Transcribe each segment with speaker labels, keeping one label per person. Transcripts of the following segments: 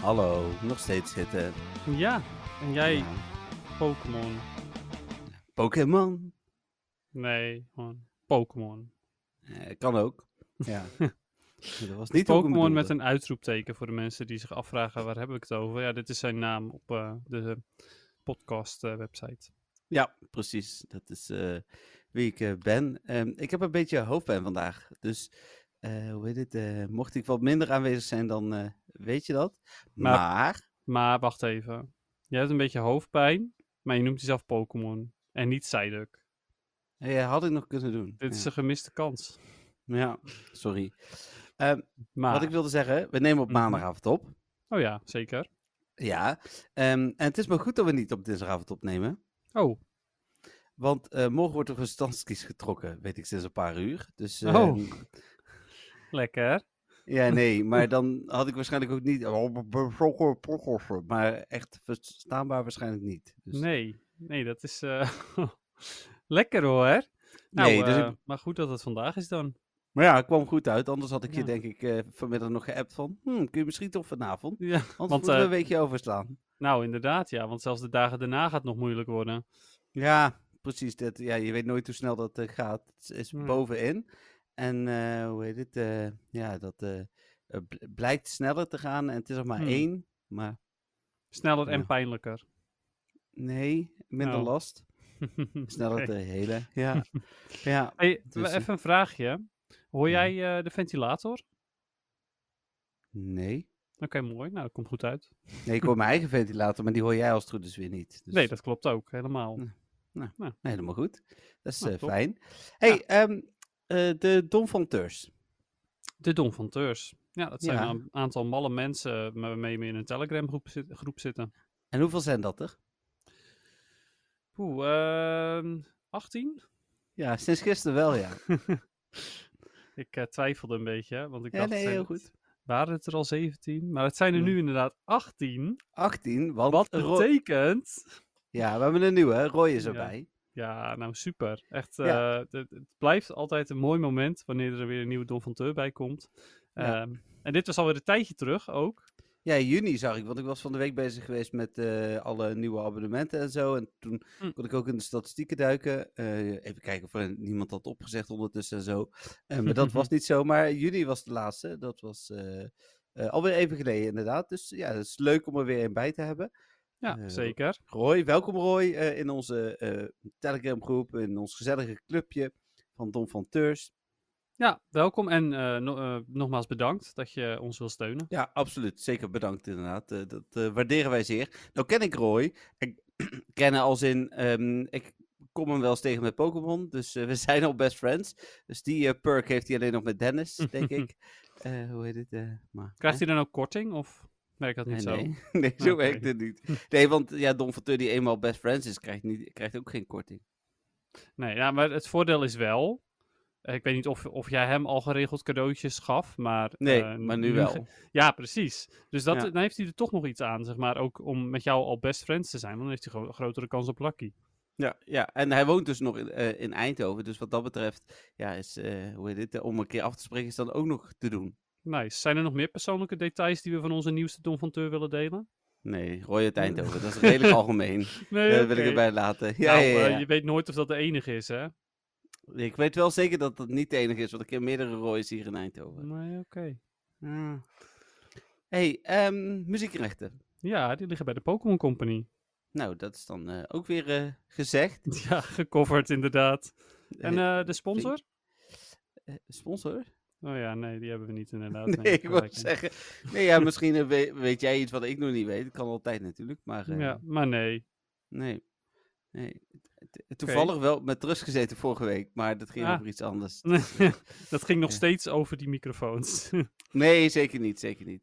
Speaker 1: Hallo. Nog steeds zitten.
Speaker 2: Ja, en jij Pokémon.
Speaker 1: Pokémon.
Speaker 2: Nee, gewoon Pokémon.
Speaker 1: Eh, kan ook. Ja. Dat was niet hoe ik hem
Speaker 2: Pokémon met
Speaker 1: bedoelde.
Speaker 2: een uitroepteken voor de mensen die zich afvragen waar heb ik het over. Ja, dit is zijn naam op eh, de podcast eh, website.
Speaker 1: Ja, precies. Dat is eh, wie ik eh, ben. Ehm, ik heb een beetje hoofdpijn vandaag. Dus eh, hoe heet het? eh, mocht ik wat minder aanwezig zijn, dan eh, weet je dat. Maar,
Speaker 2: Maar- Maar wacht even. Jij hebt een beetje hoofdpijn, maar je noemt jezelf Pokémon. En niet Psyduck.
Speaker 1: eh, had ik nog kunnen doen.
Speaker 2: Dit
Speaker 1: ja.
Speaker 2: is een gemiste kans.
Speaker 1: Ja, sorry. Ehm,
Speaker 2: Maar,
Speaker 1: Wat ik wilde zeggen, we nemen op
Speaker 2: Mhm.
Speaker 1: maandagavond op.
Speaker 2: oh ja, zeker.
Speaker 1: Ja. Ehm, en het is maar goed dat we niet op dinsdagavond opnemen.
Speaker 2: Oh,
Speaker 1: Want eh, morgen wordt er een standskies getrokken, weet ik sinds een paar uur. Dus eh,
Speaker 2: Oh. lekker.
Speaker 1: ja, nee, maar dan had ik waarschijnlijk ook niet. oh, Maar echt verstaanbaar waarschijnlijk niet. Dus,
Speaker 2: Nee, nee, dat is eh, lekker hoor. Nou,
Speaker 1: Nee, dus
Speaker 2: eh,
Speaker 1: ik-
Speaker 2: maar goed dat het vandaag is dan.
Speaker 1: Maar ja, het kwam goed uit. Anders had ik je
Speaker 2: Ja.
Speaker 1: denk ik eh, vanmiddag nog geappt van. "Hmm, kun je misschien toch vanavond?
Speaker 2: Ja.
Speaker 1: Anders
Speaker 2: Want,
Speaker 1: moeten we
Speaker 2: eh,
Speaker 1: een weekje overslaan.
Speaker 2: Nou, inderdaad, ja. Want zelfs de dagen daarna gaat het nog moeilijk worden.
Speaker 1: Ja, precies. Dat, ja, je weet nooit hoe snel dat eh, gaat. Het is
Speaker 2: Nee.
Speaker 1: bovenin. En eh, hoe heet het? eh, ja, dat eh, eh, bl- blijkt sneller te gaan. En het is nog maar
Speaker 2: Hmm.
Speaker 1: één. Maar
Speaker 2: Sneller en
Speaker 1: Ja.
Speaker 2: pijnlijker.
Speaker 1: Nee, minder
Speaker 2: Oh.
Speaker 1: last. Sneller
Speaker 2: Oké.
Speaker 1: de hele. Ja. ja.
Speaker 2: Hey,
Speaker 1: Dus, eh,
Speaker 2: even een vraagje. Hoor
Speaker 1: ja.
Speaker 2: jij eh, de ventilator?
Speaker 1: Nee.
Speaker 2: Oké, mooi. Nou, dat komt goed uit.
Speaker 1: Nee, ik hoor mijn eigen ventilator, maar die hoor jij als het goed is weer niet. Dus, Hm.
Speaker 2: Nee, dat klopt ook. Helemaal.
Speaker 1: Nee. Helemaal goed. Dat is
Speaker 2: Nou,
Speaker 1: eh,
Speaker 2: top.
Speaker 1: fijn. hey, ehm, eh, de Dom van Teurs.
Speaker 2: De Don van Teurs. Ja, dat zijn
Speaker 1: Ja.
Speaker 2: een aantal malle mensen met- waarmee we in een Telegram groep, zit- eh. groep zitten.
Speaker 1: En hoeveel zijn dat er?
Speaker 2: Oeh, ehm, 18?
Speaker 1: Ja, sinds gisteren wel, ja.
Speaker 2: Ik eh, twijfelde een beetje, want ik
Speaker 1: Ja,
Speaker 2: dacht,
Speaker 1: nee,
Speaker 2: zijn
Speaker 1: heel
Speaker 2: het-
Speaker 1: goed.
Speaker 2: waren het er al 17? Maar het zijn er
Speaker 1: Hmm.
Speaker 2: nu inderdaad 18.
Speaker 1: 18, want
Speaker 2: Wat
Speaker 1: Roy-
Speaker 2: betekent
Speaker 1: Ja, we hebben een nieuwe. Roy is
Speaker 2: Ja.
Speaker 1: erbij.
Speaker 2: Ja, nou super. Echt,
Speaker 1: Ja.
Speaker 2: eh, het, het blijft altijd een mooi moment wanneer er weer een nieuwe Don van Teur bij komt.
Speaker 1: Ja.
Speaker 2: Ehm, en dit was alweer een tijdje terug ook.
Speaker 1: Ja, in juni zag ik, want ik was van de week bezig geweest met eh, alle nieuwe abonnementen en zo. En toen
Speaker 2: Hm.
Speaker 1: kon ik ook in de statistieken duiken. Eh, even kijken of er niemand had opgezegd ondertussen en zo. Eh, maar dat was niet zo. Maar juni was de laatste. Dat was eh, eh, alweer even geleden, inderdaad. Dus ja, het is leuk om er weer een bij te hebben.
Speaker 2: Ja,
Speaker 1: Eh,
Speaker 2: zeker.
Speaker 1: Roy, welkom Roy eh, in onze eh Telegram-groep, in ons gezellige clubje van Don van Teurs.
Speaker 2: Ja, welkom en eh, no- eh, nogmaals bedankt dat je ons wil steunen.
Speaker 1: Ja, absoluut. Zeker bedankt inderdaad. Eh, dat eh, waarderen wij zeer. Nou ken ik Roy. Ik kennen als in, ehm, ik kom hem wel eens tegen met Pokémon. Dus eh, we zijn al best friends. Dus die eh, perk heeft hij alleen nog met Dennis, denk ik. Eh, hoe heet het? eh, maar,
Speaker 2: Krijgt
Speaker 1: hè?
Speaker 2: hij dan ook korting of werkt dat niet
Speaker 1: nee,
Speaker 2: zo?
Speaker 1: Nee, nee zo
Speaker 2: Oké.
Speaker 1: werkt het niet. Nee, want ja, Don Forteur die eenmaal best friends is, krijgt, niet, krijgt ook geen korting.
Speaker 2: Nee, ja, maar het voordeel is wel... eh, Ik weet niet of, of jij hem al geregeld cadeautjes gaf, maar...
Speaker 1: Nee,
Speaker 2: eh,
Speaker 1: maar nu
Speaker 2: ge-
Speaker 1: wel.
Speaker 2: Ja, precies. Dus dat,
Speaker 1: Ja.
Speaker 2: dan heeft hij er toch nog iets aan, zeg maar. Ook om met jou al best friends te zijn, want dan heeft hij gewoon een grotere kans op Lucky.
Speaker 1: Ja, ja, en hij woont dus nog in, eh, in Eindhoven. Dus wat dat betreft, ja, is, eh, hoe heet het, eh, om een keer af te spreken is dan ook nog te doen.
Speaker 2: Nice. Zijn er nog meer persoonlijke details die we van onze nieuwste Don van Teur willen delen?
Speaker 1: Nee, Roy uit Eindhoven. Dat is redelijk algemeen.
Speaker 2: Nee, Nou, eh,
Speaker 1: Dat wil ik erbij laten. Ja, ja, ja, ja.
Speaker 2: je weet nooit of dat de enige is, hè?
Speaker 1: Ik weet wel zeker dat dat niet de enige is, want ik ken meerdere Roy's hier in Eindhoven.
Speaker 2: Nee, oké.
Speaker 1: Hmm. hey, ehm, muziekrechten.
Speaker 2: Ja, die liggen bij de Pokémon Company.
Speaker 1: Nou, dat is dan eh, ook weer eh, gezegd.
Speaker 2: Ja, gecoverd inderdaad. En
Speaker 1: Eh,
Speaker 2: eh, de sponsor?
Speaker 1: eh, sponsor?
Speaker 2: Oh ja, nee, die hebben we niet inderdaad.
Speaker 1: Nee, ik wil
Speaker 2: gelijk.
Speaker 1: zeggen. Nee, ja, misschien eh, we- weet, jij iets wat ik nog niet weet. Kan altijd natuurlijk, maar eh,
Speaker 2: Ja, maar nee.
Speaker 1: nee. nee. T- Toevallig wel met rust gezeten vorige week, maar dat ging
Speaker 2: Ah.
Speaker 1: over iets anders. Dus, eh,
Speaker 2: dat ging nog
Speaker 1: Ja.
Speaker 2: steeds over die microfoons.
Speaker 1: Nee, zeker niet, zeker niet.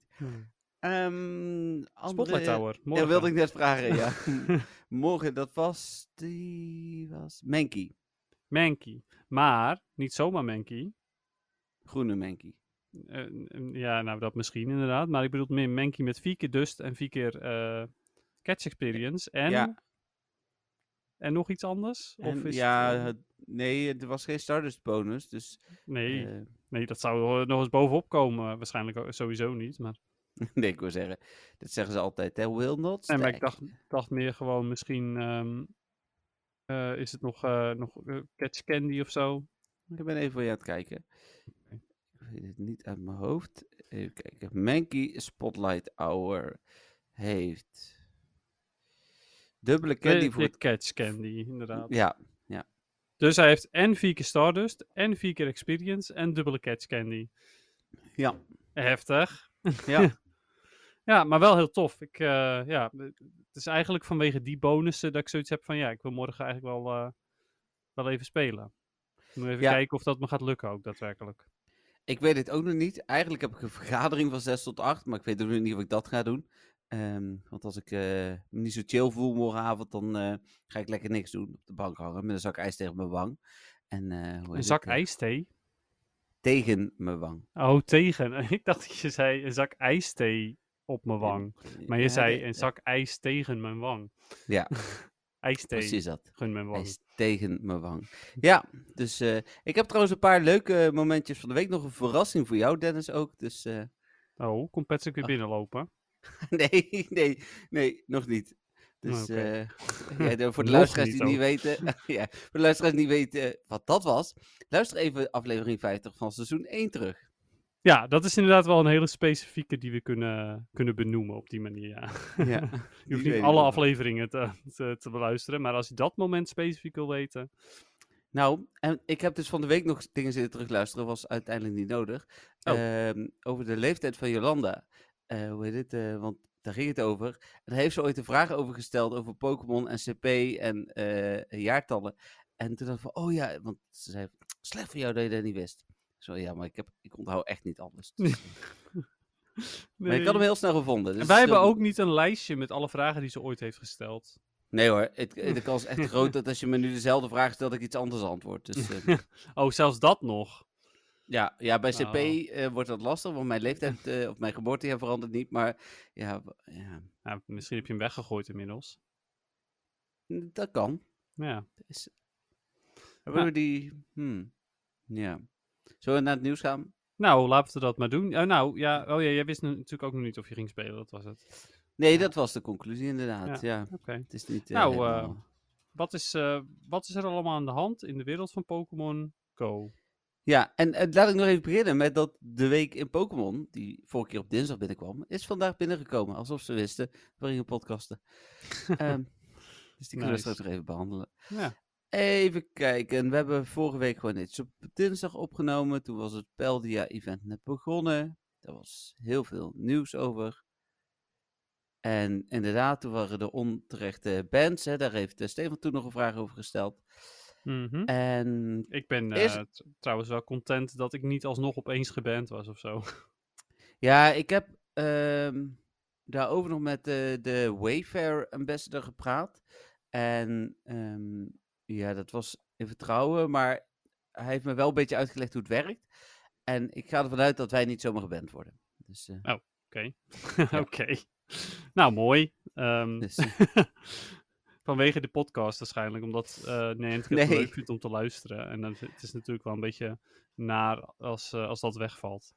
Speaker 1: Ehm
Speaker 2: Spotlight
Speaker 1: andere,
Speaker 2: Tower.
Speaker 1: Ja,
Speaker 2: Morgen.
Speaker 1: wilde ik net vragen, ja. Morgen, dat was, die was Menki.
Speaker 2: Mankey. Maar niet zomaar Mankey.
Speaker 1: Groene Menki.
Speaker 2: Eh, n- ja, nou dat misschien inderdaad. Maar ik bedoel meer Mankey met vier keer Dust en vier keer eh, Catch Experience. En,
Speaker 1: Ja.
Speaker 2: en nog iets anders? Of
Speaker 1: En
Speaker 2: is
Speaker 1: ja,
Speaker 2: het, eh,
Speaker 1: het- nee, er was geen Stardust bonus, dus...
Speaker 2: nee,
Speaker 1: eh,
Speaker 2: nee, dat zou er nog eens bovenop komen. Waarschijnlijk ook- sowieso niet. Maar,
Speaker 1: nee, ik wil zeggen, dat zeggen ze altijd, hè. Will not
Speaker 2: nee,
Speaker 1: stack.
Speaker 2: maar ik dacht, dacht meer gewoon misschien... ehm, eh, is het nog, eh, nog eh, Catch Candy of zo?
Speaker 1: Ik ben even voor je aan het kijken.
Speaker 2: Oké.
Speaker 1: Ik weet het niet uit mijn hoofd. Even kijken. Mankey Spotlight Hour heeft... Dubbele candy
Speaker 2: Nee,
Speaker 1: voor... het-
Speaker 2: Eh, Catch Candy, inderdaad.
Speaker 1: Ja,
Speaker 2: Dus hij heeft en vier keer Stardust, en vier keer Experience, en dubbele Catch Candy.
Speaker 1: ja,
Speaker 2: Heftig.
Speaker 1: ja.
Speaker 2: Ja, maar wel heel tof. Ik, eh, ja, het is eigenlijk vanwege die bonussen dat ik zoiets heb van... Ja, ik wil morgen eigenlijk wel, eh, wel even spelen. Ik moet even
Speaker 1: Ja. Oh,
Speaker 2: kijken of dat me gaat lukken ook daadwerkelijk.
Speaker 1: ik weet het ook nog niet. Eigenlijk heb ik een vergadering van 6 tot 8, maar ik weet ook nog niet of ik dat ga doen. Ehm, want als ik eh, me niet zo chill voel morgenavond, dan eh, ga ik lekker niks doen. Op de bank hangen met een zak ijs tegen mijn wang. En, eh, hoe heet
Speaker 2: Een
Speaker 1: het,
Speaker 2: zak
Speaker 1: eh,
Speaker 2: ijsthee?
Speaker 1: Tegen mijn wang.
Speaker 2: Oh, tegen. ik dacht dat je zei een zak ijsthee op mijn wang. Maar je
Speaker 1: Ja,
Speaker 2: zei
Speaker 1: de- eh,
Speaker 2: een zak ijs tegen mijn wang.
Speaker 1: Ja,
Speaker 2: Ijsthee
Speaker 1: precies dat.
Speaker 2: gun mijn
Speaker 1: Hij
Speaker 2: wang.
Speaker 1: is tegen mijn wang. Ja, dus eh, ik heb trouwens een paar leuke momentjes van de week. Nog een verrassing voor jou, Dennis, ook. Dus eh,
Speaker 2: Oh, komt Patrick weer
Speaker 1: Ah.
Speaker 2: binnenlopen?
Speaker 1: nee, nee, nee, nog niet. Dus
Speaker 2: Oh, oké.
Speaker 1: eh, ja, de- voor de
Speaker 2: Nog
Speaker 1: luisteraars die
Speaker 2: niet
Speaker 1: het niet weten, ja, voor de luisteraars die niet weten wat dat was, luister even aflevering 50 van seizoen 1 terug.
Speaker 2: Ja, dat is inderdaad wel een hele specifieke die we kunnen, kunnen benoemen op die manier. Ja.
Speaker 1: Ja,
Speaker 2: Je hoeft niet alle afleveringen te, te, te beluisteren, maar als je dat moment specifiek wil weten.
Speaker 1: Nou, en ik heb dus van de week nog dingen zitten terugluisteren, was uiteindelijk niet nodig.
Speaker 2: Oh.
Speaker 1: Ehm, over de leeftijd van Jolanda. Eh, hoe heet het? eh, want daar ging het over. En daar heeft ze ooit een vraag over gesteld over Pokémon en CP en eh, jaartallen. En toen dacht ik van, oh ja, want ze zei, slecht voor jou dat je dat niet wist. Zo, ja, maar ik, heb, ik onthoud echt niet alles. Dus- Maar ik had hem heel snel gevonden. dus
Speaker 2: en
Speaker 1: het
Speaker 2: wij
Speaker 1: is
Speaker 2: hebben
Speaker 1: heel-
Speaker 2: ook niet een lijstje met alle vragen die ze ooit heeft gesteld.
Speaker 1: Nee hoor, het, de kans is echt groot dat als je me nu dezelfde vraag stelt, dat ik iets anders antwoord. Dus eh,
Speaker 2: Oh, zelfs dat nog.
Speaker 1: Ja, ja bij CP
Speaker 2: Oh.
Speaker 1: eh, wordt dat lastig, want mijn leeftijd eh, of mijn geboortejaar verandert niet. Maar ja, w- ja
Speaker 2: Nou, misschien heb je hem weggegooid inmiddels.
Speaker 1: n- dat kan.
Speaker 2: Ja.
Speaker 1: Is, hebben we die... hmm, ja. Zullen we naar het nieuws gaan?
Speaker 2: Nou, laten we dat maar doen. Eh, nou, ja, oh ja, jij wist nu- natuurlijk ook nog niet of je ging spelen, dat was het.
Speaker 1: Nee,
Speaker 2: Ja.
Speaker 1: dat was de conclusie inderdaad. Ja,
Speaker 2: Oké.
Speaker 1: het is niet... eh,
Speaker 2: Nou, eh,
Speaker 1: helemaal-
Speaker 2: Wat, is, eh, wat is er allemaal aan de hand in de wereld van Pokémon Go?
Speaker 1: Ja, en eh, laat ik nog even beginnen met dat de week in Pokémon, die vorige keer op dinsdag binnenkwam, is vandaag binnengekomen. Alsof ze wisten, we gingen podcasten. Ehm, dus die kunnen we
Speaker 2: Nice.
Speaker 1: straks nog even behandelen.
Speaker 2: Ja.
Speaker 1: Even kijken. We hebben vorige week gewoon iets op dinsdag opgenomen. Toen was het Peldia-event net begonnen. Daar was heel veel nieuws over. En inderdaad, toen waren de onterechte bands. Hè. Daar heeft eh, Stefan toen nog een vraag over gesteld.
Speaker 2: Mhm.
Speaker 1: En
Speaker 2: Ik ben
Speaker 1: Is-
Speaker 2: eh, t- trouwens wel content dat ik niet alsnog opeens geband was of zo.
Speaker 1: Ja, ik heb ehm, daarover nog met de, de Wayfair ambassador gepraat. En ehm, ja, dat was in vertrouwen, maar hij heeft me wel een beetje uitgelegd hoe het werkt. En ik ga ervan uit dat wij niet zomaar geband worden. Dus, eh,
Speaker 2: Oké. Oké. Nou, mooi. Ehm,
Speaker 1: dus, eh,
Speaker 2: vanwege de podcast waarschijnlijk, omdat eh Nant het
Speaker 1: Nee.
Speaker 2: leuk vindt om te luisteren. En dan, het is natuurlijk wel een beetje naar als, eh, als dat wegvalt.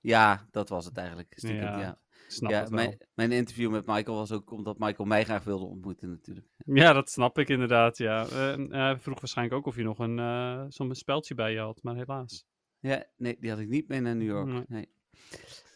Speaker 1: ja, dat was het eigenlijk. Stiekem,
Speaker 2: Ja,
Speaker 1: ja,
Speaker 2: Ik Snap
Speaker 1: Ja,
Speaker 2: het wel.
Speaker 1: mijn, mijn interview met Michael was ook omdat Michael mij graag wilde ontmoeten natuurlijk.
Speaker 2: Ja, dat snap ik inderdaad, ja. Eh, en hij vroeg waarschijnlijk ook of je nog een, eh, zo'n speldje bij je had, maar helaas.
Speaker 1: Ja, nee, die had ik niet mee naar New York.
Speaker 2: Nee.
Speaker 1: Nee.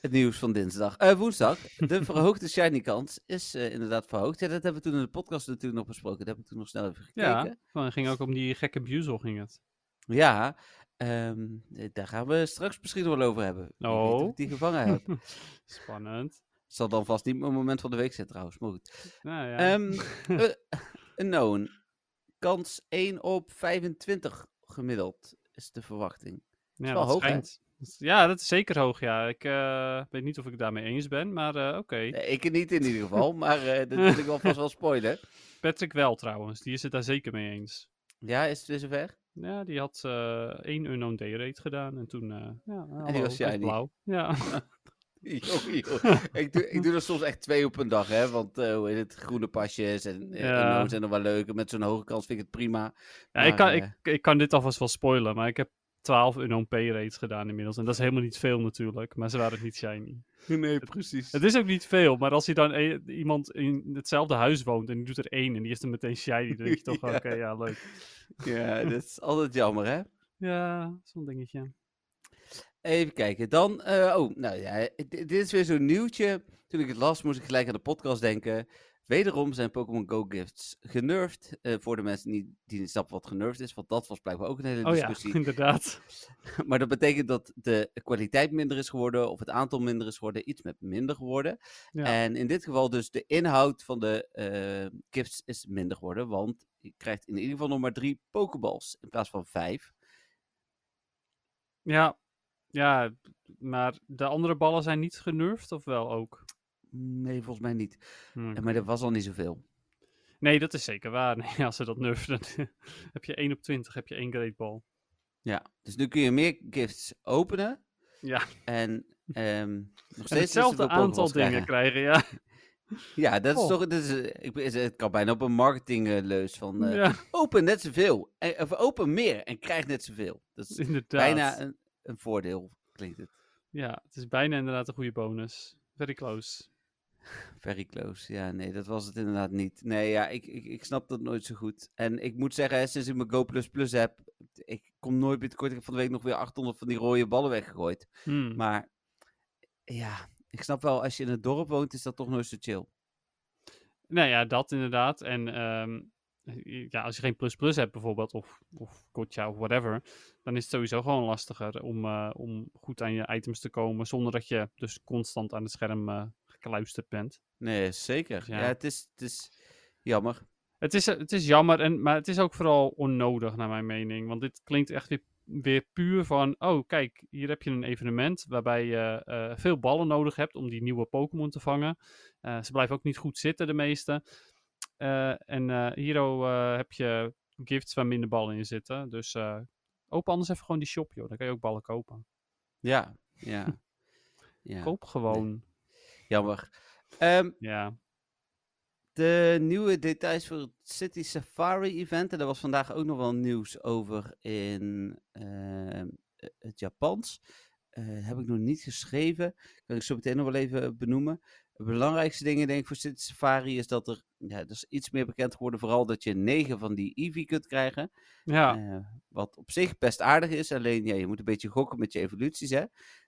Speaker 1: Het nieuws van dinsdag. Eh, woensdag. De verhoogde shiny kans is eh, inderdaad verhoogd. Ja, dat hebben we toen in de podcast natuurlijk nog besproken. Dat heb ik toen nog snel even
Speaker 2: Ja.
Speaker 1: gekeken.
Speaker 2: Maar het ging ook om die gekke buzel, ging het.
Speaker 1: Ja. ehm, eh, daar gaan we straks misschien nog wel over hebben. Wie weet of
Speaker 2: Oh.
Speaker 1: ik die gevangen heb.
Speaker 2: Spannend.
Speaker 1: Zal dan vast niet mijn moment van de week zijn trouwens. Maar goed.
Speaker 2: Nou ja.
Speaker 1: Ehm, eh, Een known. Kans 1 op 25 gemiddeld is de verwachting.
Speaker 2: ja,
Speaker 1: wel
Speaker 2: dat
Speaker 1: hoog, hè?
Speaker 2: schijnt, Dus Ja, dat is zeker hoog, ja. Ik eh, weet niet of ik het daarmee eens ben, maar eh, oké.
Speaker 1: Nee, ik niet in ieder geval, maar eh dat wil ik wel vast wel spoilen.
Speaker 2: Patrick wel trouwens, die is het daar zeker mee eens.
Speaker 1: Ja, is het weer zover?
Speaker 2: Ja, die had eh, één unknown day rate gedaan en toen... eh ja, hallo,
Speaker 1: was
Speaker 2: dat is
Speaker 1: shiny.
Speaker 2: blauw. Ja.
Speaker 1: Joh, joh. ik, doe, ik doe er soms echt twee op een dag, hè. Want eh, hoe heet het, groene pasjes en eh,
Speaker 2: Ja.
Speaker 1: inhoud zijn nog wel leuk. En met zo'n hoge kans vind ik het prima.
Speaker 2: Ja, ik
Speaker 1: Maar,
Speaker 2: kan,
Speaker 1: eh,
Speaker 2: ik, ik kan dit alvast wel spoilen, maar ik heb 12 unknown pay rates gedaan inmiddels. En dat is helemaal niet veel natuurlijk, maar ze waren niet shiny.
Speaker 1: Nee, precies.
Speaker 2: Het is ook niet veel, maar als hij dan e- iemand in hetzelfde huis woont en die doet er één en die is er meteen shiny, dan denk je toch,
Speaker 1: Ja.
Speaker 2: oké, ja, leuk.
Speaker 1: Ja, dat is altijd jammer, hè.
Speaker 2: Ja, zo'n dingetje.
Speaker 1: Even kijken. Dan, eh, oh, nou ja, d- dit is weer zo'n nieuwtje. Toen ik het las, moest ik gelijk aan de podcast denken. Wederom zijn Pokémon Go gifts genervd. Eh, voor de mensen die, die niet snappen wat genervd is, want dat was blijkbaar ook een hele
Speaker 2: Oh ja,
Speaker 1: discussie.
Speaker 2: inderdaad.
Speaker 1: Maar dat betekent dat de kwaliteit minder is geworden, of het aantal minder is geworden, iets met minder geworden.
Speaker 2: Ja.
Speaker 1: En in dit geval dus de inhoud van de eh gifts is minder geworden, want je krijgt in ieder geval nog maar drie Pokéballs in plaats van vijf.
Speaker 2: Ja, ja, maar de andere ballen zijn niet genurfd of wel ook?
Speaker 1: Nee, volgens mij niet.
Speaker 2: Hm.
Speaker 1: Eh, Maar dat was al niet zoveel.
Speaker 2: Nee, dat is zeker waar. Nee, als ze dat nerven, dan heb je 1 op 20, heb je één great ball.
Speaker 1: Ja, dus nu kun je meer gifts openen.
Speaker 2: Ja.
Speaker 1: En ehm, nog
Speaker 2: En
Speaker 1: steeds
Speaker 2: hetzelfde aantal dingen
Speaker 1: krijgen.
Speaker 2: krijgen, ja.
Speaker 1: Ja, dat is
Speaker 2: Oh.
Speaker 1: toch. Dat is, eh, ik, is- het kan bijna op een marketingleus van. eh,
Speaker 2: ja,
Speaker 1: Open net zoveel. En, of open meer en krijg net zoveel. Dat is
Speaker 2: inderdaad.
Speaker 1: bijna een, een voordeel, klinkt het.
Speaker 2: Ja, het is bijna inderdaad een goede bonus. Very close.
Speaker 1: Very close. Ja, nee, dat was het inderdaad niet. Nee, ja, ik, ik, ik snap dat nooit zo goed. En ik moet zeggen, hè, sinds ik mijn Go Plus Plus heb, ik kom nooit meer tekort. Ik heb van de week nog weer 800 van die rode ballen weggegooid.
Speaker 2: Hmm.
Speaker 1: Maar ja, ik snap wel, als je in het dorp woont, is dat toch nooit zo chill.
Speaker 2: Nou ja, dat inderdaad. En ehm, ja, als je geen plus plus hebt bijvoorbeeld, of, of Gotcha of whatever, dan is het sowieso gewoon lastiger om, eh, om goed aan je items te komen, zonder dat je dus constant aan het scherm eh, gekluisterd bent.
Speaker 1: Nee, zeker. Ja,
Speaker 2: Ja.
Speaker 1: het, is, het is jammer.
Speaker 2: Het is, eh, het is jammer, en, maar het is ook vooral onnodig naar mijn mening. Want dit klinkt echt weer, weer puur van, oh kijk, hier heb je een evenement waarbij je eh, veel ballen nodig hebt om die nieuwe Pokémon te vangen. Eh, ze blijven ook niet goed zitten, de meeste. Eh, en eh, Hero eh, heb je gifts waar minder ballen in zitten. Dus eh open anders even gewoon die shop, joh. Dan kan je ook ballen kopen.
Speaker 1: Ja, ja. ja.
Speaker 2: Koop gewoon.
Speaker 1: Jammer. Ehm,
Speaker 2: Ja.
Speaker 1: de nieuwe details voor het City Safari Event. En daar was vandaag ook nog wel nieuws over in ehm, eh, het Japans. Eh, heb ik nog niet geschreven. Kan ik zo meteen nog wel even benoemen. De belangrijkste dingen denk ik voor City Safari is dat er, ja, er is iets meer bekend geworden. Vooral dat je negen van die Eevee kunt krijgen.
Speaker 2: Ja.
Speaker 1: Eh, wat op zich best aardig is. Alleen ja, je moet een beetje gokken met je evoluties. Hè?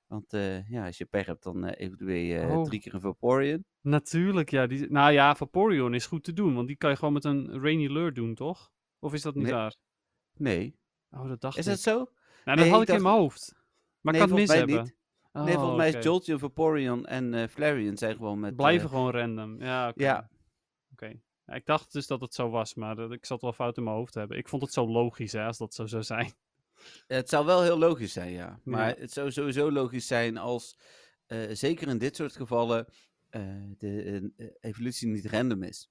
Speaker 1: Want eh, ja, als je pech hebt, dan eh evolueer je eh,
Speaker 2: Oh.
Speaker 1: drie keer een Vaporeon.
Speaker 2: Natuurlijk, ja. Die, nou ja, Vaporeon is goed te doen, want die kan je gewoon met een Rainy Lure doen, toch? Of is dat niet
Speaker 1: Nee.
Speaker 2: waar?
Speaker 1: Nee.
Speaker 2: Oh, dat dacht
Speaker 1: Is
Speaker 2: ik.
Speaker 1: dat zo?
Speaker 2: Nou,
Speaker 1: Nee,
Speaker 2: dat had
Speaker 1: ik
Speaker 2: ik in
Speaker 1: dacht-
Speaker 2: mijn hoofd. Maar
Speaker 1: nee,
Speaker 2: ik kan
Speaker 1: volgens
Speaker 2: het mis
Speaker 1: mij
Speaker 2: hebben.
Speaker 1: niet.
Speaker 2: Oh,
Speaker 1: nee, volgens mij is
Speaker 2: Jolt.
Speaker 1: Jolteon, Vaporeon en eh Flareon zijn gewoon met...
Speaker 2: Blijven
Speaker 1: eh,
Speaker 2: gewoon random. Ja, oké.
Speaker 1: ja.
Speaker 2: Oké. Ja, ik dacht dus dat het zo was, maar dat, ik zat wel fout in mijn hoofd te hebben. Ik vond het zo logisch, hè, als dat zo zou zijn.
Speaker 1: het zou wel heel logisch zijn, ja. Maar
Speaker 2: Ja.
Speaker 1: het zou sowieso logisch zijn als, eh, zeker in dit soort gevallen, eh, de eh, eh, evolutie niet random is.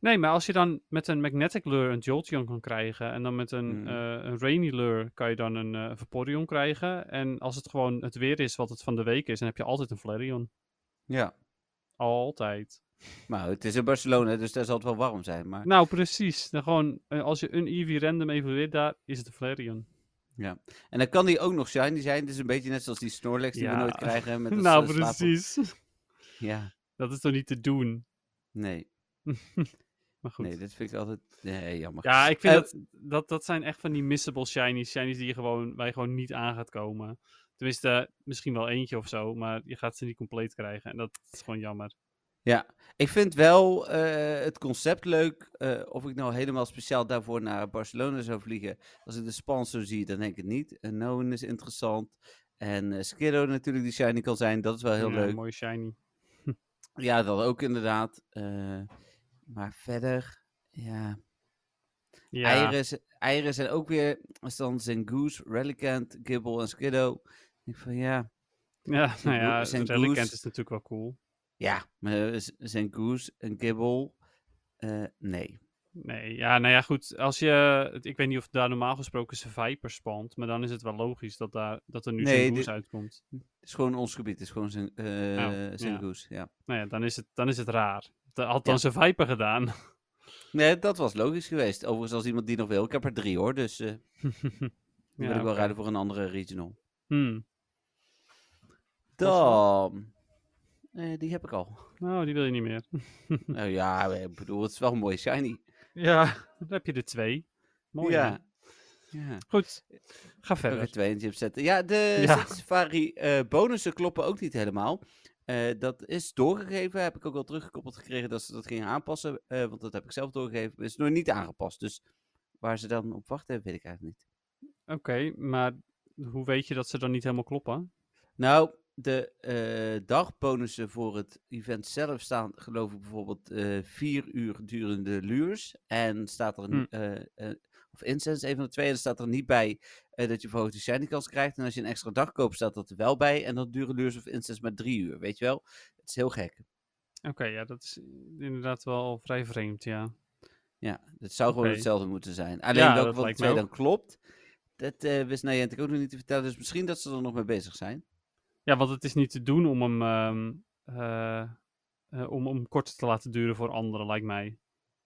Speaker 2: Nee, maar als je dan met een Magnetic Lure een Jolteon kan krijgen... en dan met een,
Speaker 1: Mhm.
Speaker 2: eh, een Rainy Lure kan je dan een eh Vaporeon krijgen... en als het gewoon het weer is wat het van de week is... dan heb je altijd een Flareon.
Speaker 1: Ja.
Speaker 2: Altijd.
Speaker 1: Maar het is in Barcelona, dus daar zal het wel warm zijn. Maar
Speaker 2: Nou, precies. Dan gewoon, eh, als je een Eevee random evolueert daar, is het een Flareon.
Speaker 1: En dan kan die ook nog shiny zijn. Dus een beetje net zoals die Snorlax die we
Speaker 2: Ja.
Speaker 1: nooit krijgen. Met een
Speaker 2: nou,
Speaker 1: s- eh, slaap op-
Speaker 2: precies.
Speaker 1: Ja,
Speaker 2: Dat is toch niet te doen?
Speaker 1: nee.
Speaker 2: Maar goed.
Speaker 1: Nee, dat vind ik altijd... Nee, jammer.
Speaker 2: ja, ik vind
Speaker 1: Eh,
Speaker 2: dat, dat, dat zijn echt van die missable shinies. Shinies die je gewoon, waar je gewoon niet aan gaat komen. Tenminste, eh, misschien wel eentje of zo, maar je gaat ze niet compleet krijgen. En dat is gewoon jammer.
Speaker 1: Ja, ik vind wel eh, het concept leuk. Eh, of ik nou helemaal speciaal daarvoor naar Barcelona zou vliegen. Als ik de Spans zo zie, dan denk ik het niet. Een Noen is interessant. En eh Skiddo natuurlijk, die shiny kan zijn. Dat is wel heel
Speaker 2: Ja,
Speaker 1: leuk.
Speaker 2: Mooie shiny.
Speaker 1: Ja, dat ook inderdaad. Eh, maar verder, ja...
Speaker 2: Ja,
Speaker 1: Eieren, z- eieren zijn ook weer, als dan Zengoose, Relicant, Gibble en Skiddo. Ik van ja,
Speaker 2: Ja, nou ja,
Speaker 1: Goose en
Speaker 2: Relicant
Speaker 1: Goose.
Speaker 2: is natuurlijk wel cool.
Speaker 1: ja, maar eh, z- zijn Goose, een Gibble, eh, nee.
Speaker 2: Nee, ja, nou ja, goed. Als je, ik weet niet of daar normaal gesproken Survivor spant, maar dan is het wel logisch dat, daar, dat er nu
Speaker 1: Nee,
Speaker 2: zo'n
Speaker 1: dit-
Speaker 2: Goose uitkomt.
Speaker 1: Het is gewoon ons gebied, het is gewoon zijn, eh
Speaker 2: Nou,
Speaker 1: zijn
Speaker 2: ja.
Speaker 1: Goose, ja.
Speaker 2: Nou ja, dan is het, dan is het raar. Da- Had dan
Speaker 1: Ja.
Speaker 2: Survivor gedaan.
Speaker 1: Nee, dat was logisch geweest. Overigens, als iemand die nog wil, ik heb er drie hoor, dus eh die wil
Speaker 2: Ja,
Speaker 1: ik wel
Speaker 2: oké.
Speaker 1: ruilen voor een andere regional.
Speaker 2: Hmm.
Speaker 1: Dan, eh, die heb ik al.
Speaker 2: Nou, die wil je niet meer.
Speaker 1: nou ja, ik bedoel, het is wel een mooie shiny.
Speaker 2: Ja, dan heb je er twee. Mooi. hè?
Speaker 1: ja. Ja,
Speaker 2: Goed, ga
Speaker 1: nog
Speaker 2: verder.
Speaker 1: weer twee in de chip zetten. Ja, de
Speaker 2: Ja.
Speaker 1: City Safari eh, bonussen kloppen ook niet helemaal. Eh, dat is doorgegeven, heb ik ook al teruggekoppeld gekregen dat ze dat gingen aanpassen. eh, want dat heb ik zelf doorgegeven, maar is nog niet aangepast. Dus waar ze dan op wachten, weet ik eigenlijk niet.
Speaker 2: Oké, maar hoe weet je dat ze dan niet helemaal kloppen?
Speaker 1: Nou, de eh, dagbonussen voor het event zelf staan, geloof ik, bijvoorbeeld eh, vier uur durende lures. En staat er, een, eh, eh, of incense, een van de twee, en er staat er niet bij eh, dat je verhoogde shiny kans krijgt. En als je een extra dag koopt, staat dat er wel bij. En dan duren lures of incense maar drie uur, weet je wel? Het is heel gek.
Speaker 2: Oké, ja, dat is inderdaad wel vrij vreemd, ja.
Speaker 1: Ja, het zou gewoon
Speaker 2: Oké.
Speaker 1: hetzelfde moeten zijn. Alleen
Speaker 2: Ja,
Speaker 1: welke
Speaker 2: dat
Speaker 1: van de
Speaker 2: lijkt me
Speaker 1: twee
Speaker 2: ook.
Speaker 1: dan klopt, dat eh wist Niantic ook nog niet te vertellen. Dus misschien dat ze er nog mee bezig zijn.
Speaker 2: Ja, want het is niet te doen om hem, ehm, eh, eh, om, om korter te laten duren voor anderen, lijkt mij.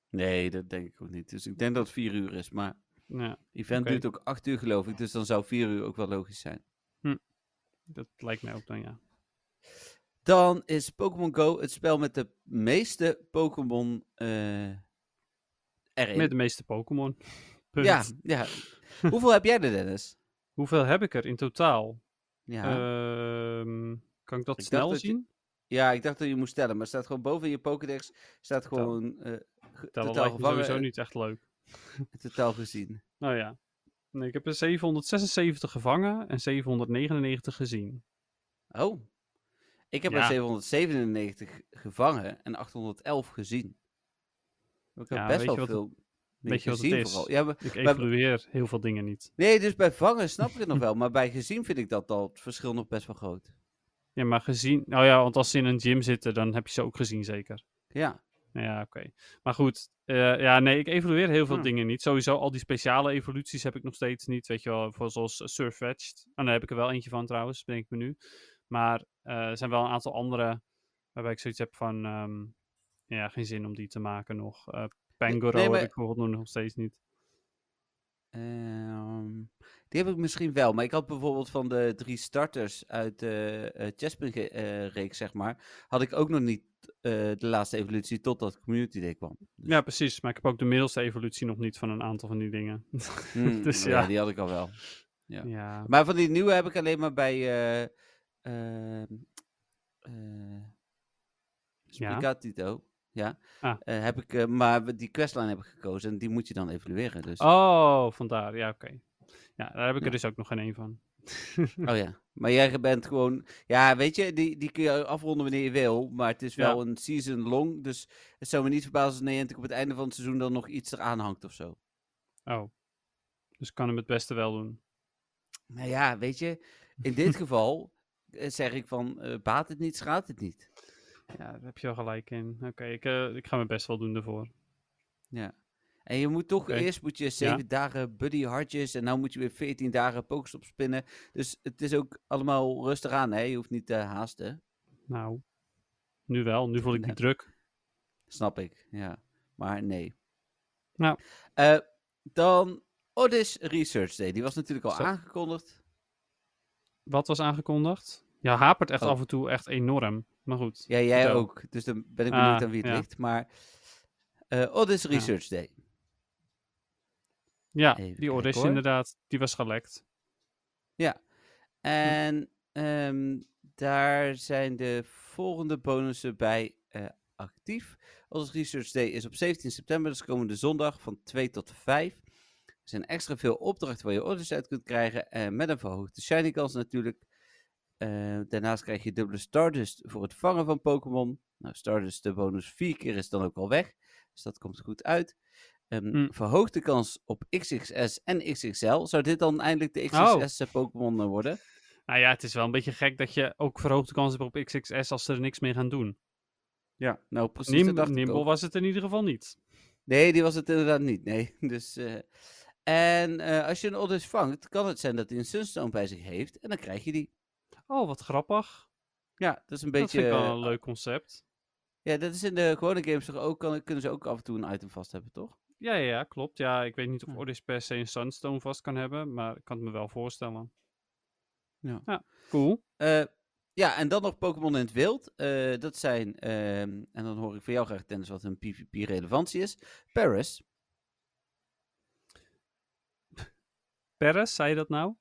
Speaker 1: Nee, dat denk ik ook niet. Dus ik denk dat het vier uur is, maar...
Speaker 2: Ja,
Speaker 1: Event
Speaker 2: Oké.
Speaker 1: duurt ook 8 uur, geloof ik. Dus dan zou 4 uur ook wel logisch zijn.
Speaker 2: dat lijkt mij ook dan, ja.
Speaker 1: Dan is Pokémon Go het spel met de meeste Pokémon eh erin.
Speaker 2: Met de meeste Pokémon. Punt.
Speaker 1: ja, ja. Hoeveel heb jij er, Dennis?
Speaker 2: Hoeveel heb ik er in totaal?
Speaker 1: Ja.
Speaker 2: Eh, Ehm, kan ik dat
Speaker 1: Ik dacht
Speaker 2: snel
Speaker 1: dat je-
Speaker 2: zien?
Speaker 1: ja, ik dacht dat je moest tellen. Maar staat gewoon boven in je Pokédex. Staat gewoon eh, ge-
Speaker 2: Dat
Speaker 1: totaal
Speaker 2: lijkt me
Speaker 1: gevangen.
Speaker 2: sowieso
Speaker 1: en
Speaker 2: niet echt leuk.
Speaker 1: Totaal gezien.
Speaker 2: Nou ja. Nee, ik heb er 776 gevangen en 799 gezien.
Speaker 1: Oh. Ik heb
Speaker 2: Ja.
Speaker 1: er 797 gevangen en 811 gezien. Ik heb
Speaker 2: Ja,
Speaker 1: best
Speaker 2: weet
Speaker 1: wel
Speaker 2: je wat het-
Speaker 1: veel dingen
Speaker 2: weet je wat het
Speaker 1: gezien
Speaker 2: is?
Speaker 1: vooral. Ja, maar
Speaker 2: Ik
Speaker 1: hebben-
Speaker 2: evalueer heel veel dingen niet.
Speaker 1: Nee, dus bij vangen snap ik het nog wel. Maar bij gezien vind ik dat al het verschil nog best wel groot.
Speaker 2: Ja, maar gezien... Nou ja, want als ze in een gym zitten, dan heb je ze ook gezien zeker.
Speaker 1: Ja.
Speaker 2: Nou Ja, oké. Maar goed, eh, ja, nee, ik evalueer heel veel
Speaker 1: Ja.
Speaker 2: dingen niet. Sowieso, al die speciale evoluties heb ik nog steeds niet. Weet je wel, voor zoals eh, Surfetched. En daar heb ik er wel eentje van trouwens, bedenk ik me nu. Maar eh, er zijn wel een aantal andere waarbij ik zoiets heb van... ehm, ja, geen zin om die te maken nog. Eh Pangoro
Speaker 1: nee, maar-
Speaker 2: heb ik bijvoorbeeld nog steeds niet.
Speaker 1: Ehm, die heb ik misschien wel. Maar ik had bijvoorbeeld van de drie starters uit de eh Chespin-reeks, zeg maar, had ik ook nog niet eh, de laatste evolutie totdat Community Day kwam.
Speaker 2: Ja, precies. Maar ik heb ook de middelste evolutie nog niet van een aanal van die dingen.
Speaker 1: Hmm,
Speaker 2: Dus
Speaker 1: maar ja.
Speaker 2: ja.
Speaker 1: die had ik al wel. Ja.
Speaker 2: ja.
Speaker 1: Maar van die nieuwe heb ik alleen maar bij... eh ehm, eh,
Speaker 2: Ja.
Speaker 1: Spicatito. Ja.
Speaker 2: Ah.
Speaker 1: Eh, heb ik, eh, maar we- die questline heb ik gekozen en die moet je dan evalueren. Dus.
Speaker 2: Oh, vandaar. Ja, oké. Ja, daar heb ik
Speaker 1: Ja.
Speaker 2: er dus ook nog geen één van.
Speaker 1: Oh ja, maar jij bent gewoon... Ja, weet je, die, die kun je afronden wanneer je wil, maar het is
Speaker 2: Ja.
Speaker 1: wel een season long, dus het zou me niet verbazen als Niantic op het einde van het seizoen dan nog iets eraan hangt of zo.
Speaker 2: Oh. Dus ik kan hem het beste wel doen.
Speaker 1: Nou ja, weet je, in dit geval eh, zeg ik van, eh, baat het niet, schaadt het niet.
Speaker 2: Ja, daar heb je wel gelijk in. Oké, ik, eh, ik ga mijn best wel doen daarvoor.
Speaker 1: En je moet toch
Speaker 2: Oké.
Speaker 1: eerst moet je zeven dagen buddy hartjes en nou moet je weer 14 dagen Pokestop spinnen. Dus het is ook allemaal rustig aan, hè? Je hoeft niet te haasten.
Speaker 2: Nou, nu wel. Nu voel ik die
Speaker 1: Nee.
Speaker 2: druk.
Speaker 1: Snap ik, ja. Maar nee.
Speaker 2: Nou.
Speaker 1: Eh, dan Otis Research Day. Die was natuurlijk al
Speaker 2: Zo.
Speaker 1: aangekondigd.
Speaker 2: Wat was aangekondigd? Ja, hapert echt
Speaker 1: Oh.
Speaker 2: af en toe echt enorm. Maar goed.
Speaker 1: Ja, jij
Speaker 2: Vertel.
Speaker 1: ook. Dus dan ben ik benieuwd
Speaker 2: Ah,
Speaker 1: aan wie het
Speaker 2: ja.
Speaker 1: ligt. Maar eh Otis Research Day.
Speaker 2: Ja,
Speaker 1: Even
Speaker 2: die
Speaker 1: kijken,
Speaker 2: Odyssey
Speaker 1: hoor.
Speaker 2: inderdaad. Die was gelekt. Hm.
Speaker 1: En ehm, daar zijn de volgende bonussen bij eh, actief. Otis Research Day is op 17 september, dus komende zondag van 2 tot 5. Er zijn extra veel opdrachten waar je orders uit kunt krijgen. En met een verhoogde shiny kans natuurlijk. Eh, daarnaast krijg je dubbele Stardust voor het vangen van Pokémon. Nou, Stardust de bonus vier keer is dan ook al weg. Dus dat komt goed uit. Ehm
Speaker 2: Hm.
Speaker 1: Verhoogde kans op XXS en XXL. Zou dit dan eindelijk de
Speaker 2: Oh.
Speaker 1: XXS-Pokémon eh, worden?
Speaker 2: Nou ja, het is wel een beetje gek dat je ook verhoogde kans hebt op XXS als ze er niks mee gaan doen.
Speaker 1: Ja, nou precies. dat
Speaker 2: Nim
Speaker 1: dacht ik ook.
Speaker 2: Nimble was het in ieder geval niet.
Speaker 1: Nee, die was het inderdaad niet. Nee. Dus, eh, en eh, als je een Oddish vangt, kan het zijn dat hij een Sunstone bij zich heeft. En dan krijg je die.
Speaker 2: Oh, wat grappig.
Speaker 1: Ja, dat is een
Speaker 2: Dat
Speaker 1: beetje.
Speaker 2: vind ik wel
Speaker 1: eh,
Speaker 2: een leuk concept.
Speaker 1: Ja, dat is in de gewone games toch ook. Kan, kunnen ze ook af en toe een item vast hebben, toch?
Speaker 2: Ja, ja, ja, klopt. Ja, ik weet niet of
Speaker 1: Ja.
Speaker 2: Odyssey per se een Sunstone vast kan hebben, maar ik kan het me wel voorstellen.
Speaker 1: Ja.
Speaker 2: Cool.
Speaker 1: Eh, ja, en dan nog Pokémon in het wild. Eh, dat zijn, ehm, en dan hoor ik van jou graag, Dennis, wat hun PvP-relevantie is. Paris.
Speaker 2: Perez, zei je dat nou?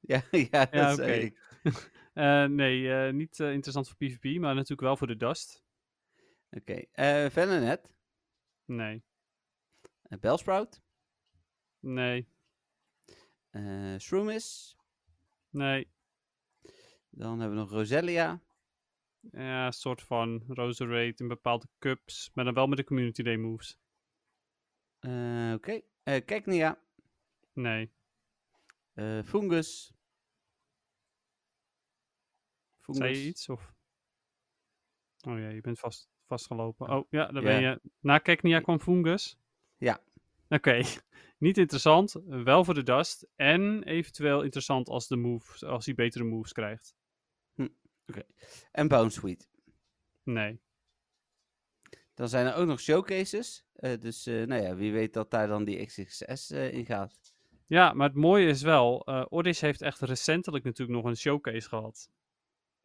Speaker 1: Ja, ja, dat
Speaker 2: Ja,
Speaker 1: zei
Speaker 2: oké.
Speaker 1: ik.
Speaker 2: Eh, nee, eh, niet eh, interessant voor PvP, maar natuurlijk wel voor de Dust.
Speaker 1: Oké. Eh, Venonat.
Speaker 2: Nee,
Speaker 1: eh, Bellsprout.
Speaker 2: nee,
Speaker 1: eh Shroomis.
Speaker 2: nee.
Speaker 1: Dan hebben we nog Roselia.
Speaker 2: Ja, soort van Roserade in bepaalde cups, maar dan wel met de Community Day moves.
Speaker 1: Eh, Oké. eh, Cacnea.
Speaker 2: Nee.
Speaker 1: eh, Fungus.
Speaker 2: Zei
Speaker 1: Fungus.
Speaker 2: je iets? Of... Oh ja, je bent vast, vastgelopen. Oh ja, daar
Speaker 1: Ja.
Speaker 2: ben je. Na Keknia kwam Fungus.
Speaker 1: Ja.
Speaker 2: Oké, niet interessant. Wel voor de dust. En eventueel interessant als, de move, als hij betere moves krijgt.
Speaker 1: En Bounsweet.
Speaker 2: Nee.
Speaker 1: Dan zijn er ook nog showcases. eh, dus eh, nou ja, wie weet dat daar dan die XXS eh, in gaat.
Speaker 2: Ja, maar het mooie is wel, eh Odyssey heeft echt recentelijk natuurlijk nog een showcase gehad.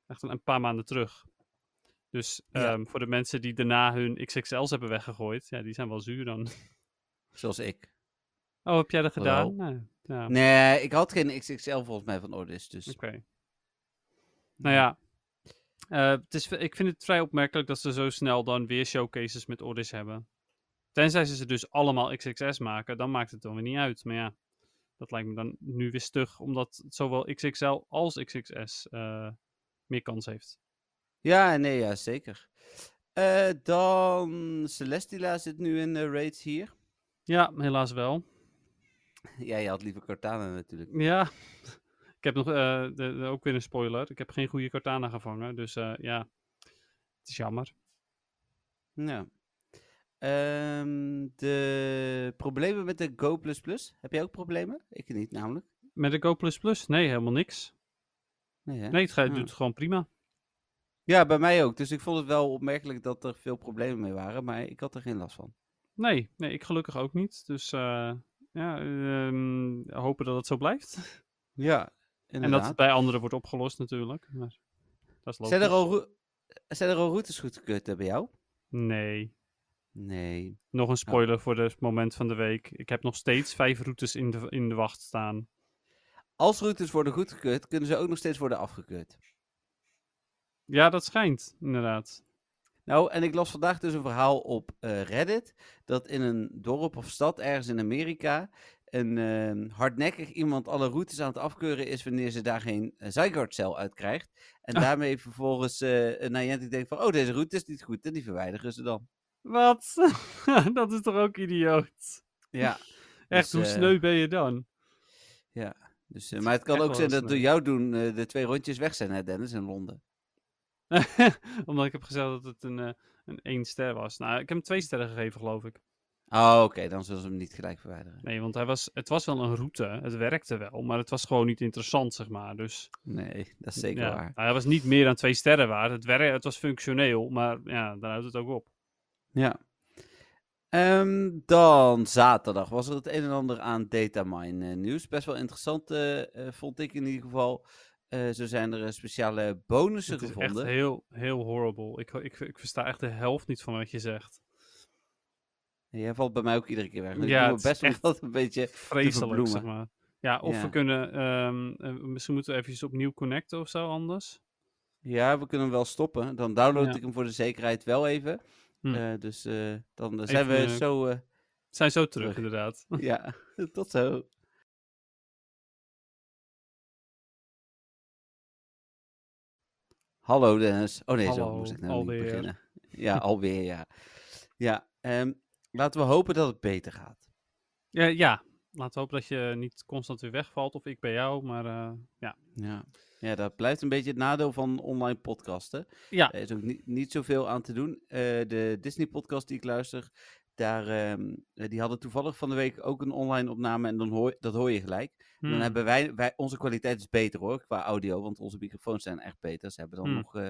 Speaker 2: Echt een, een paar maanden terug. Dus
Speaker 1: Ja.
Speaker 2: ehm, voor de mensen die daarna hun XXL's hebben weggegooid, ja, die zijn wel zuur dan.
Speaker 1: Zoals ik.
Speaker 2: Oh, heb jij dat gedaan?
Speaker 1: Wel.
Speaker 2: Nee. Ja.
Speaker 1: Nee, ik had geen XXL volgens mij van Ordis. Dus
Speaker 2: Oké. Nou ja. Eh, het is, ik vind het vrij opmerkelijk dat ze zo snel dan weer showcases met orders hebben. Tenzij ze ze dus allemaal XXS maken, dan maakt het dan weer niet uit. Maar ja, dat lijkt me dan nu weer stug, omdat zowel XXL als XXS eh, meer kans heeft.
Speaker 1: ja, nee, ja, zeker. Eh, dan Celestila zit nu in de raids hier.
Speaker 2: Ja, helaas wel.
Speaker 1: Ja, je had liever Cortana natuurlijk.
Speaker 2: Ja, ik heb nog eh, de- de- ook weer een spoiler. Ik heb geen goede Cortana gevangen, dus eh, ja, het is jammer.
Speaker 1: Ja. Nou, Ehm, de problemen met de Go++. Heb jij ook problemen? Ik niet namelijk.
Speaker 2: Met de Go++? Nee, helemaal niks.
Speaker 1: Nee, hè?
Speaker 2: Nee, het gaat-
Speaker 1: Ah.
Speaker 2: doet gewoon prima.
Speaker 1: Ja, bij mij ook. Dus ik vond het wel opmerkelijk dat er veel problemen mee waren. Maar ik had er geen last van.
Speaker 2: Nee, nee, ik gelukkig ook niet. Dus eh, ja, ehm, hopen dat het zo blijft.
Speaker 1: Ja,
Speaker 2: En dat het
Speaker 1: inderdaad.
Speaker 2: bij anderen wordt opgelost natuurlijk. Maar dat is logisch.
Speaker 1: zijn, er al roe- zijn er al routes goedgekeurd eh, bij jou?
Speaker 2: Nee.
Speaker 1: Nee.
Speaker 2: Nog een spoiler voor het moment van de week. Ik heb nog steeds vijf routes in de, in de wacht staan.
Speaker 1: Als routes worden goedgekeurd, kunnen ze ook nog steeds worden afgekeurd.
Speaker 2: Ja, dat schijnt, inderdaad.
Speaker 1: Nou, en ik las vandaag dus een verhaal op eh, Reddit. Dat in een dorp of stad ergens in Amerika. een ehm, hardnekkig iemand alle routes aan het afkeuren is. wanneer ze daar geen uh, Zygarde-cel uit krijgt. En
Speaker 2: Ah.
Speaker 1: daarmee vervolgens eh Niantic denkt van. oh, deze route is niet goed. en die verwijderen ze dan.
Speaker 2: Wat? dat is toch ook idioot?
Speaker 1: Ja. Dus,
Speaker 2: Echt, hoe
Speaker 1: eh,
Speaker 2: sneu ben je dan?
Speaker 1: Dus, eh, maar het kan
Speaker 2: echt
Speaker 1: ook
Speaker 2: wel
Speaker 1: zijn dat
Speaker 2: sneu.
Speaker 1: door jou doen eh, de twee rondjes weg zijn, hè, Dennis, in Londen.
Speaker 2: Omdat ik heb gezegd dat het een, eh, een één ster was. Nou, ik heb hem twee sterren gegeven, geloof ik.
Speaker 1: Oh, oké, dan zullen ze hem niet gelijk verwijderen.
Speaker 2: Nee, want hij was, het was wel een route. Het werkte wel, maar het was gewoon niet interessant, zeg maar. Dus
Speaker 1: Nee, dat is zeker
Speaker 2: ja,
Speaker 1: waar.
Speaker 2: hij was niet meer dan twee sterren waard. Het, werk, het was functioneel, maar ja, daar houdt het ook op.
Speaker 1: Ja. Ehm, dan zaterdag was er het een en ander aan datamine eh, nieuws. Best wel interessant, eh, eh, vond ik in ieder geval. Eh, zo zijn er eh, speciale bonussen
Speaker 2: Het is echt
Speaker 1: gevonden.
Speaker 2: heel, heel horrible. Ik, ik, ik versta echt de helft niet van wat je zegt.
Speaker 1: Jij valt bij mij ook iedere keer weg. Dus Ik
Speaker 2: Ja,
Speaker 1: doe
Speaker 2: het
Speaker 1: mijn
Speaker 2: is
Speaker 1: best om
Speaker 2: echt
Speaker 1: dat een beetje...
Speaker 2: Vreselijk, zeg
Speaker 1: verbloemen.
Speaker 2: maar. Ja, of
Speaker 1: Ja.
Speaker 2: we kunnen... ehm, eh, misschien moeten we eventjes opnieuw connecten of zo anders.
Speaker 1: Ja, we kunnen hem wel stoppen. Dan download
Speaker 2: Ja.
Speaker 1: ik hem voor de zekerheid wel even.
Speaker 2: Hm.
Speaker 1: Eh, dus eh, dan eh, zijn we
Speaker 2: Even, eh,
Speaker 1: zo... eh,
Speaker 2: We zijn zo terug,
Speaker 1: Terug.
Speaker 2: inderdaad.
Speaker 1: ja, tot zo. Hallo Dennis. Oh nee, zo
Speaker 2: Hallo,
Speaker 1: moest ik nou
Speaker 2: alweer.
Speaker 1: niet beginnen. Ja, alweer, ja. Ja, ehm, laten we hopen dat het beter gaat.
Speaker 2: Ja, ja, laten we hopen dat je niet constant weer wegvalt. Of ik bij jou, maar eh, ja.
Speaker 1: Ja. ja, dat blijft een beetje het nadeel van online podcasten.
Speaker 2: Ja.
Speaker 1: Er is ook niet, niet zoveel aan te doen. Eh, de Disney-podcast die ik luister, daar, ehm, eh, die hadden toevallig van de week ook een online opname. En dan hoor, dat hoor je gelijk. En
Speaker 2: Hmm.
Speaker 1: Dan hebben wij, wij, onze kwaliteit is beter hoor, qua audio. Want onze microfoons zijn echt beter. Ze hebben dan
Speaker 2: Hmm.
Speaker 1: nog, eh,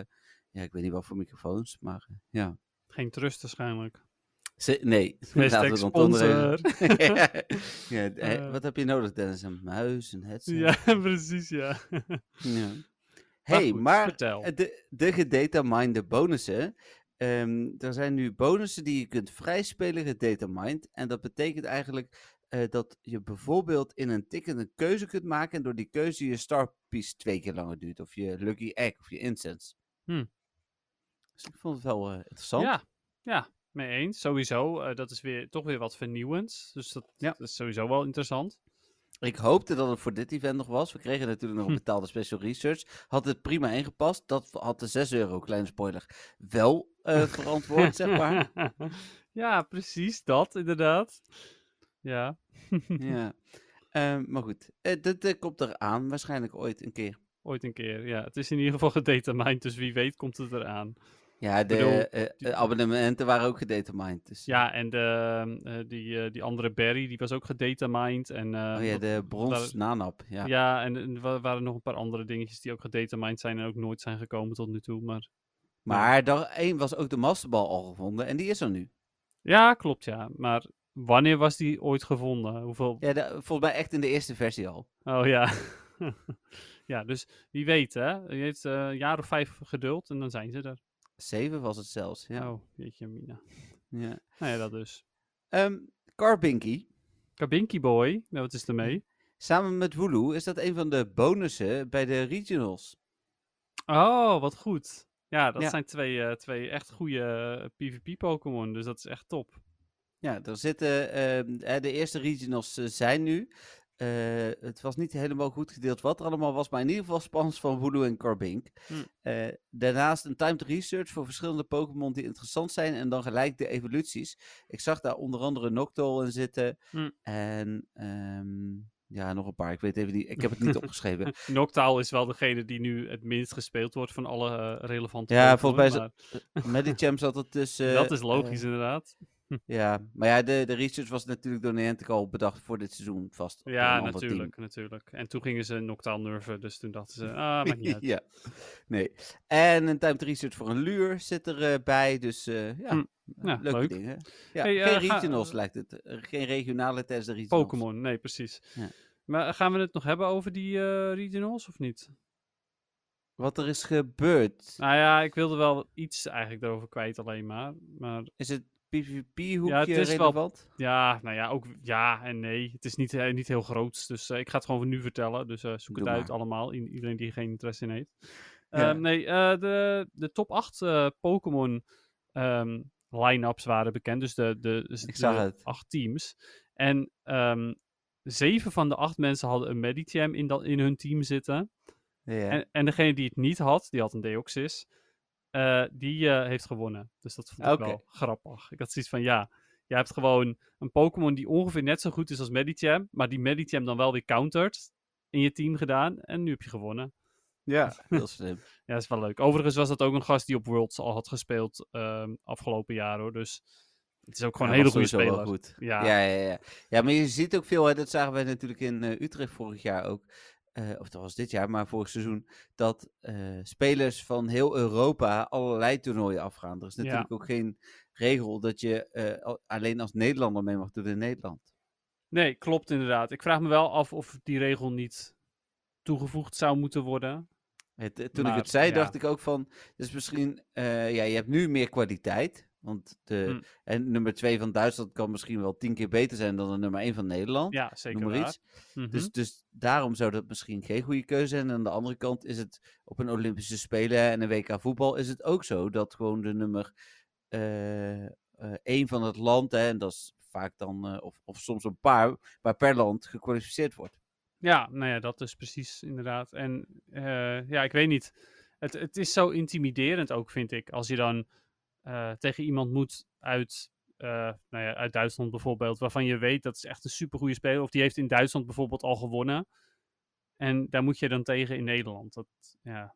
Speaker 1: ja, ik weet niet wat voor microfoons, maar eh, ja.
Speaker 2: Geen trust waarschijnlijk.
Speaker 1: Ze, nee,
Speaker 2: Hashtag
Speaker 1: het dan toch nog even-
Speaker 2: sponsor.
Speaker 1: ja, eh,
Speaker 2: Eh.
Speaker 1: wat heb je nodig, Dennis? Een muis, een headset?
Speaker 2: Ja, precies, ja.
Speaker 1: Ja. Hey,
Speaker 2: goed,
Speaker 1: maar
Speaker 2: vertel.
Speaker 1: eh, de, de gedataminde bonussen. Ehm, er zijn nu bonussen die je kunt vrijspelen gedatamined. En dat betekent eigenlijk eh, dat je bijvoorbeeld in een ticket een keuze kunt maken. En door die keuze je star piece twee keer langer duurt. Of je lucky egg of je incense.
Speaker 2: Hmm.
Speaker 1: Dus ik vond het wel eh, interessant.
Speaker 2: Ja, ja, mee eens. Sowieso, eh, dat is weer, toch weer wat vernieuwends. Dus dat,
Speaker 1: Ja.
Speaker 2: dat is sowieso wel interessant.
Speaker 1: Ik hoopte dat het voor dit event nog was. We kregen natuurlijk nog
Speaker 2: Hm.
Speaker 1: betaalde special research. Had het prima ingepast. Dat had de 6 euro, kleine spoiler, wel eh, verantwoord, zeg maar.
Speaker 2: ja, precies, dat inderdaad. Ja,
Speaker 1: Ja. Ehm, maar goed, eh, dit eh, komt eraan waarschijnlijk ooit een keer.
Speaker 2: ooit een keer. Ja, het is in ieder geval gedetermined, dus wie weet komt het eraan.
Speaker 1: Ja, de
Speaker 2: bedoel,
Speaker 1: eh,
Speaker 2: die-
Speaker 1: eh, abonnementen waren ook gedetermined. Dus,
Speaker 2: Ja, en de, eh, die, eh, die andere Barry, die was ook gedetermined. En, eh,
Speaker 1: oh ja,
Speaker 2: wat-
Speaker 1: de
Speaker 2: wat
Speaker 1: brons
Speaker 2: waren-
Speaker 1: nanap. Ja.
Speaker 2: Ja, en, en er wa- waren nog een paar andere dingetjes die ook gedetermined zijn en ook nooit zijn gekomen tot nu toe. Maar
Speaker 1: Maar dag 1 was ook de masterbal al gevonden en die is er nu.
Speaker 2: ja, klopt ja. Maar wanneer was die ooit gevonden? Hoeveel,
Speaker 1: Ja, de- volgens mij echt in de eerste versie al.
Speaker 2: Oh ja. ja, dus wie weet, hè? Je heeft eh, een jaar of vijf geduld en dan zijn ze er.
Speaker 1: 7 was het zelfs. Ja.
Speaker 2: Oh, jeetje, Mina.
Speaker 1: ja.
Speaker 2: Nou ja, dat dus.
Speaker 1: Ehm, Carbinky,
Speaker 2: Kabinky Boy, nou wat is ermee?
Speaker 1: samen met Hulu, is dat een van de bonussen bij de regionals.
Speaker 2: Oh, wat goed. Ja, dat
Speaker 1: Ja.
Speaker 2: zijn twee, eh, twee echt eh, goede PvP-Pokémon, dus dat is echt top.
Speaker 1: Ja, er zitten. ehm, eh, de eerste regionals eh, zijn nu. Eh, het was niet helemaal goed gedeeld wat er allemaal was, maar in ieder geval spans van Hulu en Carbink.
Speaker 2: Hm.
Speaker 1: Eh, daarnaast een timed research voor verschillende Pokémon die interessant zijn en dan gelijk de evoluties. Ik zag daar onder andere Noctowl in zitten
Speaker 2: Hm.
Speaker 1: en ehm, ja, nog een paar. Ik weet even niet, ik heb het niet opgeschreven.
Speaker 2: Noctowl is wel degene die nu het minst gespeeld wordt van alle eh, relevante
Speaker 1: Ja,
Speaker 2: Pokémon,
Speaker 1: volgens mij
Speaker 2: maar
Speaker 1: Medicham zat er tussen.
Speaker 2: dat is
Speaker 1: eh,
Speaker 2: logisch inderdaad.
Speaker 1: ja, maar ja, de, de research was natuurlijk door Niantic al bedacht voor dit seizoen vast. door
Speaker 2: Ja,
Speaker 1: een ander team.
Speaker 2: natuurlijk, natuurlijk. En toen gingen ze Noctowl nerven, dus toen dachten ze, ah, maakt niet uit.
Speaker 1: ja, nee. En een timed research voor een luur zit er eh, bij. Dus eh, ja,
Speaker 2: Hm,
Speaker 1: eh,
Speaker 2: ja,
Speaker 1: leuke
Speaker 2: leuk.
Speaker 1: dingen. Ja,
Speaker 2: Hey,
Speaker 1: geen
Speaker 2: eh, ga-
Speaker 1: regionals lijkt het. Eh, Geen regionale tijdens de regionals.
Speaker 2: Pokémon, nee, precies.
Speaker 1: Ja.
Speaker 2: Maar eh, gaan we het nog hebben over die eh, regionals of niet?
Speaker 1: Wat er is gebeurd.
Speaker 2: Nou ja, ik wilde wel iets eigenlijk daarover kwijt alleen maar. Maar
Speaker 1: Is het PvP-hoekje
Speaker 2: Ja, het is wel-
Speaker 1: relevant?
Speaker 2: ja, nou ja, ook ja en nee. Het is niet, eh, niet heel groot, dus eh, ik ga het gewoon nu vertellen. Dus eh, zoek
Speaker 1: Doe
Speaker 2: het uit
Speaker 1: maar.
Speaker 2: allemaal, i- iedereen die er geen interesse in heeft.
Speaker 1: Ja.
Speaker 2: Ehm, nee, eh, de, de top 8 eh, Pokémon ehm line-ups waren bekend. Dus de, de, dus
Speaker 1: Ik zag
Speaker 2: de
Speaker 1: het.
Speaker 2: acht teams. En ehm, zeven van de acht mensen hadden een Medicham in, dat, in hun team zitten.
Speaker 1: Ja.
Speaker 2: En, en degene die het niet had, die had een Deoxys, eh, die eh, heeft gewonnen. Dus dat vond ik
Speaker 1: Oké.
Speaker 2: wel grappig. Ik had zoiets van, ja, je hebt gewoon een Pokémon die ongeveer net zo goed is als Medicham, maar die Medicham dan wel weer countert in je team gedaan en nu heb je gewonnen.
Speaker 1: ja, heel slim.
Speaker 2: Ja, dat is wel leuk. Overigens was dat ook een gast die op Worlds al had gespeeld ehm, afgelopen jaar hoor, dus het is ook gewoon
Speaker 1: Ja,
Speaker 2: een hele
Speaker 1: was
Speaker 2: goede
Speaker 1: sowieso wel
Speaker 2: speler.
Speaker 1: goed.
Speaker 2: Ja.
Speaker 1: Ja, ja, ja. ja, maar je ziet ook veel, hè, dat zagen wij natuurlijk in eh, Utrecht vorig jaar ook. eh, of dat was dit jaar, maar vorig seizoen. Dat eh, spelers van heel Europa allerlei toernooien afgaan. Er is
Speaker 2: Ja.
Speaker 1: natuurlijk ook geen regel dat je eh, al- alleen als Nederlander mee mag doen in Nederland.
Speaker 2: Nee, klopt inderdaad. Ik vraag me wel af of die regel niet toegevoegd zou moeten worden.
Speaker 1: Het, eh, toen
Speaker 2: Maar,
Speaker 1: ik het zei,
Speaker 2: ja.
Speaker 1: dacht ik ook van. Dus misschien, eh, ja, je hebt nu meer kwaliteit. Want de
Speaker 2: Hm.
Speaker 1: en nummer 2 van Duitsland kan misschien wel tien keer beter zijn dan de nummer 1 van Nederland.
Speaker 2: Ja, zeker
Speaker 1: noem maar
Speaker 2: waar.
Speaker 1: iets.
Speaker 2: Mhm.
Speaker 1: Dus, dus daarom zou dat misschien geen goede keuze zijn. En aan de andere kant is het op een Olympische Spelen en een WK voetbal is het ook zo dat gewoon de nummer eh, eh, één van het land, hè, en dat is vaak dan, eh, of, of soms een paar, maar per land gekwalificeerd wordt.
Speaker 2: Ja, nou ja, dat is precies inderdaad. En eh, ja, ik weet niet. Het, het is zo intimiderend ook, vind ik. Als je dan eh, tegen iemand moet uit eh, eh, nou ja, uit Duitsland bijvoorbeeld, waarvan je weet dat is echt een supergoeie speler, of die heeft in Duitsland bijvoorbeeld al gewonnen. En daar moet je dan tegen in Nederland. Dat, ja,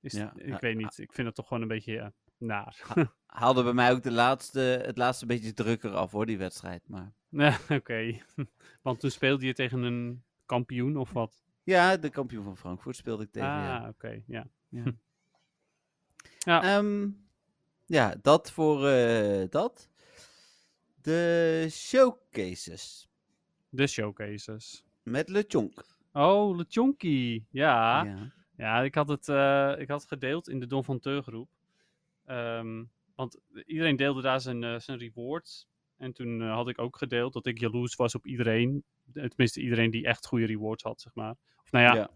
Speaker 2: is,
Speaker 1: Ja,
Speaker 2: ik
Speaker 1: ah,
Speaker 2: weet niet. Ik vind het toch gewoon een beetje ja, naar.
Speaker 1: Haalde bij mij ook de laatste, het laatste beetje drukker af hoor, die wedstrijd. Maar...
Speaker 2: Nee, Eh, Oké, want toen speelde je tegen een kampioen of wat?
Speaker 1: Ja, de kampioen van Frankfurt speelde ik tegen. ja.
Speaker 2: ah, oké, ja.
Speaker 1: Ehm, ja, dat voor eh, dat. De showcases
Speaker 2: De showcases.
Speaker 1: met LeChonk.
Speaker 2: Oh, Lechonky. ja.
Speaker 1: Ja.
Speaker 2: Ja, ik had het, eh, ik had het gedeeld in de Don van Teur groep. Ehm, want iedereen deelde daar zijn, eh, zijn rewards. En toen eh, had ik ook gedeeld dat ik jaloers was op iedereen. Eh, Tenminste, iedereen die echt goede rewards had, zeg maar. Of nou ja,
Speaker 1: Ja.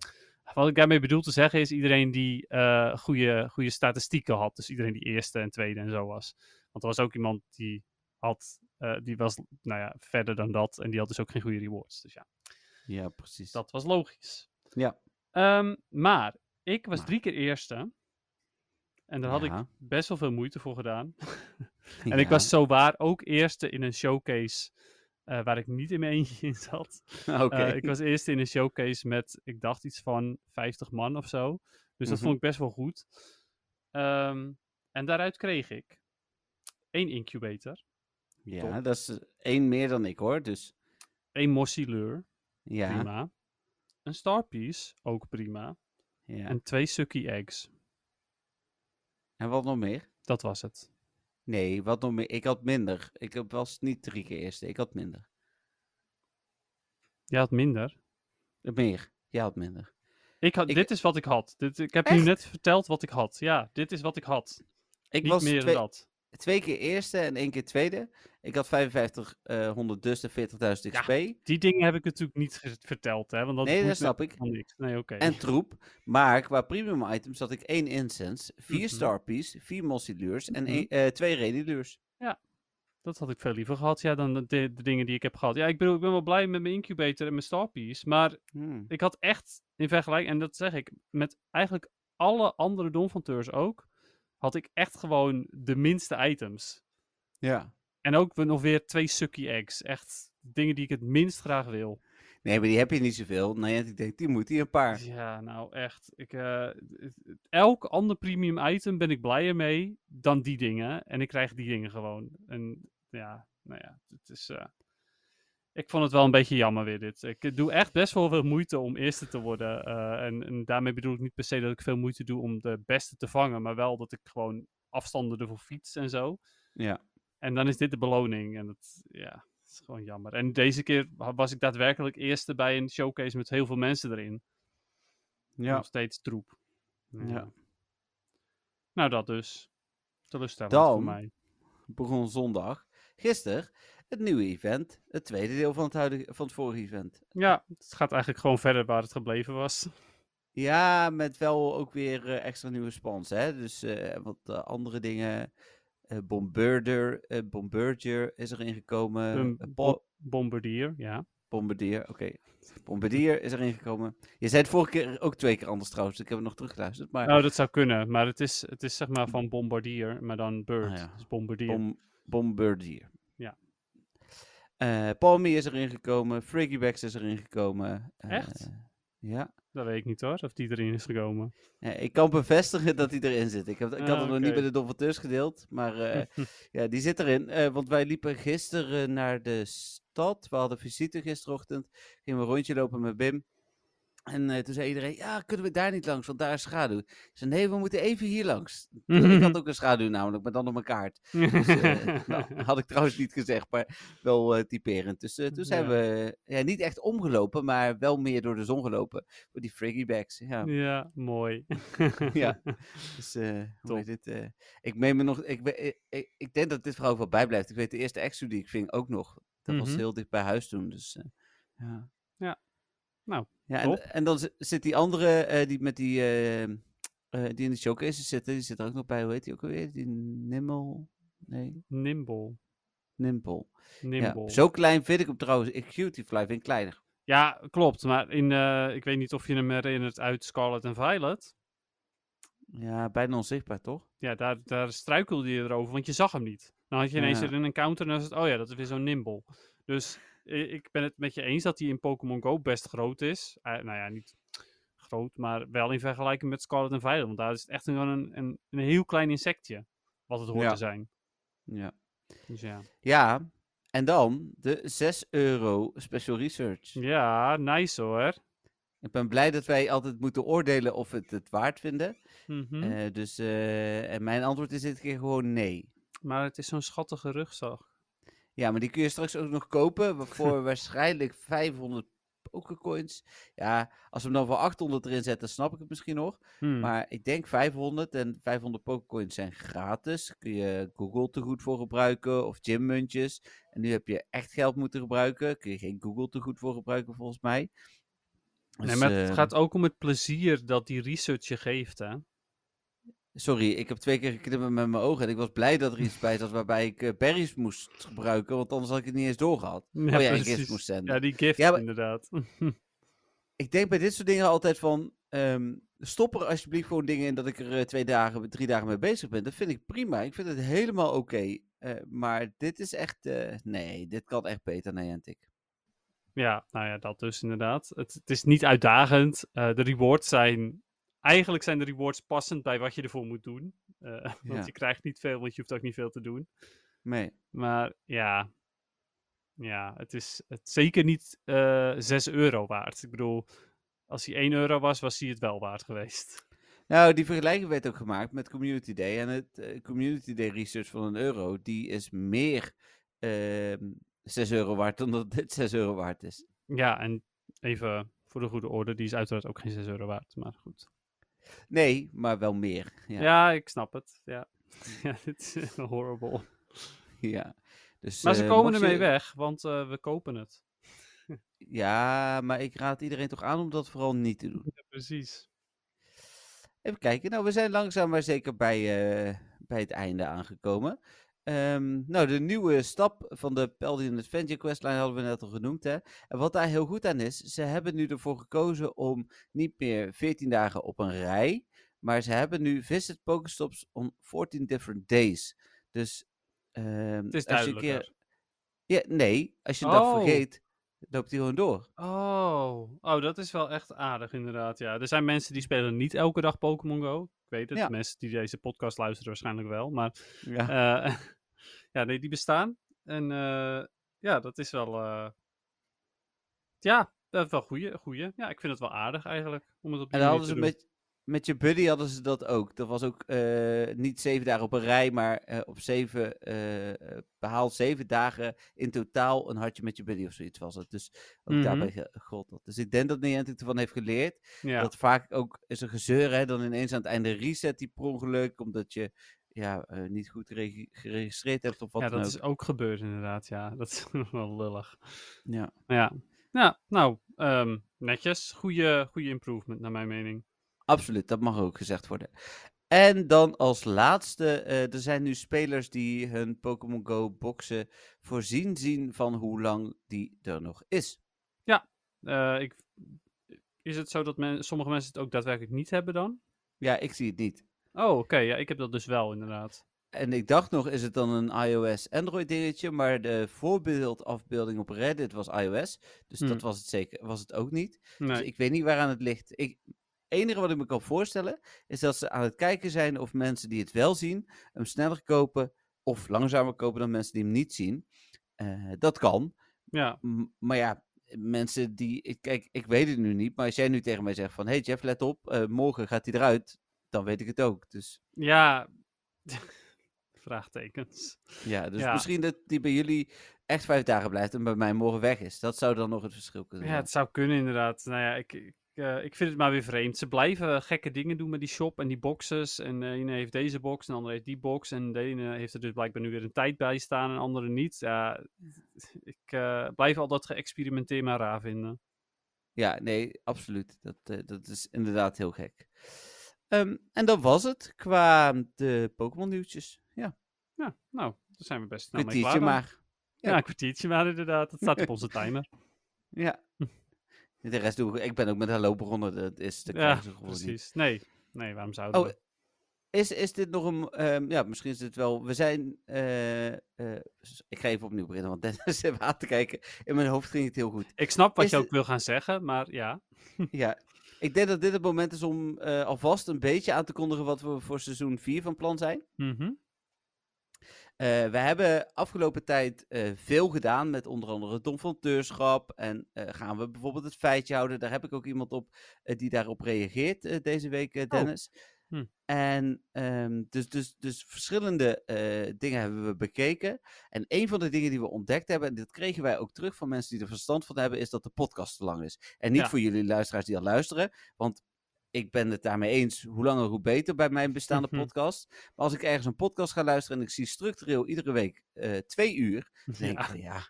Speaker 2: wat ik daarmee bedoel te zeggen is iedereen die eh goede, goede statistieken had. Dus iedereen die eerste en tweede en zo was. Want er was ook iemand die had, eh, die was nou ja, verder dan dat. En die had dus ook geen goede rewards. Dus ja.
Speaker 1: ja, precies.
Speaker 2: Dat was logisch.
Speaker 1: Ja.
Speaker 2: Ehm, maar ik was
Speaker 1: Maar.
Speaker 2: drie keer eerste. En daar had ik
Speaker 1: Ja.
Speaker 2: best wel veel moeite voor gedaan. en
Speaker 1: Ja.
Speaker 2: ik was zo waar ook eerste in een showcase eh, waar ik niet in mijn eentje in zat.
Speaker 1: Oké.
Speaker 2: Eh, ik was eerste in een showcase met, ik dacht iets van 50 man of zo. Dus dat
Speaker 1: Mhm.
Speaker 2: vond ik best wel goed. Ehm, en daaruit kreeg ik één incubator,
Speaker 1: ja,
Speaker 2: top.
Speaker 1: dat is eh, één meer dan ik hoor. Dus
Speaker 2: één mossileur,
Speaker 1: ja.
Speaker 2: prima. Een starpiece, ook prima.
Speaker 1: ja. En,
Speaker 2: En twee sucky eggs.
Speaker 1: wat nog meer?
Speaker 2: Dat was het.
Speaker 1: Nee, wat nog meer? Ik had minder. Ik heb- was niet drie keer eerste. Ik had minder.
Speaker 2: Je had minder.
Speaker 1: Eh, Meer. Jij had minder.
Speaker 2: Ik had,
Speaker 1: Ik-
Speaker 2: dit is wat ik had. Dit, ik heb nu
Speaker 1: Echt?
Speaker 2: net verteld wat ik had. Ja, dit is wat ik had.
Speaker 1: Ik
Speaker 2: Niet
Speaker 1: was
Speaker 2: meer
Speaker 1: twee,
Speaker 2: dan dat.
Speaker 1: twee keer eerste en één keer tweede. Ik had 55, eh 100 dus en 40.000 XP.
Speaker 2: Die dingen heb ik natuurlijk niet ge- verteld, hè. Want dat
Speaker 1: nee,
Speaker 2: moet
Speaker 1: dat
Speaker 2: met-
Speaker 1: snap ik.
Speaker 2: van niks. Nee, oké.
Speaker 1: En troep. Maar qua premium items had ik één incense, vier
Speaker 2: Mhm.
Speaker 1: starpiece, vier multilures en
Speaker 2: Mhm.
Speaker 1: één- eh, twee renilures.
Speaker 2: Dat had ik veel liever gehad, ja, dan de, de dingen die ik heb gehad. Ja, ik bedoel, ik ben wel blij met mijn incubator en mijn starpiece. Maar
Speaker 1: Hmm.
Speaker 2: ik had echt, in vergelijking, en dat zeg ik, met eigenlijk alle andere donfanteurs ook, had ik echt gewoon de minste items.
Speaker 1: Ja.
Speaker 2: En ook we- nog weer twee sucky eggs. Echt dingen die ik het minst graag wil.
Speaker 1: Nee, maar die heb je niet zoveel. Nou ja, ik denk, die moet hier een paar.
Speaker 2: Ja, nou echt. Ik, eh, het- het- elk ander premium item ben ik blijer mee dan die dingen. En ik krijg die dingen gewoon. En ja, nou ja, het is. eh, ik vond het wel een beetje jammer weer dit. Ik eh, doe echt best wel veel moeite om eerste te worden. eh, en, en daarmee bedoel ik niet per se dat ik veel moeite doe om de beste te vangen. Maar wel dat ik gewoon afstanden ervoor fiets en zo.
Speaker 1: Ja.
Speaker 2: En dan is dit de beloning. En dat, ja, dat is gewoon jammer. En deze keer wa- was ik daadwerkelijk eerste bij een showcase met heel veel mensen erin. Nog steeds troep.
Speaker 1: Ja.
Speaker 2: Nou, dat dus. Teleurstellend voor
Speaker 1: Dan-
Speaker 2: mij.
Speaker 1: Begon zondag. Gisteren het nieuwe event. Het tweede deel van het, huidige, van het vorige event.
Speaker 2: Ja, het gaat eigenlijk gewoon verder waar het gebleven was.
Speaker 1: Ja, met wel ook weer eh, extra nieuwe spons, hè. Dus eh, wat eh, andere dingen. Eh Bombardier, eh, Bombardier is erin gekomen.
Speaker 2: Een
Speaker 1: Eh,
Speaker 2: bo- Bombardier, ja.
Speaker 1: Bombardier, oké. Bombardier is erin gekomen. Je zei het vorige keer ook twee keer anders trouwens. dus Ik heb het nog teruggeluisterd. Maar
Speaker 2: Nou, dat zou kunnen. Maar het is, het is zeg maar van Bombardier, maar dan Bird.
Speaker 1: Ah, ja.
Speaker 2: Dus Bombardier.
Speaker 1: Bom- Bombardier.
Speaker 2: Ja.
Speaker 1: Eh, Palmy is erin gekomen. Freaky Bags is erin gekomen. eh,
Speaker 2: Echt?
Speaker 1: Ja.
Speaker 2: Dat weet ik niet hoor, of die erin is gekomen.
Speaker 1: Eh, ik kan bevestigen dat hij erin zit. Ik, heb, ik had
Speaker 2: Ah,
Speaker 1: het nog niet
Speaker 2: oké.
Speaker 1: bij de Dompeteurs gedeeld. Maar eh, ja, die zit erin. Eh, want wij liepen gisteren naar de stad. We hadden visite gisterochtend. Gingen we een rondje lopen met Bim. En eh, toen zei iedereen, ja, kunnen we daar niet langs, want daar is schaduw. Ik zei, nee, we moeten even hier langs. Ik had ook een schaduw namelijk, maar dan op mijn kaart. Dus, eh, nou, had ik trouwens niet gezegd, maar wel eh, typerend. Dus eh, toen zijn
Speaker 2: Ja.
Speaker 1: we ja, niet echt omgelopen, maar wel meer door de zon gelopen. Voor die friggy bags. Ja,
Speaker 2: ja, mooi.
Speaker 1: ja. Dus, eh, hoe
Speaker 2: Top.
Speaker 1: heet dit, eh, ik meen me nog, ik, ben- ik, ik, ik denk dat dit vrouw wel bijblijft. Ik weet de eerste exo die ik ving ook nog. Dat was
Speaker 2: Mhm.
Speaker 1: heel dicht bij huis toen, dus eh, ja.
Speaker 2: Ja. Nou,
Speaker 1: Ja,
Speaker 2: top.
Speaker 1: en, en dan zi- zit die andere, eh, die met die, eh, eh, die in de showcase zitten, die zit er ook nog bij. Hoe heet die ook alweer? Die Nimmel? Nee,
Speaker 2: Nimble.
Speaker 1: Nimpel. Ja,
Speaker 2: Nimble.
Speaker 1: zo klein vind ik hem trouwens. Ik Fly vind ik kleiner.
Speaker 2: Ja, klopt. Maar in, eh, ik weet niet of je hem herinnert uit Scarlet en Violet.
Speaker 1: Ja, bijna onzichtbaar, toch?
Speaker 2: Ja, daar, daar struikelde je erover, want je zag hem niet. Dan had je ineens
Speaker 1: Ja.
Speaker 2: er in een counter en dan is het, oh ja, dat is weer zo'n nimble. Dus i- ik ben het met je eens dat hij in Pokémon Go best groot is. Eh, nou ja, niet groot, maar wel in vergelijking met Scarlet en Violet. Want daar is het echt gewoon een, een, een heel klein insectje, wat het hoort
Speaker 1: Ja.
Speaker 2: te zijn.
Speaker 1: Ja.
Speaker 2: Dus ja.
Speaker 1: ja, en dan de 6 euro special research.
Speaker 2: ja, nice hoor.
Speaker 1: Ik ben blij dat wij altijd moeten oordelen of we het het waard vinden.
Speaker 2: Mhm.
Speaker 1: Eh, dus, eh, en mijn antwoord is dit keer gewoon nee.
Speaker 2: Maar het is zo'n schattige rugzak.
Speaker 1: Ja, maar die kun je straks ook nog kopen wa- voor waarschijnlijk 500 pokercoins. Ja, als we hem dan voor 800 erin zetten, snap ik het misschien nog.
Speaker 2: Hmm.
Speaker 1: Maar ik denk 500 en 500 pokercoins zijn gratis. Kun je Google te goed voor gebruiken of gymmuntjes. En nu heb je echt geld moeten gebruiken. Kun je geen Google te goed voor gebruiken volgens mij.
Speaker 2: nee,
Speaker 1: Dus,
Speaker 2: maar het
Speaker 1: eh, Oh
Speaker 2: gaat ook om het plezier dat die research je geeft, hè?
Speaker 1: Sorry, ik heb twee keer geknippen met mijn ogen. En ik was blij dat er iets bij zat waarbij ik eh, berries moest gebruiken. Want anders had ik het niet eens doorgehad.
Speaker 2: Ja,
Speaker 1: oh ja, ik
Speaker 2: precies.
Speaker 1: eerst moest zenden.
Speaker 2: Ja, die gift
Speaker 1: Ja, maar-
Speaker 2: inderdaad.
Speaker 1: Ik denk bij dit soort dingen altijd van. ehm, stop er alsjeblieft gewoon dingen in dat ik er eh, twee dagen, drie dagen mee bezig ben. Dat vind ik prima. Ik vind het helemaal oké. Eh, maar dit is echt. eh, nee, dit kan echt beter, Niantic.
Speaker 2: Ja, nou ja, dat dus inderdaad. Het, het is niet uitdagend. Eh, de rewards zijn. Eigenlijk zijn de rewards passend bij wat je ervoor moet doen. Eh, want
Speaker 1: Ja.
Speaker 2: je krijgt niet veel, want je hoeft ook niet veel te doen.
Speaker 1: Nee.
Speaker 2: Maar ja. Ja, het is het zeker niet eh 6 euro waard. Ik bedoel, als hij 1 euro was, was hij het wel waard geweest.
Speaker 1: Nou, die vergelijking werd ook gemaakt met Community Day. En het eh, Community Day research van een euro, die is meer ehm 6 euro waard dan dat dit 6 euro waard is.
Speaker 2: Ja, en even voor de goede orde, die is uiteraard ook geen 6 euro waard. Maar goed.
Speaker 1: Nee, maar wel meer. Ja.
Speaker 2: Ja,
Speaker 1: ja.
Speaker 2: ik snap het. Ja, ja dit is eh, horrible.
Speaker 1: Dus,
Speaker 2: Maar ze
Speaker 1: eh,
Speaker 2: komen
Speaker 1: mocht
Speaker 2: ermee
Speaker 1: je-
Speaker 2: weg, want eh, we kopen het.
Speaker 1: Ja, maar ik raad iedereen toch aan om dat vooral niet te doen.
Speaker 2: precies.
Speaker 1: Even kijken. Nou, we zijn langzaam maar zeker bij, eh, bij het einde aangekomen. Ehm, nou, de nieuwe stap van de Paladin Adventure Questline hadden we net al genoemd. Hè? En wat daar heel goed aan is, ze hebben nu ervoor gekozen om niet meer 14 dagen op een rij, maar ze hebben nu visit Pokestops on 14 different days. Dus ehm,
Speaker 2: Het is
Speaker 1: als je een
Speaker 2: duidelijker.
Speaker 1: Ja, nee, als je dat
Speaker 2: Oh.
Speaker 1: vergeet, loopt die gewoon door.
Speaker 2: Oh. oh, dat is wel echt aardig inderdaad. Ja, er zijn mensen die spelen niet elke dag Pokémon Go. Ik weet het,
Speaker 1: Ja.
Speaker 2: mensen die deze podcast luisteren waarschijnlijk wel. Maar
Speaker 1: Ja.
Speaker 2: eh, ja, nee, die bestaan. En eh, ja, dat is wel... eh, ja, dat is wel goeie, goeie. Ja, ik vind het wel aardig eigenlijk om het op
Speaker 1: En
Speaker 2: die
Speaker 1: dan
Speaker 2: manier
Speaker 1: hadden ze
Speaker 2: te doen.
Speaker 1: met, met je buddy hadden ze dat ook. Dat was ook eh, niet zeven dagen op een rij, maar eh, op zeven, eh, eh, behaal zeven dagen in totaal een hartje met je buddy of zoiets was het. Dus ook
Speaker 2: Mhm.
Speaker 1: daarbij ge- gold dat. Dus ik denk dat Niantic ervan heeft geleerd.
Speaker 2: ja.
Speaker 1: Dat vaak ook is een gezeur, hè, dan ineens aan het einde reset die per ongeluk, omdat je ja, eh, niet goed gereg- geregistreerd hebt of wat
Speaker 2: ja,
Speaker 1: dan
Speaker 2: dat
Speaker 1: ook.
Speaker 2: is ook gebeurd inderdaad. Ja, dat is wel lullig.
Speaker 1: Ja.
Speaker 2: Ja, ja nou, ehm, netjes. Goede, goede improvement naar mijn mening.
Speaker 1: Absoluut, dat mag ook gezegd worden. En dan als laatste, eh, er zijn nu spelers die hun Pokémon Go boxen voorzien zien van hoe lang die er nog is.
Speaker 2: Eh, ik, is het zo dat men, sommige mensen het ook daadwerkelijk niet hebben dan?
Speaker 1: Ja, ik zie het niet.
Speaker 2: Oh, oké. ja, ik heb dat dus wel inderdaad.
Speaker 1: En ik dacht nog, is het dan een iOS-Android dingetje? Maar de voorbeeldafbeelding op Reddit was iOS. Dus
Speaker 2: Hmm.
Speaker 1: dat was het zeker, was het ook niet.
Speaker 2: Nee.
Speaker 1: Dus ik weet niet waaraan het ligt. Ik, enige wat ik me kan voorstellen, is dat ze aan het kijken zijn of mensen die het wel zien, hem sneller kopen of langzamer kopen dan mensen die hem niet zien. Eh, dat kan.
Speaker 2: Ja,
Speaker 1: M- maar ja, mensen die. ik- Kijk, ik weet het nu niet. Maar als jij nu tegen mij zegt van hey Jeff, let op, eh, morgen gaat hij eruit. Dan weet ik het ook. Dus,
Speaker 2: ja. Vraagtekens.
Speaker 1: ja, dus
Speaker 2: Ja.
Speaker 1: misschien dat die bij jullie echt vijf dagen blijft en bij mij morgen weg is. Dat zou dan nog het verschil kunnen
Speaker 2: Ja,
Speaker 1: zijn.
Speaker 2: het zou kunnen inderdaad. Nou ja, ik, ik, eh, ik vind het maar weer vreemd. Ze blijven gekke dingen doen met die shop en die boxes. En de ene heeft deze box en de andere heeft die box. En de ene heeft er dus blijkbaar nu weer een tijd bij staan en de andere niet. Ja, ik eh, blijf al dat geëxperimenteer maar raar vinden.
Speaker 1: Ja, nee, absoluut. Dat, eh, dat is inderdaad heel gek. Ehm, en dat was het qua de Pokémon nieuwtjes. Ja,
Speaker 2: Ja, nou, daar zijn we best snel mee klaar
Speaker 1: kwartiertje
Speaker 2: dan.
Speaker 1: maar.
Speaker 2: Ja, een kwartiertje maar inderdaad. Dat staat op onze timer.
Speaker 1: Ja. De rest doe ik. Ik ben ook met hallo begonnen. Dat is de
Speaker 2: ja, precies. Nee, nee, waarom zouden
Speaker 1: Oh,
Speaker 2: we?
Speaker 1: Is, is dit nog een. ehm, ja, misschien is dit wel. We zijn. eh, eh, s- ik ga even opnieuw beginnen, want Dennis even aan te kijken. In mijn hoofd ging het heel goed.
Speaker 2: Ik snap wat
Speaker 1: Is
Speaker 2: je
Speaker 1: het-
Speaker 2: ook wil gaan zeggen, maar ja.
Speaker 1: Ja, ik denk dat dit het moment is om eh, alvast een beetje aan te kondigen wat we voor seizoen 4 van plan zijn.
Speaker 2: Mhm.
Speaker 1: Eh, we hebben afgelopen tijd eh, veel gedaan met onder andere het donfonteurschap. En eh, gaan we bijvoorbeeld het feitje houden. Daar heb ik ook iemand op eh, die daarop reageert eh, deze week, eh, Dennis.
Speaker 2: Hm.
Speaker 1: En ehm, dus, dus, dus verschillende eh, dingen hebben we bekeken. En een van de dingen die we ontdekt hebben, en dit kregen wij ook terug van mensen die er verstand van hebben, is dat de podcast te lang is. En niet
Speaker 2: Ja.
Speaker 1: voor jullie luisteraars die al luisteren, want ik ben het daarmee eens. Hoe langer, hoe beter bij mijn bestaande
Speaker 2: Mhm.
Speaker 1: podcast. Maar als ik ergens een podcast ga luisteren en ik zie structureel iedere week eh, twee uur, dan denk ik
Speaker 2: Ja.
Speaker 1: van ja.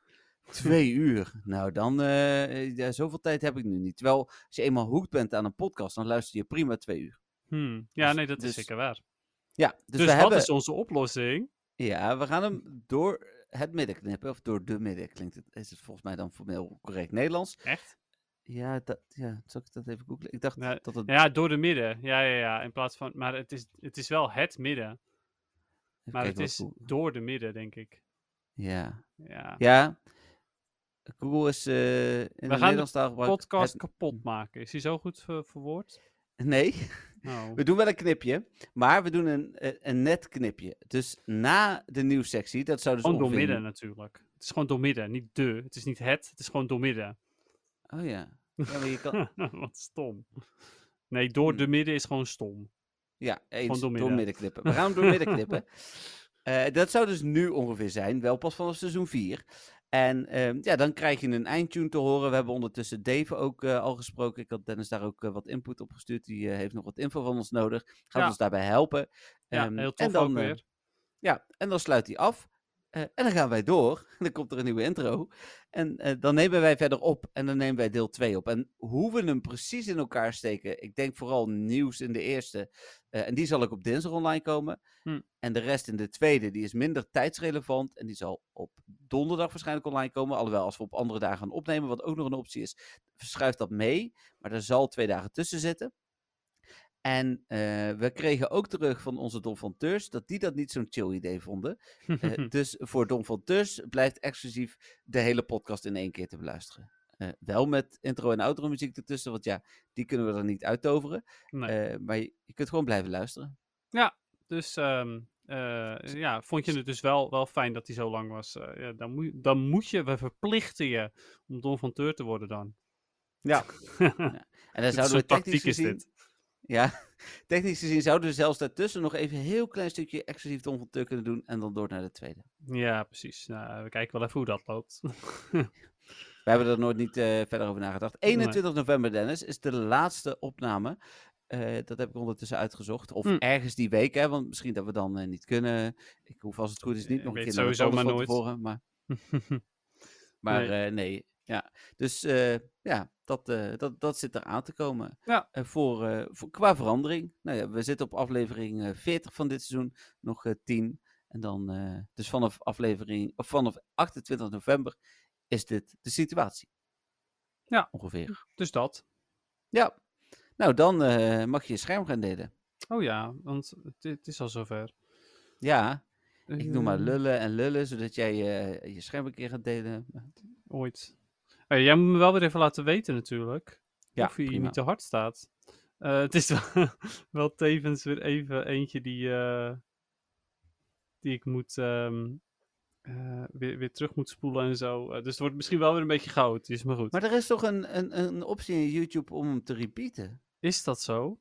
Speaker 1: Twee uur. Nou, dan. eh, eh, ja, zoveel tijd heb ik nu niet. Terwijl, als je eenmaal hoekt bent aan een podcast, dan luister je prima twee uur.
Speaker 2: Hm. ja,
Speaker 1: Dus-
Speaker 2: nee, dat
Speaker 1: dus-
Speaker 2: is zeker waar.
Speaker 1: Ja, dus,
Speaker 2: Dus,
Speaker 1: we
Speaker 2: wat
Speaker 1: hebben.
Speaker 2: is onze oplossing?
Speaker 1: Ja, we gaan hem door het midden knippen. Of door de midden klinkt het. Is het volgens mij dan formeel correct Nederlands?
Speaker 2: Echt?
Speaker 1: Ja, dat, ja zal ik dat even googlen? Ik dacht
Speaker 2: Nee,
Speaker 1: dat het.
Speaker 2: Ja, door de midden. Ja, ja, ja. In plaats van, maar het is, het is wel het midden.
Speaker 1: even
Speaker 2: Maar
Speaker 1: kijken
Speaker 2: het
Speaker 1: wat
Speaker 2: is
Speaker 1: Google-
Speaker 2: door de midden, denk ik.
Speaker 1: Ja.
Speaker 2: Ja.
Speaker 1: Ja. Google is eh in de
Speaker 2: gaan de
Speaker 1: Nederlandstaal gebruikt.
Speaker 2: Podcast kapot maken. Is die zo goed ver- verwoord?
Speaker 1: Nee,
Speaker 2: Nou,
Speaker 1: we doen wel een knipje. Maar we doen een, eh, een net knipje. Dus na de nieuwssectie, dat zou dus
Speaker 2: gewoon Oh, door
Speaker 1: ongeveer-
Speaker 2: midden natuurlijk. Het is gewoon door midden, niet de. Het is niet het, het is gewoon door midden.
Speaker 1: Oh ja. ja maar je kan...
Speaker 2: Wat stom. Nee, door
Speaker 1: Hm.
Speaker 2: de midden is gewoon stom.
Speaker 1: Ja, eens door
Speaker 2: door
Speaker 1: midden.
Speaker 2: midden.
Speaker 1: knippen. We gaan hem door midden knippen. Eh, dat zou dus nu ongeveer zijn, wel pas vanaf seizoen 4. En ehm, ja, dan krijg je een eindtune te horen. We hebben ondertussen Dave ook eh, al gesproken. Ik had Dennis daar ook eh, wat input op gestuurd. Die eh, heeft nog wat info van ons nodig. Gaat
Speaker 2: Ja.
Speaker 1: ons daarbij helpen.
Speaker 2: Ja,
Speaker 1: Ehm,
Speaker 2: heel
Speaker 1: en
Speaker 2: tof
Speaker 1: dan,
Speaker 2: ook
Speaker 1: eh,
Speaker 2: weer.
Speaker 1: ja, en dan sluit hij af. Eh, en dan gaan wij door. En dan komt er een nieuwe intro. En eh, dan nemen wij verder op. En dan nemen wij deel 2 op. En hoe we hem precies in elkaar steken. Ik denk vooral nieuws in de eerste. eh, en die zal ik op dinsdag online komen.
Speaker 2: Hm.
Speaker 1: En de rest in de tweede. Die is minder tijdsrelevant. En die zal op donderdag waarschijnlijk online komen. Alhoewel, als we op andere dagen gaan opnemen. Wat ook nog een optie is. Verschuift dat mee. Maar er zal twee dagen tussen zitten. En eh, we kregen ook terug van onze donfanteurs dat die dat niet zo'n chill idee vonden.
Speaker 2: Mhm.
Speaker 1: Eh, dus voor Don van Tus blijft exclusief de hele podcast in één keer te beluisteren. Eh, wel met intro en outro muziek ertussen, want ja, die kunnen we er niet uittoveren.
Speaker 2: Nee.
Speaker 1: Eh, maar je, je kunt gewoon blijven luisteren.
Speaker 2: Dus ehm, eh, ja, vond je het dus wel, wel fijn dat hij zo lang was? Eh, ja, dan, moet, dan moet je, we verplichten je om Don van Teur te worden dan.
Speaker 1: Ja. En dan
Speaker 2: Dit
Speaker 1: zouden we
Speaker 2: is zo'n
Speaker 1: technisch
Speaker 2: tactiek is
Speaker 1: gezien...
Speaker 2: dit.
Speaker 1: Ja, technisch gezien zouden we zelfs daartussen nog even een heel klein stukje exclusief Don van Teur kunnen doen en dan door naar de tweede.
Speaker 2: Ja, precies. Nou, we kijken wel even hoe dat loopt.
Speaker 1: We hebben er nooit niet eh, verder over nagedacht. 21 november, Dennis, is de laatste opname. Eh, dat heb ik ondertussen uitgezocht. Of
Speaker 2: Hm.
Speaker 1: ergens die week, hè, want misschien dat we dan eh, niet kunnen. Ik hoef als het goed is niet
Speaker 2: Eh,
Speaker 1: nog een
Speaker 2: weet
Speaker 1: keer naar de
Speaker 2: sowieso maar
Speaker 1: podcast
Speaker 2: nooit.
Speaker 1: van tevoren. Maar, maar eh, nee. ja. Dus eh, ja, dat, eh, dat, dat zit er aan te komen.
Speaker 2: Ja.
Speaker 1: Eh, voor, eh, voor, qua verandering. Nou ja, we zitten op aflevering eh, 40 van dit seizoen. Nog eh, 10. En dan, eh, dus vanaf aflevering, of vanaf 28 november is dit de situatie.
Speaker 2: Ja.
Speaker 1: Ongeveer.
Speaker 2: dus dat.
Speaker 1: Ja. Nou, dan eh, mag je je scherm gaan delen.
Speaker 2: Oh ja, want het, het is al zover.
Speaker 1: Ja, ik noem maar
Speaker 2: Eh,
Speaker 1: lullen en lullen, zodat jij eh, je scherm een keer gaat delen.
Speaker 2: Ooit. Eh, jij moet me wel weer even laten weten natuurlijk.
Speaker 1: Ja,
Speaker 2: of je hier
Speaker 1: prima.
Speaker 2: niet te hard staat. Eh, het is wel, wel tevens weer even eentje die, eh, die ik moet, ehm, eh, weer, weer terug moet spoelen en zo. Eh, dus het wordt misschien wel weer een beetje chaotisch, maar goed.
Speaker 1: Maar er is toch een, een, een optie in YouTube om hem te repeaten?
Speaker 2: Is dat zo?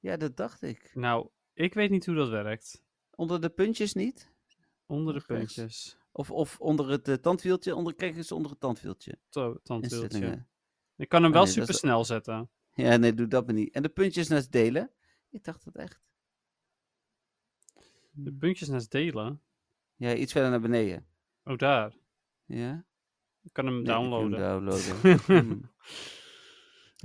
Speaker 1: Ja, dat dacht ik.
Speaker 2: Nou, ik weet niet hoe dat werkt.
Speaker 1: Onder de puntjes niet?
Speaker 2: Onder de
Speaker 1: Nog eens.
Speaker 2: puntjes.
Speaker 1: Of, of onder het eh, tandwieltje? Onder, kijk eens onder het tandwieltje.
Speaker 2: Zo, tandwieltje.
Speaker 1: Instellingen.
Speaker 2: Ik kan hem
Speaker 1: Oh,
Speaker 2: wel
Speaker 1: nee, dat is-
Speaker 2: supersnel zetten.
Speaker 1: Ja, nee, doe dat maar niet. En de puntjes naast delen? Ik dacht dat echt.
Speaker 2: De puntjes naast delen.
Speaker 1: Ja, iets verder naar beneden.
Speaker 2: Oh, daar.
Speaker 1: Ja?
Speaker 2: Ik kan
Speaker 1: Nee,
Speaker 2: hem
Speaker 1: ik wil hem
Speaker 2: downloaden.
Speaker 1: downloaden. Hm.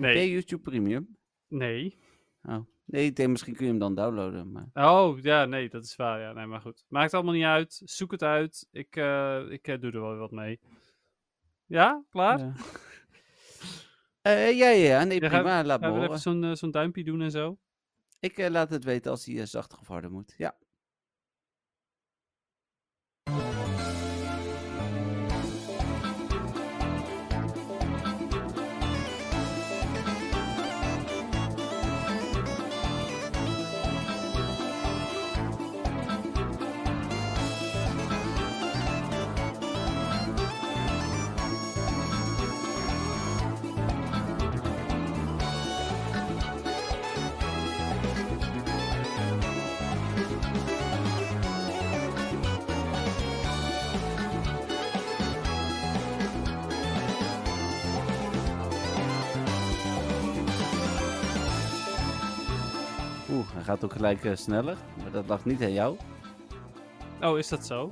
Speaker 2: Nee.
Speaker 1: Heb jij YouTube Premium?
Speaker 2: Nee.
Speaker 1: Oh. Nee, ik denk misschien kun je hem dan downloaden, maar...
Speaker 2: Oh, ja, nee, dat is waar. Ja, nee, maar goed. Maakt allemaal niet uit. Zoek het uit. Ik, eh, ik eh, doe er wel weer wat mee. Ja, klaar?
Speaker 1: Ja. Eh, ja, ja, ja. Nee,
Speaker 2: Ja,
Speaker 1: prima. laat me
Speaker 2: Gaan we even
Speaker 1: horen.
Speaker 2: zo'n eh, zo'n duimpje doen en zo?
Speaker 1: Ik eh, laat het weten als hij eh, zachter of harder moet. Ja. Oeh, hij gaat ook gelijk eh, sneller. Maar dat lag niet aan jou.
Speaker 2: Oh, is dat zo?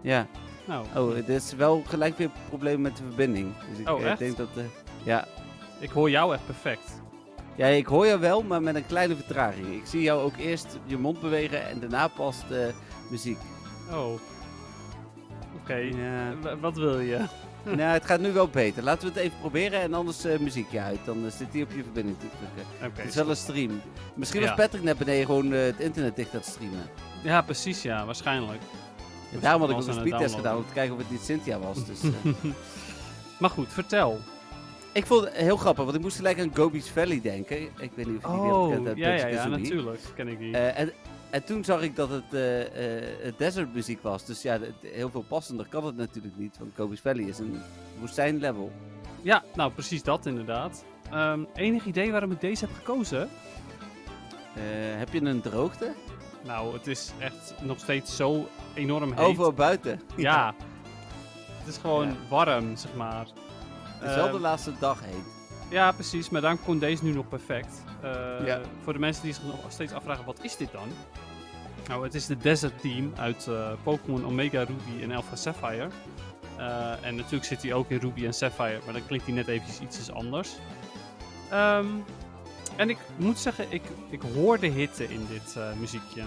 Speaker 1: Ja.
Speaker 2: Nou,
Speaker 1: Oh, het is wel gelijk weer een probleem met de verbinding. Dus ik
Speaker 2: Oh,
Speaker 1: eh,
Speaker 2: echt?
Speaker 1: denk dat... eh, ja.
Speaker 2: ik hoor jou echt perfect.
Speaker 1: ja, ik hoor jou wel, maar met een kleine vertraging. Ik zie jou ook eerst je mond bewegen en daarna pas de muziek.
Speaker 2: Oh. Oké.
Speaker 1: Ja.
Speaker 2: eh, wa- Wat wil je?
Speaker 1: nou, het gaat nu wel beter. Laten we het even proberen en anders eh, muziekje uit. Dan eh, zit hij op je verbinding te drukken.
Speaker 2: Oké.
Speaker 1: Het is wel een stream. Misschien
Speaker 2: Ja.
Speaker 1: was Patrick net beneden gewoon eh, het internet dicht aan het streamen.
Speaker 2: Ja, precies, ja, waarschijnlijk.
Speaker 1: En daarom had ik
Speaker 2: was
Speaker 1: ook een
Speaker 2: aan het
Speaker 1: speedtest gedaan
Speaker 2: downloaden.
Speaker 1: om te kijken of het niet Cynthia was. Dus, eh.
Speaker 2: Maar goed, vertel.
Speaker 1: ik vond het heel grappig, want ik moest gelijk aan Gobi's Valley denken. Ik weet niet of je die wereld kent uit
Speaker 2: Oh, ja, ja, ja,
Speaker 1: Banjo-Kazooie.
Speaker 2: natuurlijk. Ken ik die.
Speaker 1: Eh, en, en toen zag ik dat het eh, eh, desert muziek was. Dus ja, het- heel veel passender kan het natuurlijk niet. Want Gobi's Valley is een woestijnlevel.
Speaker 2: Ja, nou precies dat inderdaad. Ehm, enig idee waarom ik deze heb gekozen?
Speaker 1: Eh, heb je een droogte?
Speaker 2: Nou, het is echt nog steeds zo enorm heet.
Speaker 1: Overal buiten.
Speaker 2: Ja. Het is gewoon
Speaker 1: Ja.
Speaker 2: warm, zeg maar.
Speaker 1: Het is wel de
Speaker 2: Ehm,
Speaker 1: laatste dag heet.
Speaker 2: Ja, precies. Maar daarom kon deze nu nog perfect. Eh,
Speaker 1: Ja.
Speaker 2: Voor de mensen die zich nog steeds afvragen, wat is dit dan? Nou, het is de Desert Team uit eh, Pokémon Omega Ruby en Alpha Sapphire. Eh, en natuurlijk zit hij ook in Ruby en Sapphire, maar dan klinkt hij net eventjes iets anders. Ehm, en ik moet zeggen, ik, ik hoor de hitte in dit eh, muziekje.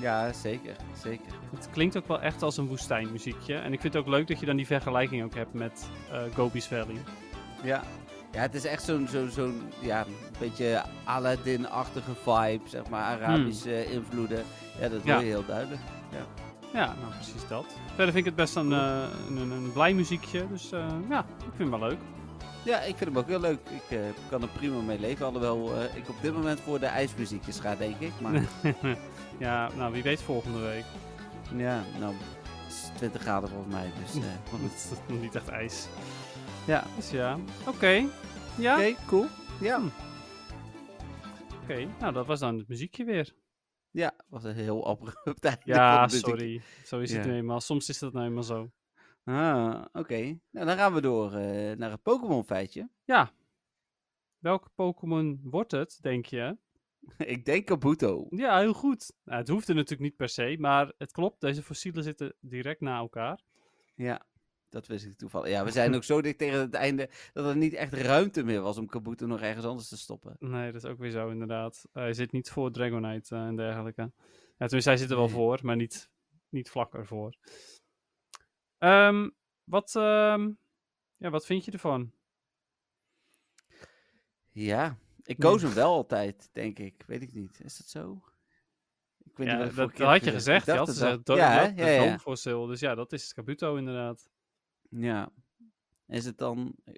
Speaker 1: Ja, zeker. zeker.
Speaker 2: Het klinkt ook wel echt als een woestijnmuziekje. En ik vind het ook leuk dat je dan die vergelijking ook hebt met eh Gobi's Valley.
Speaker 1: Ja. Ja, het is echt zo'n zo'n zo'n ja, een beetje Aladdin-achtige vibe, zeg maar, Arabische invloeden. Hmm. Ja, dat hoor
Speaker 2: Ja.
Speaker 1: je heel duidelijk.
Speaker 2: Ja, nou precies dat. Verder vind ik het best een, eh, een, een blij muziekje. Dus eh, ja, ik vind hem wel leuk.
Speaker 1: Ja, ik vind hem ook heel leuk. Ik eh, kan er prima mee leven, alhoewel eh, ik op dit moment voor de ijsmuziekjes ga, denk ik. Maar
Speaker 2: ja, nou wie weet volgende week.
Speaker 1: ja, nou, het is 20 graden volgens mij, dus... eh, maar
Speaker 2: Want
Speaker 1: goed.
Speaker 2: het is nog niet echt ijs.
Speaker 1: ja,
Speaker 2: Dus ja, oké. Ja,
Speaker 1: oké,
Speaker 2: oké.
Speaker 1: cool. Ja.
Speaker 2: Nou, dat was dan het muziekje weer.
Speaker 1: Ja, was een heel abrupt einde
Speaker 2: Ja,
Speaker 1: van de muziek.
Speaker 2: sorry. Zo is het
Speaker 1: Ja.
Speaker 2: nu eenmaal. Soms is dat nou eenmaal zo.
Speaker 1: Ah, oké. Nou, dan gaan we door eh, naar het Pokémon-feitje.
Speaker 2: Ja. Welke Pokémon wordt het, denk je?
Speaker 1: ik denk Kabuto.
Speaker 2: Ja, heel goed. Nou, het hoefde natuurlijk niet per se, maar het klopt. Deze fossielen zitten direct na elkaar.
Speaker 1: Ja, dat wist ik toevallig. Ja, we zijn ook zo dicht tegen het einde dat er niet echt ruimte meer was om Kabuto nog ergens anders te stoppen.
Speaker 2: Nee, dat is ook weer zo, inderdaad. hij zit niet voor Dragonite eh, en dergelijke. Ja, tenminste, hij zit er wel
Speaker 1: Nee.
Speaker 2: voor, maar niet, niet vlak ervoor. Ehm, wat, ehm, ja, wat vind je ervan?
Speaker 1: Ja, ik
Speaker 2: Nee.
Speaker 1: koos hem wel altijd, denk ik. Weet ik niet. Is dat zo? Ik weet
Speaker 2: Ja,
Speaker 1: wat ik
Speaker 2: dat
Speaker 1: vorige
Speaker 2: dat
Speaker 1: keer heb
Speaker 2: had je gezegd. Eh,
Speaker 1: Ik
Speaker 2: Je
Speaker 1: dacht
Speaker 2: had
Speaker 1: het
Speaker 2: gezegd
Speaker 1: wel.
Speaker 2: dood,
Speaker 1: ja, hè?
Speaker 2: dood,
Speaker 1: ja, ja, ja.
Speaker 2: Fossil. Dus ja, dat is Kabuto inderdaad.
Speaker 1: Is het dan... eh,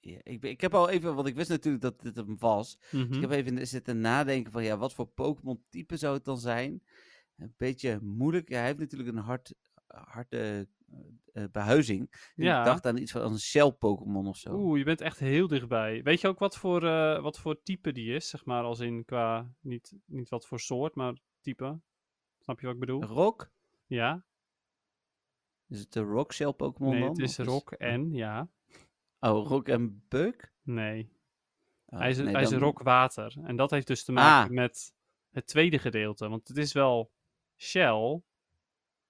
Speaker 1: Ja, ik, ben- ik heb al even, want ik wist natuurlijk dat dit hem was. Dus
Speaker 2: Mhm.
Speaker 1: Ik heb even zitten nadenken van, ja, wat voor Pokémon-type zou het dan zijn? Een beetje moeilijk. Ja, hij heeft natuurlijk een hard, harde eh, eh, behuizing. En
Speaker 2: Ja.
Speaker 1: Ik dacht aan iets van als een Shell-Pokémon of zo.
Speaker 2: Oeh, je bent echt heel dichtbij. Weet je ook wat voor, eh, wat voor type die is? Zeg maar als in qua, niet, niet wat voor soort, maar type. Snap je wat ik bedoel?
Speaker 1: Rock?
Speaker 2: Ja,
Speaker 1: Is het de Rock-Shell-Pokémon
Speaker 2: nee,
Speaker 1: dan?
Speaker 2: het is
Speaker 1: Of
Speaker 2: Rock en, ja.
Speaker 1: Oh, Rock en Beuk?
Speaker 2: Nee,
Speaker 1: Oh,
Speaker 2: Hij is,
Speaker 1: nee,
Speaker 2: hij is
Speaker 1: dan-
Speaker 2: rock water. En dat heeft dus te maken
Speaker 1: Ah.
Speaker 2: met het tweede gedeelte. Want het is wel Shell,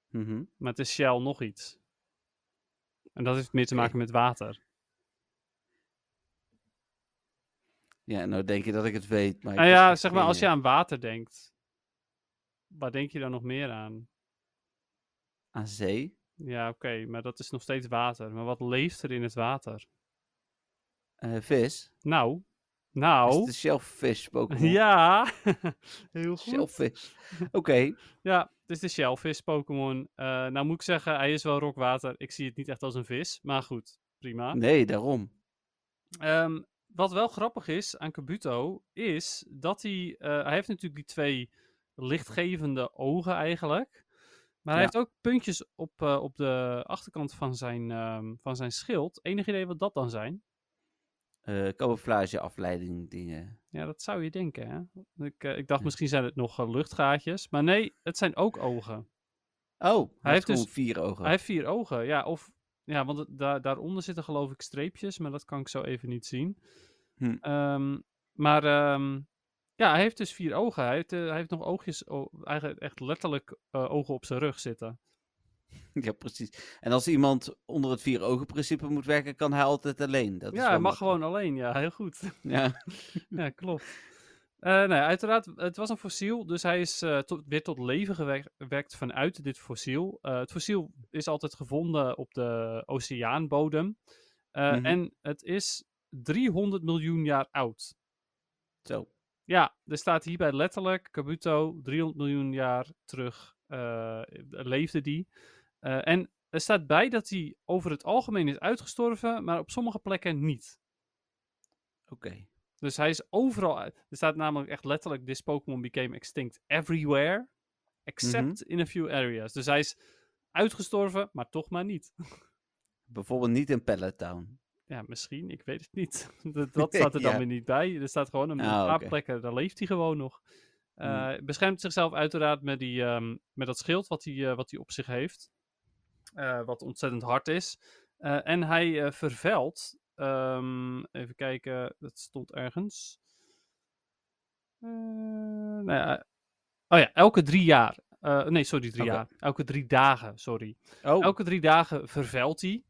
Speaker 1: Mhm.
Speaker 2: maar het is Shell nog iets. En dat heeft meer te
Speaker 1: Oké.
Speaker 2: maken met water.
Speaker 1: Ja, nou denk je dat ik het weet. Maar ik
Speaker 2: nou
Speaker 1: wist
Speaker 2: ja,
Speaker 1: echt
Speaker 2: zeg maar,
Speaker 1: geen
Speaker 2: als je
Speaker 1: idee.
Speaker 2: aan water denkt, waar denk je dan nog meer aan?
Speaker 1: Aan zee?
Speaker 2: Ja, oké, maar dat is nog steeds water. Maar wat leeft er in het water?
Speaker 1: Eh, vis?
Speaker 2: Nou,
Speaker 1: Is het
Speaker 2: Nou,
Speaker 1: de shellfish Pokémon?
Speaker 2: ja, heel goed.
Speaker 1: Shellfish. Oké.
Speaker 2: Ja, het is de Shellfish Pokémon. Eh, nou moet ik zeggen, hij is wel rockwater. Ik zie het niet echt als een vis, maar goed, prima.
Speaker 1: Nee, daarom.
Speaker 2: Ehm, wat wel grappig is aan Kabuto, is dat hij... eh, hij heeft natuurlijk die twee lichtgevende ogen eigenlijk. Maar hij
Speaker 1: Ja.
Speaker 2: heeft ook puntjes op, eh, op de achterkant van zijn, ehm, van zijn schild. Enig idee wat dat dan zijn?
Speaker 1: Eh camouflage, afleiding, dingen.
Speaker 2: Ja, dat zou je denken, hè? Ik, eh, ik dacht,
Speaker 1: Ja.
Speaker 2: misschien zijn het nog eh, luchtgaatjes. Maar nee, het zijn ook ogen.
Speaker 1: Oh, hij
Speaker 2: heeft
Speaker 1: heeft gewoon
Speaker 2: dus-
Speaker 1: vier ogen.
Speaker 2: Hij heeft vier ogen, ja. Of, ja, want het- daar, daaronder zitten geloof ik streepjes, maar dat kan ik zo even niet zien.
Speaker 1: Hm.
Speaker 2: Ehm, maar ehm, ja, hij heeft dus vier ogen. Hij heeft, eh, hij heeft nog oogjes, o- eigenlijk echt letterlijk eh, ogen op zijn rug zitten.
Speaker 1: Ja, precies. En als iemand onder het vier ogen principe moet werken, kan hij altijd alleen. Dat is
Speaker 2: ja,
Speaker 1: wel
Speaker 2: hij mag
Speaker 1: makkelijk.
Speaker 2: gewoon alleen, ja, heel goed.
Speaker 1: Ja.
Speaker 2: ja, klopt. Eh nou, ja, uiteraard, het was een fossiel, dus hij is eh, tot- weer tot leven gewek- gewekt vanuit dit fossiel. Eh, het fossiel is altijd gevonden op de oceaanbodem. Eh,
Speaker 1: Mhm.
Speaker 2: En het is 300 miljoen jaar oud.
Speaker 1: Zo.
Speaker 2: Ja, er staat hierbij letterlijk, Kabuto, 300 miljoen jaar terug eh, leefde die. Eh, en er staat bij dat hij over het algemeen is uitgestorven, maar op sommige plekken niet.
Speaker 1: Oké.
Speaker 2: Dus hij is overal uit. Er staat namelijk echt letterlijk: This Pokémon became extinct everywhere, except in a few areas. Dus hij is uitgestorven, maar toch maar niet.
Speaker 1: Bijvoorbeeld niet in Pallet Town.
Speaker 2: Ja, misschien, ik weet het niet. dat, dat staat er dan
Speaker 1: Ja.
Speaker 2: weer niet bij. Er staat gewoon een
Speaker 1: Ah,
Speaker 2: paar
Speaker 1: oké. Mm.
Speaker 2: plekken, daar leeft hij gewoon nog. Eh, Beschermt zichzelf uiteraard met, die, ehm, met dat schild wat hij, eh, wat hij op zich heeft, eh, wat ontzettend hard is. Eh, en hij eh, vervuilt, ehm, even kijken, dat stond ergens. Eh, nou ja. Oh ja, elke drie jaar. Eh, nee, sorry, drie
Speaker 1: Oké.
Speaker 2: jaar. Elke drie dagen, sorry.
Speaker 1: Oh,
Speaker 2: Elke drie dagen vervuilt hij.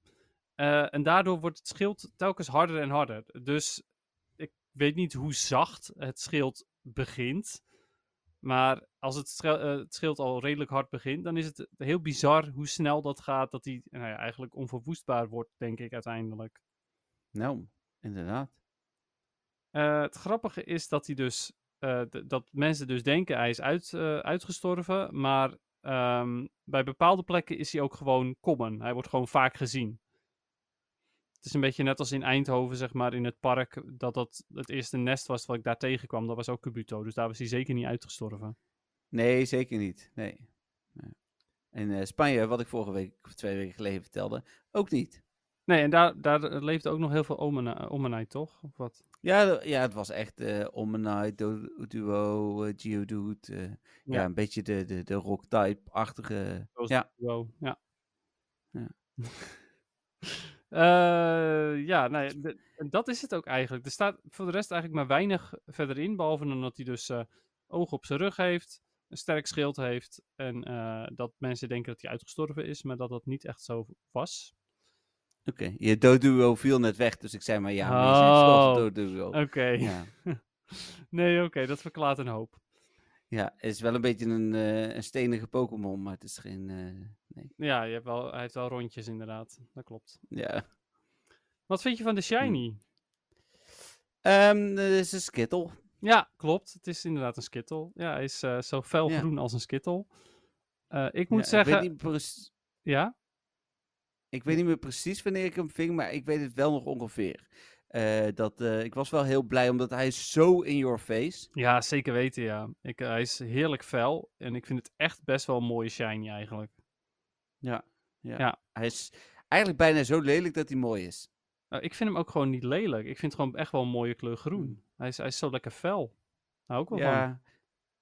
Speaker 2: Eh, en daardoor wordt het schild telkens harder en harder. Dus ik weet niet hoe zacht het schild begint. Maar als het, schel- eh, het schild al redelijk hard begint, dan is het heel bizar hoe snel dat gaat. Dat hij nou ja, eigenlijk onverwoestbaar wordt, denk ik uiteindelijk.
Speaker 1: nou, inderdaad.
Speaker 2: Eh, het grappige is dat hij dus eh, d- dat mensen dus denken hij is uit, eh, uitgestorven, maar ehm, bij bepaalde plekken is hij ook gewoon common. Hij wordt gewoon vaak gezien. Het is een beetje net als in Eindhoven, zeg maar, in het park, eh, dat dat het eerste nest was wat ik daar tegenkwam. Dat was ook Kabuto, dus daar was hij zeker niet uitgestorven.
Speaker 1: Nee, zeker niet. Nee. Nee. En eh, Spanje, wat ik vorige week of twee weken geleden vertelde, ook niet.
Speaker 2: Nee, en daar, daar eh, leefde ook nog heel veel omena- omenheid, toch? Of wat?
Speaker 1: Ja, d- ja het was echt eh Ommenite, Du- Duo, eh, Geodude. eh, ja.
Speaker 2: Ja.
Speaker 1: een beetje de, de, de rock-type-achtige.
Speaker 2: Zoals
Speaker 1: Ja.
Speaker 2: Wow, ja.
Speaker 1: Ja.
Speaker 2: Eh, ja, nou ja, d- en dat is het ook eigenlijk. Er staat voor de rest eigenlijk maar weinig verder in, behalve dan dat hij dus eh ogen op zijn rug heeft, een sterk schild heeft en eh, dat mensen denken dat hij uitgestorven is, maar dat dat niet echt zo was.
Speaker 1: Oké, je Doduo viel net weg, dus ik zei maar ja, maar je zei zelf
Speaker 2: Oh.
Speaker 1: Doduo.
Speaker 2: Oké,
Speaker 1: Ja.
Speaker 2: nee, oké, dat verklaart een hoop.
Speaker 1: ja, het is wel een beetje een, eh, een stenige Pokémon, maar het is geen... eh, nee.
Speaker 2: Ja, je hebt wel, hij heeft wel rondjes inderdaad, dat klopt.
Speaker 1: Ja.
Speaker 2: Wat vind je
Speaker 1: Hm.
Speaker 2: van de Shiny?
Speaker 1: Ehm, het is een skittle.
Speaker 2: Ja, klopt. Het is inderdaad een skittel. Ja, hij is eh, zo fel
Speaker 1: Ja.
Speaker 2: groen als een skittel. Eh, ik
Speaker 1: Ja,
Speaker 2: moet zeggen,
Speaker 1: Ik weet, niet precies-
Speaker 2: ja,
Speaker 1: ik weet niet meer precies wanneer ik hem ving, maar ik weet het wel nog ongeveer. Eh, dat, eh, ik was wel heel blij, omdat hij is zo in your face.
Speaker 2: ja, zeker weten, ja. Ik, eh, hij is heerlijk fel en ik vind het echt best wel een mooie shiny eigenlijk.
Speaker 1: Ja. ja.
Speaker 2: Ja.
Speaker 1: Hij is eigenlijk bijna zo lelijk dat hij mooi is.
Speaker 2: Nou, ik vind hem ook gewoon niet lelijk. Ik vind het gewoon echt wel een mooie kleur groen. Hij is, hij is zo lekker fel. Hou ik wel van.
Speaker 1: Hmm. Ja.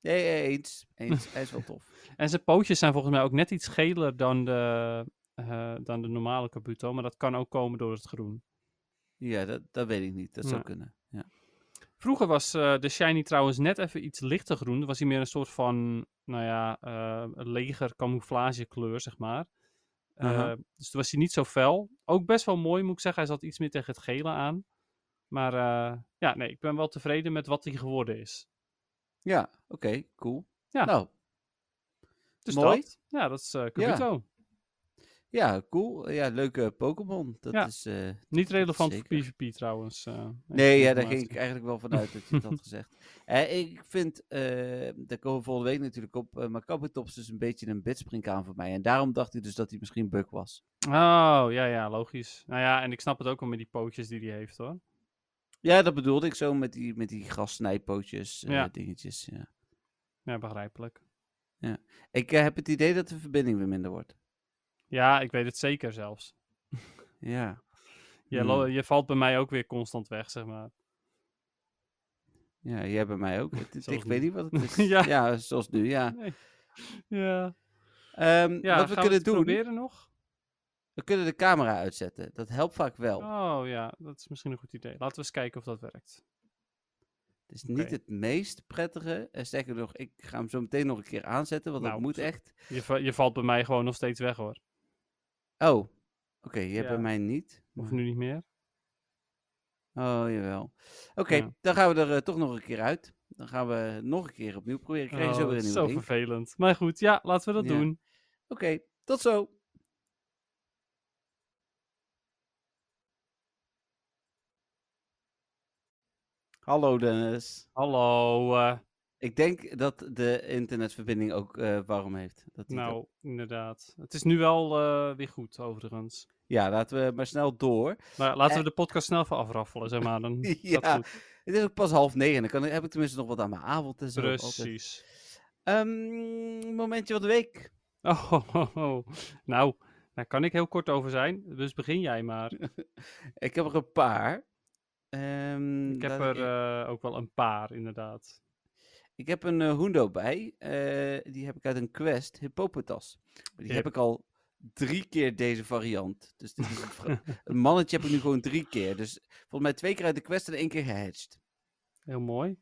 Speaker 1: Nee, eh, eens. Eens. hij is wel tof.
Speaker 2: En zijn pootjes zijn volgens mij ook net iets geler dan de, eh, dan de normale Kabuto, maar dat kan ook komen door het groen.
Speaker 1: Ja, dat, dat weet ik niet. Dat
Speaker 2: Ja.
Speaker 1: zou kunnen. Ja.
Speaker 2: Vroeger was eh, de Shiny trouwens net even iets lichter groen. Dan was hij meer een soort van, nou ja, eh, een leger camouflagekleur, zeg maar. Eh,
Speaker 1: Aha.
Speaker 2: Dus toen was hij niet zo fel. Ook best wel mooi, moet ik zeggen. Hij zat iets meer tegen het gele aan. Maar eh, ja, nee, ik ben wel tevreden met wat hij geworden is.
Speaker 1: Ja, oké, cool.
Speaker 2: Ja.
Speaker 1: Nou,
Speaker 2: Dus
Speaker 1: Mooi.
Speaker 2: dat? Ja, dat is eh Kabuto.
Speaker 1: ja, Ja, cool. Ja, leuke Pokémon. Dat
Speaker 2: Ja.
Speaker 1: is... eh,
Speaker 2: Niet relevant
Speaker 1: Zeker.
Speaker 2: voor PvP trouwens. eh, even
Speaker 1: Nee, ja, daar
Speaker 2: informatie.
Speaker 1: ging ik eigenlijk wel vanuit dat je het had gezegd. Eh, ik vind, eh daar komen we volgende week natuurlijk op, eh, maar Kabutops is een beetje een bitspring aan voor mij. En daarom dacht ik dus dat hij misschien bug was.
Speaker 2: Oh, ja, ja, logisch. Nou ja, en ik snap het ook wel met die pootjes die hij heeft hoor.
Speaker 1: Ja, dat bedoelde ik zo met die, met die grassnijpootjes, eh,
Speaker 2: Ja.
Speaker 1: dingetjes. Ja.
Speaker 2: Ja, begrijpelijk.
Speaker 1: Ik eh, heb het idee dat de verbinding weer minder wordt.
Speaker 2: Ja, ik weet het zeker zelfs.
Speaker 1: Ja.
Speaker 2: Je, lo-
Speaker 1: Hmm.
Speaker 2: je valt bij mij ook weer constant weg, zeg maar.
Speaker 1: Ja, jij bij mij ook. Het- het-
Speaker 2: Zoals
Speaker 1: ik weet
Speaker 2: nu.
Speaker 1: niet wat het is.
Speaker 2: Ja.
Speaker 1: ja. zoals nu, ja.
Speaker 2: Nee. Ja,
Speaker 1: Ehm,
Speaker 2: ja
Speaker 1: wat
Speaker 2: gaan
Speaker 1: we
Speaker 2: het
Speaker 1: kunnen doen,
Speaker 2: proberen nog?
Speaker 1: we kunnen de camera uitzetten. Dat helpt vaak wel.
Speaker 2: Oh ja, dat is misschien een goed idee. Laten we eens kijken of dat werkt.
Speaker 1: Het is
Speaker 2: Oké.
Speaker 1: niet het meest prettige. Eh, Sterker nog, ik ga hem zo meteen nog een keer aanzetten, want
Speaker 2: Nou,
Speaker 1: dat moet
Speaker 2: zo-
Speaker 1: echt.
Speaker 2: Je, va- je valt bij mij gewoon nog steeds weg hoor.
Speaker 1: Oh, oké, je hebt bij
Speaker 2: Ja.
Speaker 1: mij niet.
Speaker 2: Of
Speaker 1: maar-
Speaker 2: nu niet meer.
Speaker 1: Oh, jawel. Oké,
Speaker 2: Ja.
Speaker 1: dan gaan we er eh, toch nog een keer uit. Dan gaan we nog een keer opnieuw proberen. Ik krijg je
Speaker 2: Oh,
Speaker 1: zo weer
Speaker 2: het
Speaker 1: een
Speaker 2: is
Speaker 1: nieuwe
Speaker 2: zo
Speaker 1: link. Oké,
Speaker 2: vervelend. Maar goed, ja, laten we dat
Speaker 1: Ja.
Speaker 2: doen.
Speaker 1: tot zo. Hallo Dennis.
Speaker 2: Hallo. eh,
Speaker 1: Ik denk dat de internetverbinding ook eh, warm heeft. Dat die dat-
Speaker 2: nou, inderdaad. Het is nu wel eh, weer goed, overigens.
Speaker 1: Ja, laten we maar snel door.
Speaker 2: Maar laten
Speaker 1: Eh.
Speaker 2: we de podcast snel even afraffelen, zeg maar. Dan gaat
Speaker 1: Ja,
Speaker 2: goed.
Speaker 1: Het is ook pas half negen. Dan kan, ik- heb ik tenminste nog wat aan mijn avond en zo. altijd.
Speaker 2: Precies.
Speaker 1: Ehm, momentje van de week.
Speaker 2: Oh, ho, ho, ho. nou, daar kan ik heel kort over zijn. Dus begin jij maar.
Speaker 1: Ik heb er een paar. Ehm,
Speaker 2: Ik heb
Speaker 1: laat
Speaker 2: er
Speaker 1: e-
Speaker 2: eh, ook wel een paar, inderdaad.
Speaker 1: ik heb een eh, Hundo bij. Eh, die heb ik uit een quest, Hippopotas. Die
Speaker 2: Hip.
Speaker 1: heb ik al drie keer deze variant. Dus dit is een, vra- een mannetje heb ik nu gewoon drie keer. Dus volgens mij twee keer uit de quest en één keer gehatcht.
Speaker 2: Heel mooi.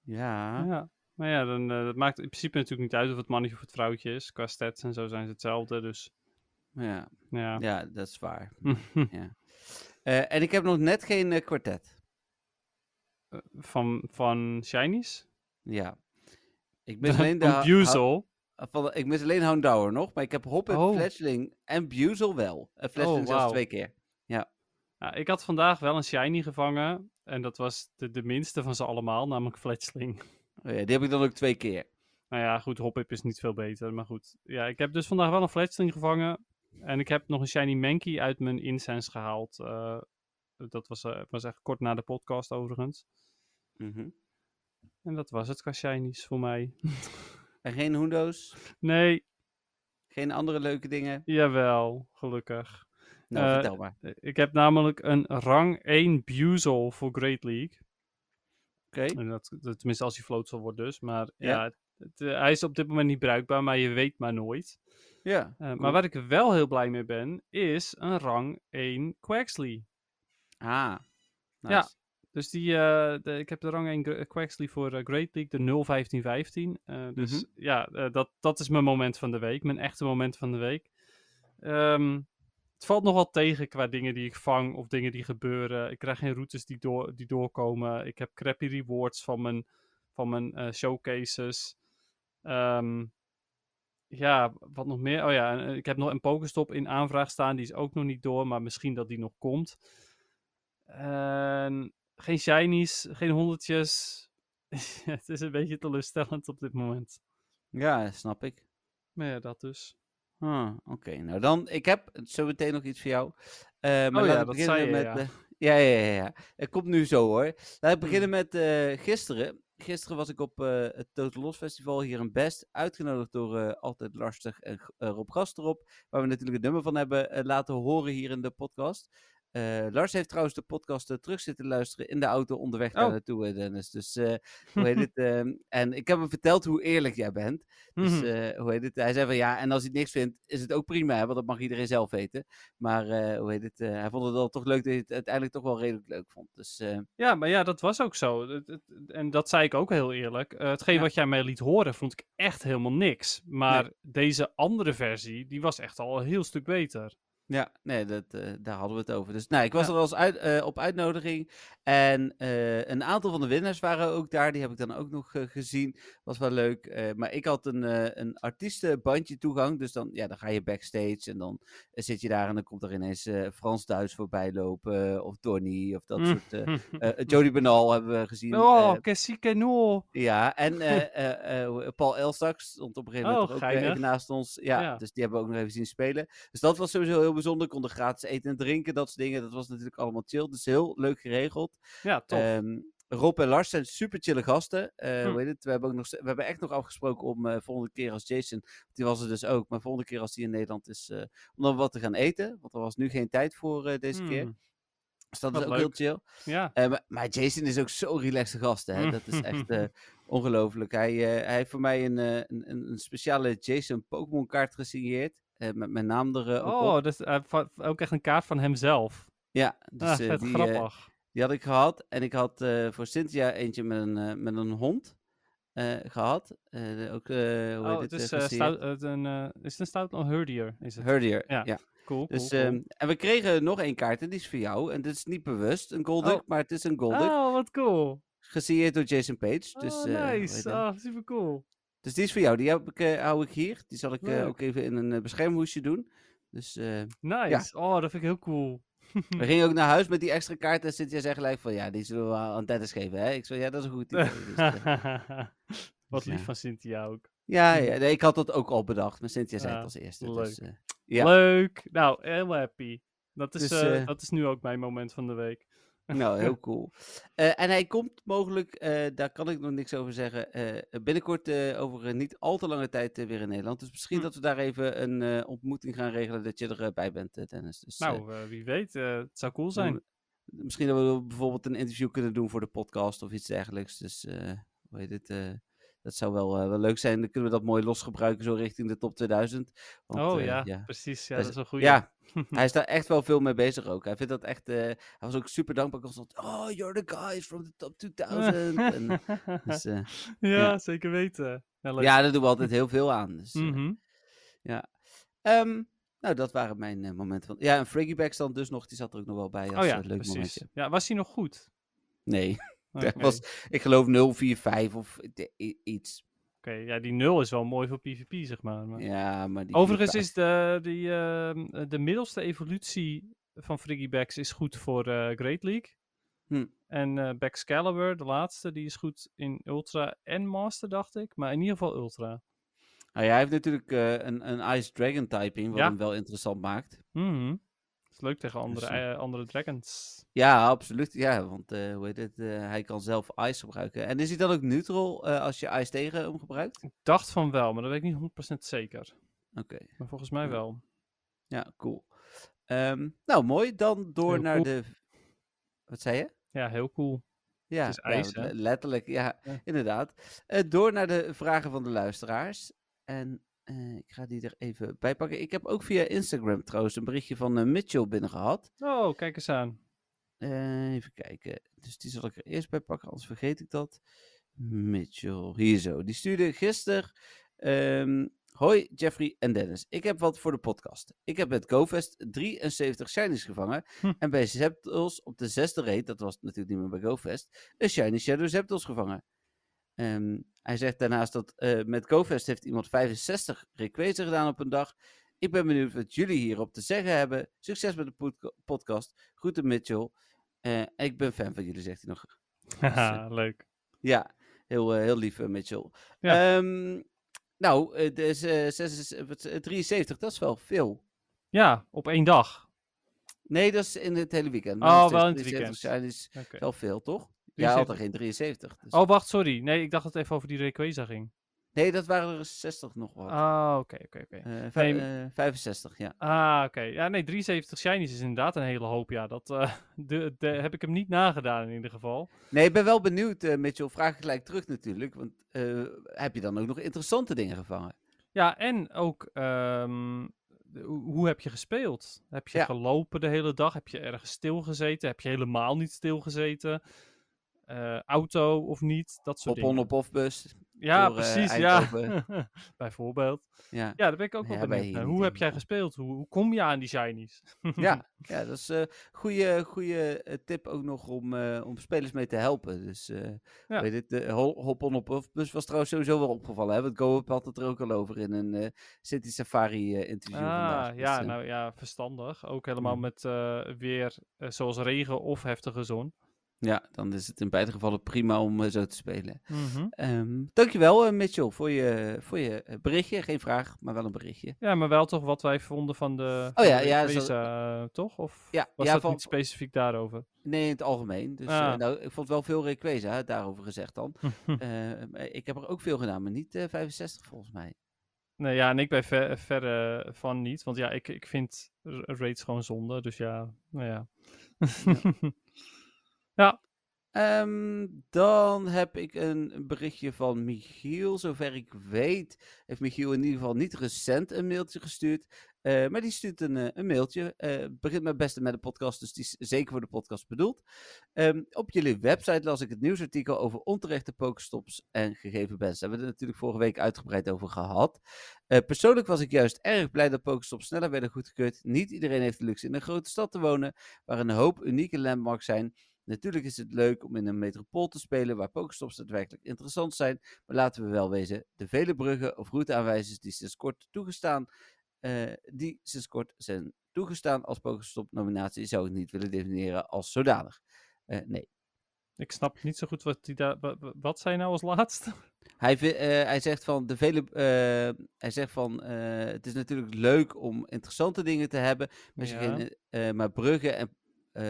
Speaker 1: Ja.
Speaker 2: Ja. Maar ja, dan, eh, dat maakt in principe natuurlijk niet uit of het mannetje of het vrouwtje is. Qua stats en zo zijn ze hetzelfde, dus
Speaker 1: Ja,
Speaker 2: ja.
Speaker 1: ja, dat is waar.
Speaker 2: Mhm.
Speaker 1: Eh, en ik heb nog net geen eh, kwartet.
Speaker 2: van, van Shinies?
Speaker 1: Ja. Ik mis alleen
Speaker 2: Van
Speaker 1: de ha- ha-
Speaker 2: Buzel?
Speaker 1: van- ik mis alleen Houndour nog, maar ik heb Hop en
Speaker 2: Oh.
Speaker 1: Fletchling en Buzel wel. En Fletchling
Speaker 2: wauw.
Speaker 1: zelfs twee keer.
Speaker 2: Nou, ik had vandaag wel een Shiny gevangen. En dat was de, de minste van ze allemaal, namelijk Fletchling.
Speaker 1: Oh ja, die heb ik dan ook twee keer.
Speaker 2: Nou ja, goed, Hoppip is niet veel beter, maar goed. Ja, ik heb dus vandaag wel een Fletchling gevangen. En ik heb nog een Shiny Mankey uit mijn incense gehaald. Eh, dat was, eh, was echt kort na de podcast overigens.
Speaker 1: Mhm.
Speaker 2: En dat was het qua Shinies voor mij.
Speaker 1: En geen Hoendo's,
Speaker 2: Nee,
Speaker 1: geen andere leuke dingen.
Speaker 2: jawel, gelukkig.
Speaker 1: Nou,
Speaker 2: Eh,
Speaker 1: vertel maar.
Speaker 2: Eh, Ik heb namelijk een rang 1 Buzel voor Great League.
Speaker 1: Oké.
Speaker 2: En dat, dat- tenminste, als hij float zal worden dus. Maar ja,
Speaker 1: Ja.
Speaker 2: het, eh, hij is op dit moment niet bruikbaar, maar je weet maar nooit.
Speaker 1: Ja.
Speaker 2: Eh, Maar
Speaker 1: Cool.
Speaker 2: waar ik wel heel blij mee ben, is een rang 1 Quaxley.
Speaker 1: Ah.
Speaker 2: Ja.
Speaker 1: nice.
Speaker 2: Dus die, eh, de- ik heb de rang 1 Gr- Quaxley voor eh, Great League, de 01515. Eh dus ja, eh, dat, dat is mijn moment van de week, mijn echte moment van de week. Ehm, het valt nogal tegen qua dingen die ik vang of dingen die gebeuren. Ik krijg geen routes die, door, die doorkomen. Ik heb crappy rewards van mijn, van mijn eh, showcases. Ehm, ja, wat nog meer? Oh ja, en, eh, ik heb nog een Pokestop in aanvraag staan. Die is ook nog niet door, maar misschien dat die nog komt. En geen shinies, geen honderdjes. het is een beetje teleurstellend op dit moment.
Speaker 1: Ja, snap ik.
Speaker 2: Maar
Speaker 1: Nou
Speaker 2: ja, dat dus.
Speaker 1: Ah, Oké, nou dan, ik heb zo meteen nog iets voor jou. Eh, maar
Speaker 2: Oh ja,
Speaker 1: laten we
Speaker 2: dat
Speaker 1: beginnen
Speaker 2: zei je,
Speaker 1: met.
Speaker 2: ja. Hmm.
Speaker 1: eh, ja, ja, ja, ja. Het komt nu zo hoor. Laten we beginnen met eh, gisteren. Gisteren was ik op eh, het Total Los Festival hier in Best. Uitgenodigd door eh, Altijd Lastig en G- eh, Rob Gast erop. Waar we natuurlijk het nummer van hebben eh, laten horen hier in de podcast. Eh, Lars heeft trouwens de podcast eh, terug zitten luisteren in de auto onderweg daar
Speaker 2: Oh.
Speaker 1: naartoe, eh, Dennis. Dus eh, hoe heet het? ehm, en ik heb hem verteld hoe eerlijk jij bent. Dus
Speaker 2: Mhm.
Speaker 1: eh, hoe heet het? Hij zei van ja, en als hij het niks vindt, is het ook prima, hè, want dat mag iedereen zelf weten. Maar eh, hoe heet het? eh, hij vond het wel toch leuk dat hij het uiteindelijk toch wel redelijk leuk vond. Dus eh,
Speaker 2: Ja, maar ja, dat was ook zo. Het- het- en dat zei ik ook heel eerlijk. Eh, hetgeen
Speaker 1: Ja.
Speaker 2: wat jij mij liet horen, vond ik echt helemaal niks. Maar deze andere versie, die was echt al een heel stuk beter.
Speaker 1: Ja, nee, dat, eh, daar hadden we het over. Dus nou, ik was er wel eens uit, eh, op uitnodiging. En eh, een aantal van de winnaars waren ook daar. Die heb ik dan ook nog eh, gezien. Was wel leuk. Eh, maar ik had een, eh, een artiestenbandje toegang. Dus dan, ja, dan ga je backstage en dan eh, zit je daar. En dan komt er ineens eh, Frans Duits voorbij lopen. eh, of Donny of dat
Speaker 2: Mm.
Speaker 1: soort. eh eh, Jody Benal hebben we gezien.
Speaker 2: oh,
Speaker 1: eh,
Speaker 2: que sí que no.
Speaker 1: ja, en eh, eh, eh, hoe- Paul Elstak stond op een gegeven
Speaker 2: Oh,
Speaker 1: moment er ook weer
Speaker 2: geinig.
Speaker 1: even naast ons. Ja,
Speaker 2: Ja.
Speaker 1: dus die hebben we ook nog even zien spelen. Dus dat was sowieso heel bijzonder. Konden gratis eten en drinken, dat soort dingen. Dat was natuurlijk allemaal chill. Dus heel leuk geregeld.
Speaker 2: Ja, tof.
Speaker 1: Ehm, Rob en Lars zijn super chille gasten. Eh,
Speaker 2: Hm.
Speaker 1: hoe heet het? We hebben, ook nog, s- we hebben echt nog afgesproken om eh, volgende keer als Jason, die was er dus ook, maar volgende keer als die in Nederland is, eh, om dan wat te gaan eten. Want er was nu geen tijd voor eh, deze keer.
Speaker 2: Hmm,
Speaker 1: Dus dat
Speaker 2: wat
Speaker 1: is ook heel
Speaker 2: leuk.
Speaker 1: chill.
Speaker 2: Ja,
Speaker 1: Eh, maar, maar Jason is ook zo'n relaxte gast, hè? Dat is echt eh, ongelooflijk. Hij, eh, hij heeft voor mij een, eh, een, een een speciale Jason Pokémon kaart gesigneerd. eh, met mijn naam er eh, ook op.
Speaker 2: oh, dus eh, va- ook echt een kaart van hemzelf.
Speaker 1: Ja, dus
Speaker 2: ah,
Speaker 1: eh,
Speaker 2: vet
Speaker 1: die, eh,
Speaker 2: grappig.
Speaker 1: die had ik gehad. En ik had eh, voor Cynthia eentje met een, eh, met een hond eh, gehad. Eh, ook, eh, hoe
Speaker 2: oh,
Speaker 1: heet het?
Speaker 2: het
Speaker 1: eh,
Speaker 2: is, eh,
Speaker 1: gesigneerd?
Speaker 2: stout, het een, eh, is het een stout? Oh, Herdier is het.
Speaker 1: Herdier,
Speaker 2: Ja.
Speaker 1: ja.
Speaker 2: Cool, cool,
Speaker 1: Dus,
Speaker 2: cool.
Speaker 1: ehm, en we kregen nog één kaart en die is voor jou. En dit is niet bewust een Golduck,
Speaker 2: Oh.
Speaker 1: maar het is een Golduck.
Speaker 2: oh, wat cool.
Speaker 1: Gesigneerd door Jason Page. Dus,
Speaker 2: oh,
Speaker 1: eh, hoe heet
Speaker 2: nice.
Speaker 1: het?
Speaker 2: Ah, super cool.
Speaker 1: Dus die is voor jou. Die heb ik, eh, hou ik hier. Die zal ik eh,
Speaker 2: Leuk.
Speaker 1: ook even in een eh, beschermhoesje doen. Dus eh,
Speaker 2: Nice. Oh, dat vind ik heel cool.
Speaker 1: we gingen ook naar huis met die extra kaart. En Cynthia zei gelijk van, ja, die zullen we aan Dennis geven. Hè? Ik zei, ja, dat is een goed idee. Dus, eh, dus,
Speaker 2: wat
Speaker 1: ja.
Speaker 2: lief van Cynthia ook.
Speaker 1: ja, ja nee, ik had dat ook al bedacht. Maar Cynthia zei
Speaker 2: Ja,
Speaker 1: het als eerste.
Speaker 2: leuk.
Speaker 1: Dus, eh, ja,
Speaker 2: Leuk. Nou, heel happy. Dat is,
Speaker 1: Dus,
Speaker 2: eh,
Speaker 1: eh,
Speaker 2: dat is nu ook mijn moment van de week.
Speaker 1: nou, heel cool. Eh, en hij komt mogelijk, eh, daar kan ik nog niks over zeggen, eh, binnenkort eh, over een niet al te lange tijd eh, weer in Nederland. Dus misschien
Speaker 2: Hm.
Speaker 1: dat we daar even een eh, ontmoeting gaan regelen dat je erbij bij bent, eh, Dennis. Dus, eh,
Speaker 2: Nou, eh, wie weet. eh, het zou
Speaker 1: Dan-
Speaker 2: cool zijn.
Speaker 1: Misschien dat we bijvoorbeeld een interview kunnen doen voor de podcast of iets dergelijks. Dus eh, hoe heet het? eh, dat zou wel, eh, wel leuk zijn. Dan kunnen we dat mooi losgebruiken, zo richting de top 2000. Want,
Speaker 2: oh
Speaker 1: eh,
Speaker 2: ja,
Speaker 1: Ja,
Speaker 2: precies. Ja,
Speaker 1: Daar
Speaker 2: dat is een goede.
Speaker 1: Ja, hij is daar echt wel veel mee bezig ook. Hij vindt dat echt. eh, hij was ook super dankbaar. Constant. Oh, you're the guys from the top 2000. en, dus, eh,
Speaker 2: ja, zeker weten. Ja, leuk.
Speaker 1: ja, daar doen we altijd heel veel aan. Dus, eh,
Speaker 2: Mhm.
Speaker 1: ehm, nou, dat waren mijn eh, momenten. Van... Ja, en Friggy Bags dan dus nog. Die zat er ook nog wel bij. Als,
Speaker 2: Oh
Speaker 1: eh,
Speaker 2: ja,
Speaker 1: leuk
Speaker 2: precies.
Speaker 1: momentje.
Speaker 2: Ja, was hij nog goed?
Speaker 1: Nee,
Speaker 2: Oké,
Speaker 1: dat was, ik geloof 045 of i- i- iets.
Speaker 2: oké. ja, die nul is wel mooi voor PvP, zeg maar. maar-
Speaker 1: Ja, maar die
Speaker 2: Overigens
Speaker 1: FIFA
Speaker 2: is de, die, ehm, eh, de middelste evolutie van Friggy Backs is goed voor eh, Great League.
Speaker 1: Hm.
Speaker 2: En eh Baxcalibur, de laatste, die is goed in Ultra en Master, dacht ik. Maar in ieder geval Ultra.
Speaker 1: Nou ja, hij heeft natuurlijk eh, een, een Ice Dragon typing, wat
Speaker 2: Ja.
Speaker 1: hem wel interessant maakt.
Speaker 2: Mhm. Is leuk tegen andere,
Speaker 1: Dus, eh,
Speaker 2: eh, andere dragons.
Speaker 1: Ja, absoluut. Ja, want eh, hoe heet het? eh, hij kan zelf Ice gebruiken. En is hij dan ook neutral eh, als je Ice tegen hem gebruikt?
Speaker 2: Ik dacht van wel, maar dat weet ik niet 100% zeker.
Speaker 1: Oké,
Speaker 2: Maar volgens mij
Speaker 1: Ja.
Speaker 2: wel.
Speaker 1: ja, cool. Ehm, nou, mooi. Dan door
Speaker 2: Heel
Speaker 1: naar de...
Speaker 2: cool.
Speaker 1: Wat zei je?
Speaker 2: Ja, heel cool.
Speaker 1: Ja,
Speaker 2: is
Speaker 1: nou,
Speaker 2: ijs, hè?
Speaker 1: le- letterlijk. Ja,
Speaker 2: Ja.
Speaker 1: inderdaad. Eh, door naar de vragen van de luisteraars. En eh, ik ga die er even bij pakken. Ik heb ook via Instagram trouwens een berichtje van eh, Mitchell binnengehad.
Speaker 2: Oh, kijk eens aan.
Speaker 1: Eh, even kijken. Dus die zal ik er eerst bij pakken, anders vergeet ik dat. Mitchell, hier zo. Die stuurde gisteren. ehm, Hoi Jeffrey en Dennis. Ik heb wat voor de podcast. Ik heb met GoFest 73 shinies gevangen.
Speaker 2: Hm.
Speaker 1: En bij Zeptels op de zesde raid, dat was natuurlijk niet meer bij GoFest, een shiny Shadow Zeptels gevangen. Ehm, hij zegt daarnaast dat eh, met GoFest heeft iemand 65 requesten gedaan op een dag. Ik ben benieuwd wat jullie hierop te zeggen hebben. Succes met de podca- podcast. Groeten Mitchell. Eh, ik ben fan van jullie, zegt hij nog.
Speaker 2: Haha, eh, leuk.
Speaker 1: Ja, heel, eh, heel lief, eh, Mitchell.
Speaker 2: Ja.
Speaker 1: Ehm, nou, eh, dus, eh, zes- eh, wat, eh, 73, dat is wel veel.
Speaker 2: Ja, op één dag.
Speaker 1: Nee, dat is in het hele weekend.
Speaker 2: Oh,
Speaker 1: nog steeds
Speaker 2: wel in het
Speaker 1: 73 zijn is
Speaker 2: Oké.
Speaker 1: wel veel, toch? Ja, had er
Speaker 2: 73.
Speaker 1: geen 73. dus-
Speaker 2: Oh, wacht, sorry. Nee, ik dacht dat het even over die Rayquaza ging.
Speaker 1: Nee, dat waren er 60 nog wat.
Speaker 2: Ah, oké, oké, oké.
Speaker 1: Eh,
Speaker 2: nee,
Speaker 1: vij- eh, 65, ja.
Speaker 2: Ah, oké. Ja, nee, 73 shinies is inderdaad een hele hoop, ja. Dat eh, de, de, heb ik hem niet nagedaan in ieder geval.
Speaker 1: Nee, ik ben wel benieuwd, eh, Mitchell. Vraag gelijk terug natuurlijk. Want eh, heb je dan ook nog interessante dingen gevangen?
Speaker 2: Ja, en ook, ehm, de- hoe hoe heb je gespeeld? Heb je
Speaker 1: Ja.
Speaker 2: gelopen de hele dag? Heb je ergens stilgezeten? Heb je helemaal niet stilgezeten? Eh, auto of niet? Dat soort
Speaker 1: Op
Speaker 2: dingen.
Speaker 1: on, op off bus.
Speaker 2: Ja,
Speaker 1: door, eh,
Speaker 2: precies, ja.
Speaker 1: Eindhoven.
Speaker 2: Bijvoorbeeld.
Speaker 1: Ja,
Speaker 2: Ja, daar ben ik ook wel
Speaker 1: Ja, bij
Speaker 2: benieuwd
Speaker 1: hier
Speaker 2: naar.
Speaker 1: niet
Speaker 2: Hoe heb jij
Speaker 1: helemaal.
Speaker 2: gespeeld? Hoe, hoe kom je aan die shinies?
Speaker 1: ja, ja dat is een goede, goede eh, tip ook nog om, eh, om spelers mee te helpen. Dus eh
Speaker 2: Ja.
Speaker 1: weet het, de hol- hop on op of bus was trouwens sowieso wel opgevallen. Hè? Want Go-Up had het er ook al over in een eh, City Safari eh, interview vandaag.
Speaker 2: Ah,
Speaker 1: Dus,
Speaker 2: ja,
Speaker 1: eh,
Speaker 2: nou ja, verstandig. Ook helemaal
Speaker 1: Mm.
Speaker 2: met eh, weer eh, zoals regen of heftige zon.
Speaker 1: ja, dan is het in beide gevallen prima om eh, zo te spelen. Ehm, dankjewel eh, Mitchell voor je, voor je eh, berichtje. Geen vraag, maar wel een berichtje.
Speaker 2: Ja, maar wel toch wat wij vonden van de
Speaker 1: Oh ja,
Speaker 2: van de
Speaker 1: ja,
Speaker 2: Wezen,
Speaker 1: zo-
Speaker 2: eh, toch? Of
Speaker 1: Ja,
Speaker 2: was
Speaker 1: ja,
Speaker 2: dat
Speaker 1: van-
Speaker 2: niet specifiek daarover?
Speaker 1: Nee, in het algemeen. Dus eh,
Speaker 2: Ah.
Speaker 1: nou, ik vond wel veel Rayquaza, hè, daarover gezegd dan. Eh, maar ik heb er ook veel gedaan, maar niet eh, 65 volgens mij.
Speaker 2: nee, ja, en ik ben ver, verre van niet. Want ja, ik, ik vind r- raids gewoon zonde. Dus ja, nou ja.
Speaker 1: Ehm, dan heb ik een berichtje van Michiel. Zover ik weet, heeft Michiel in ieder geval niet recent een mailtje gestuurd. Eh, maar die stuurt een, eh, een mailtje. Eh, begint met beste met de podcast, dus die is zeker voor de podcast bedoeld. Ehm, op jullie website las ik het nieuwsartikel over onterechte pokestops en gegeven bans. Daar hebben we het natuurlijk vorige week uitgebreid over gehad. Eh, persoonlijk was ik juist erg blij dat pokestops sneller werden goedgekeurd. Niet iedereen heeft de luxe in een grote stad te wonen, waar een hoop unieke landmarks zijn. Natuurlijk is het leuk om in een metropool te spelen waar pokestops daadwerkelijk interessant zijn, maar laten we wel wezen, de vele bruggen of routeaanwijzers die sinds kort toegestaan, eh, die sinds kort zijn toegestaan als pokestop-nominatie, zou ik niet willen definiëren als zodanig. Eh, nee.
Speaker 2: Ik snap niet zo goed wat die daar. wa- wa- Wat zei nou als laatste?
Speaker 1: Hij, vi- eh, hij zegt van de vele. eh, hij zegt van. eh, het is natuurlijk leuk om interessante dingen te hebben. Maar, ze
Speaker 2: Ja.
Speaker 1: geen, eh, eh, maar bruggen en.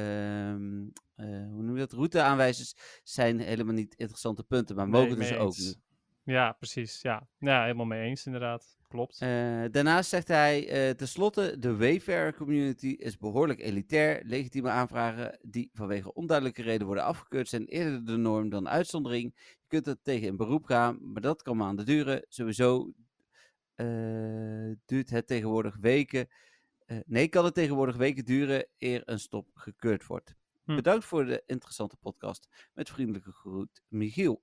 Speaker 1: ehm, eh, hoe noem je dat? Routeaanwijzers zijn helemaal niet interessante punten. Maar
Speaker 2: Nee,
Speaker 1: mogen dus
Speaker 2: mee
Speaker 1: ook
Speaker 2: eens.
Speaker 1: niet.
Speaker 2: Ja, precies. Ja. ja, helemaal mee eens inderdaad. Klopt.
Speaker 1: Eh, daarnaast zegt hij, eh, tenslotte, de Wayfarer community is behoorlijk elitair. Legitieme aanvragen die vanwege onduidelijke reden worden afgekeurd zijn eerder de norm dan uitzondering. Je kunt er tegen in beroep gaan, maar dat kan maanden duren. Sowieso eh, duurt het tegenwoordig weken. eh, nee, kan het tegenwoordig weken duren eer een stop gekeurd wordt.
Speaker 2: Hm.
Speaker 1: Bedankt voor de interessante podcast. Met vriendelijke groet, Michiel.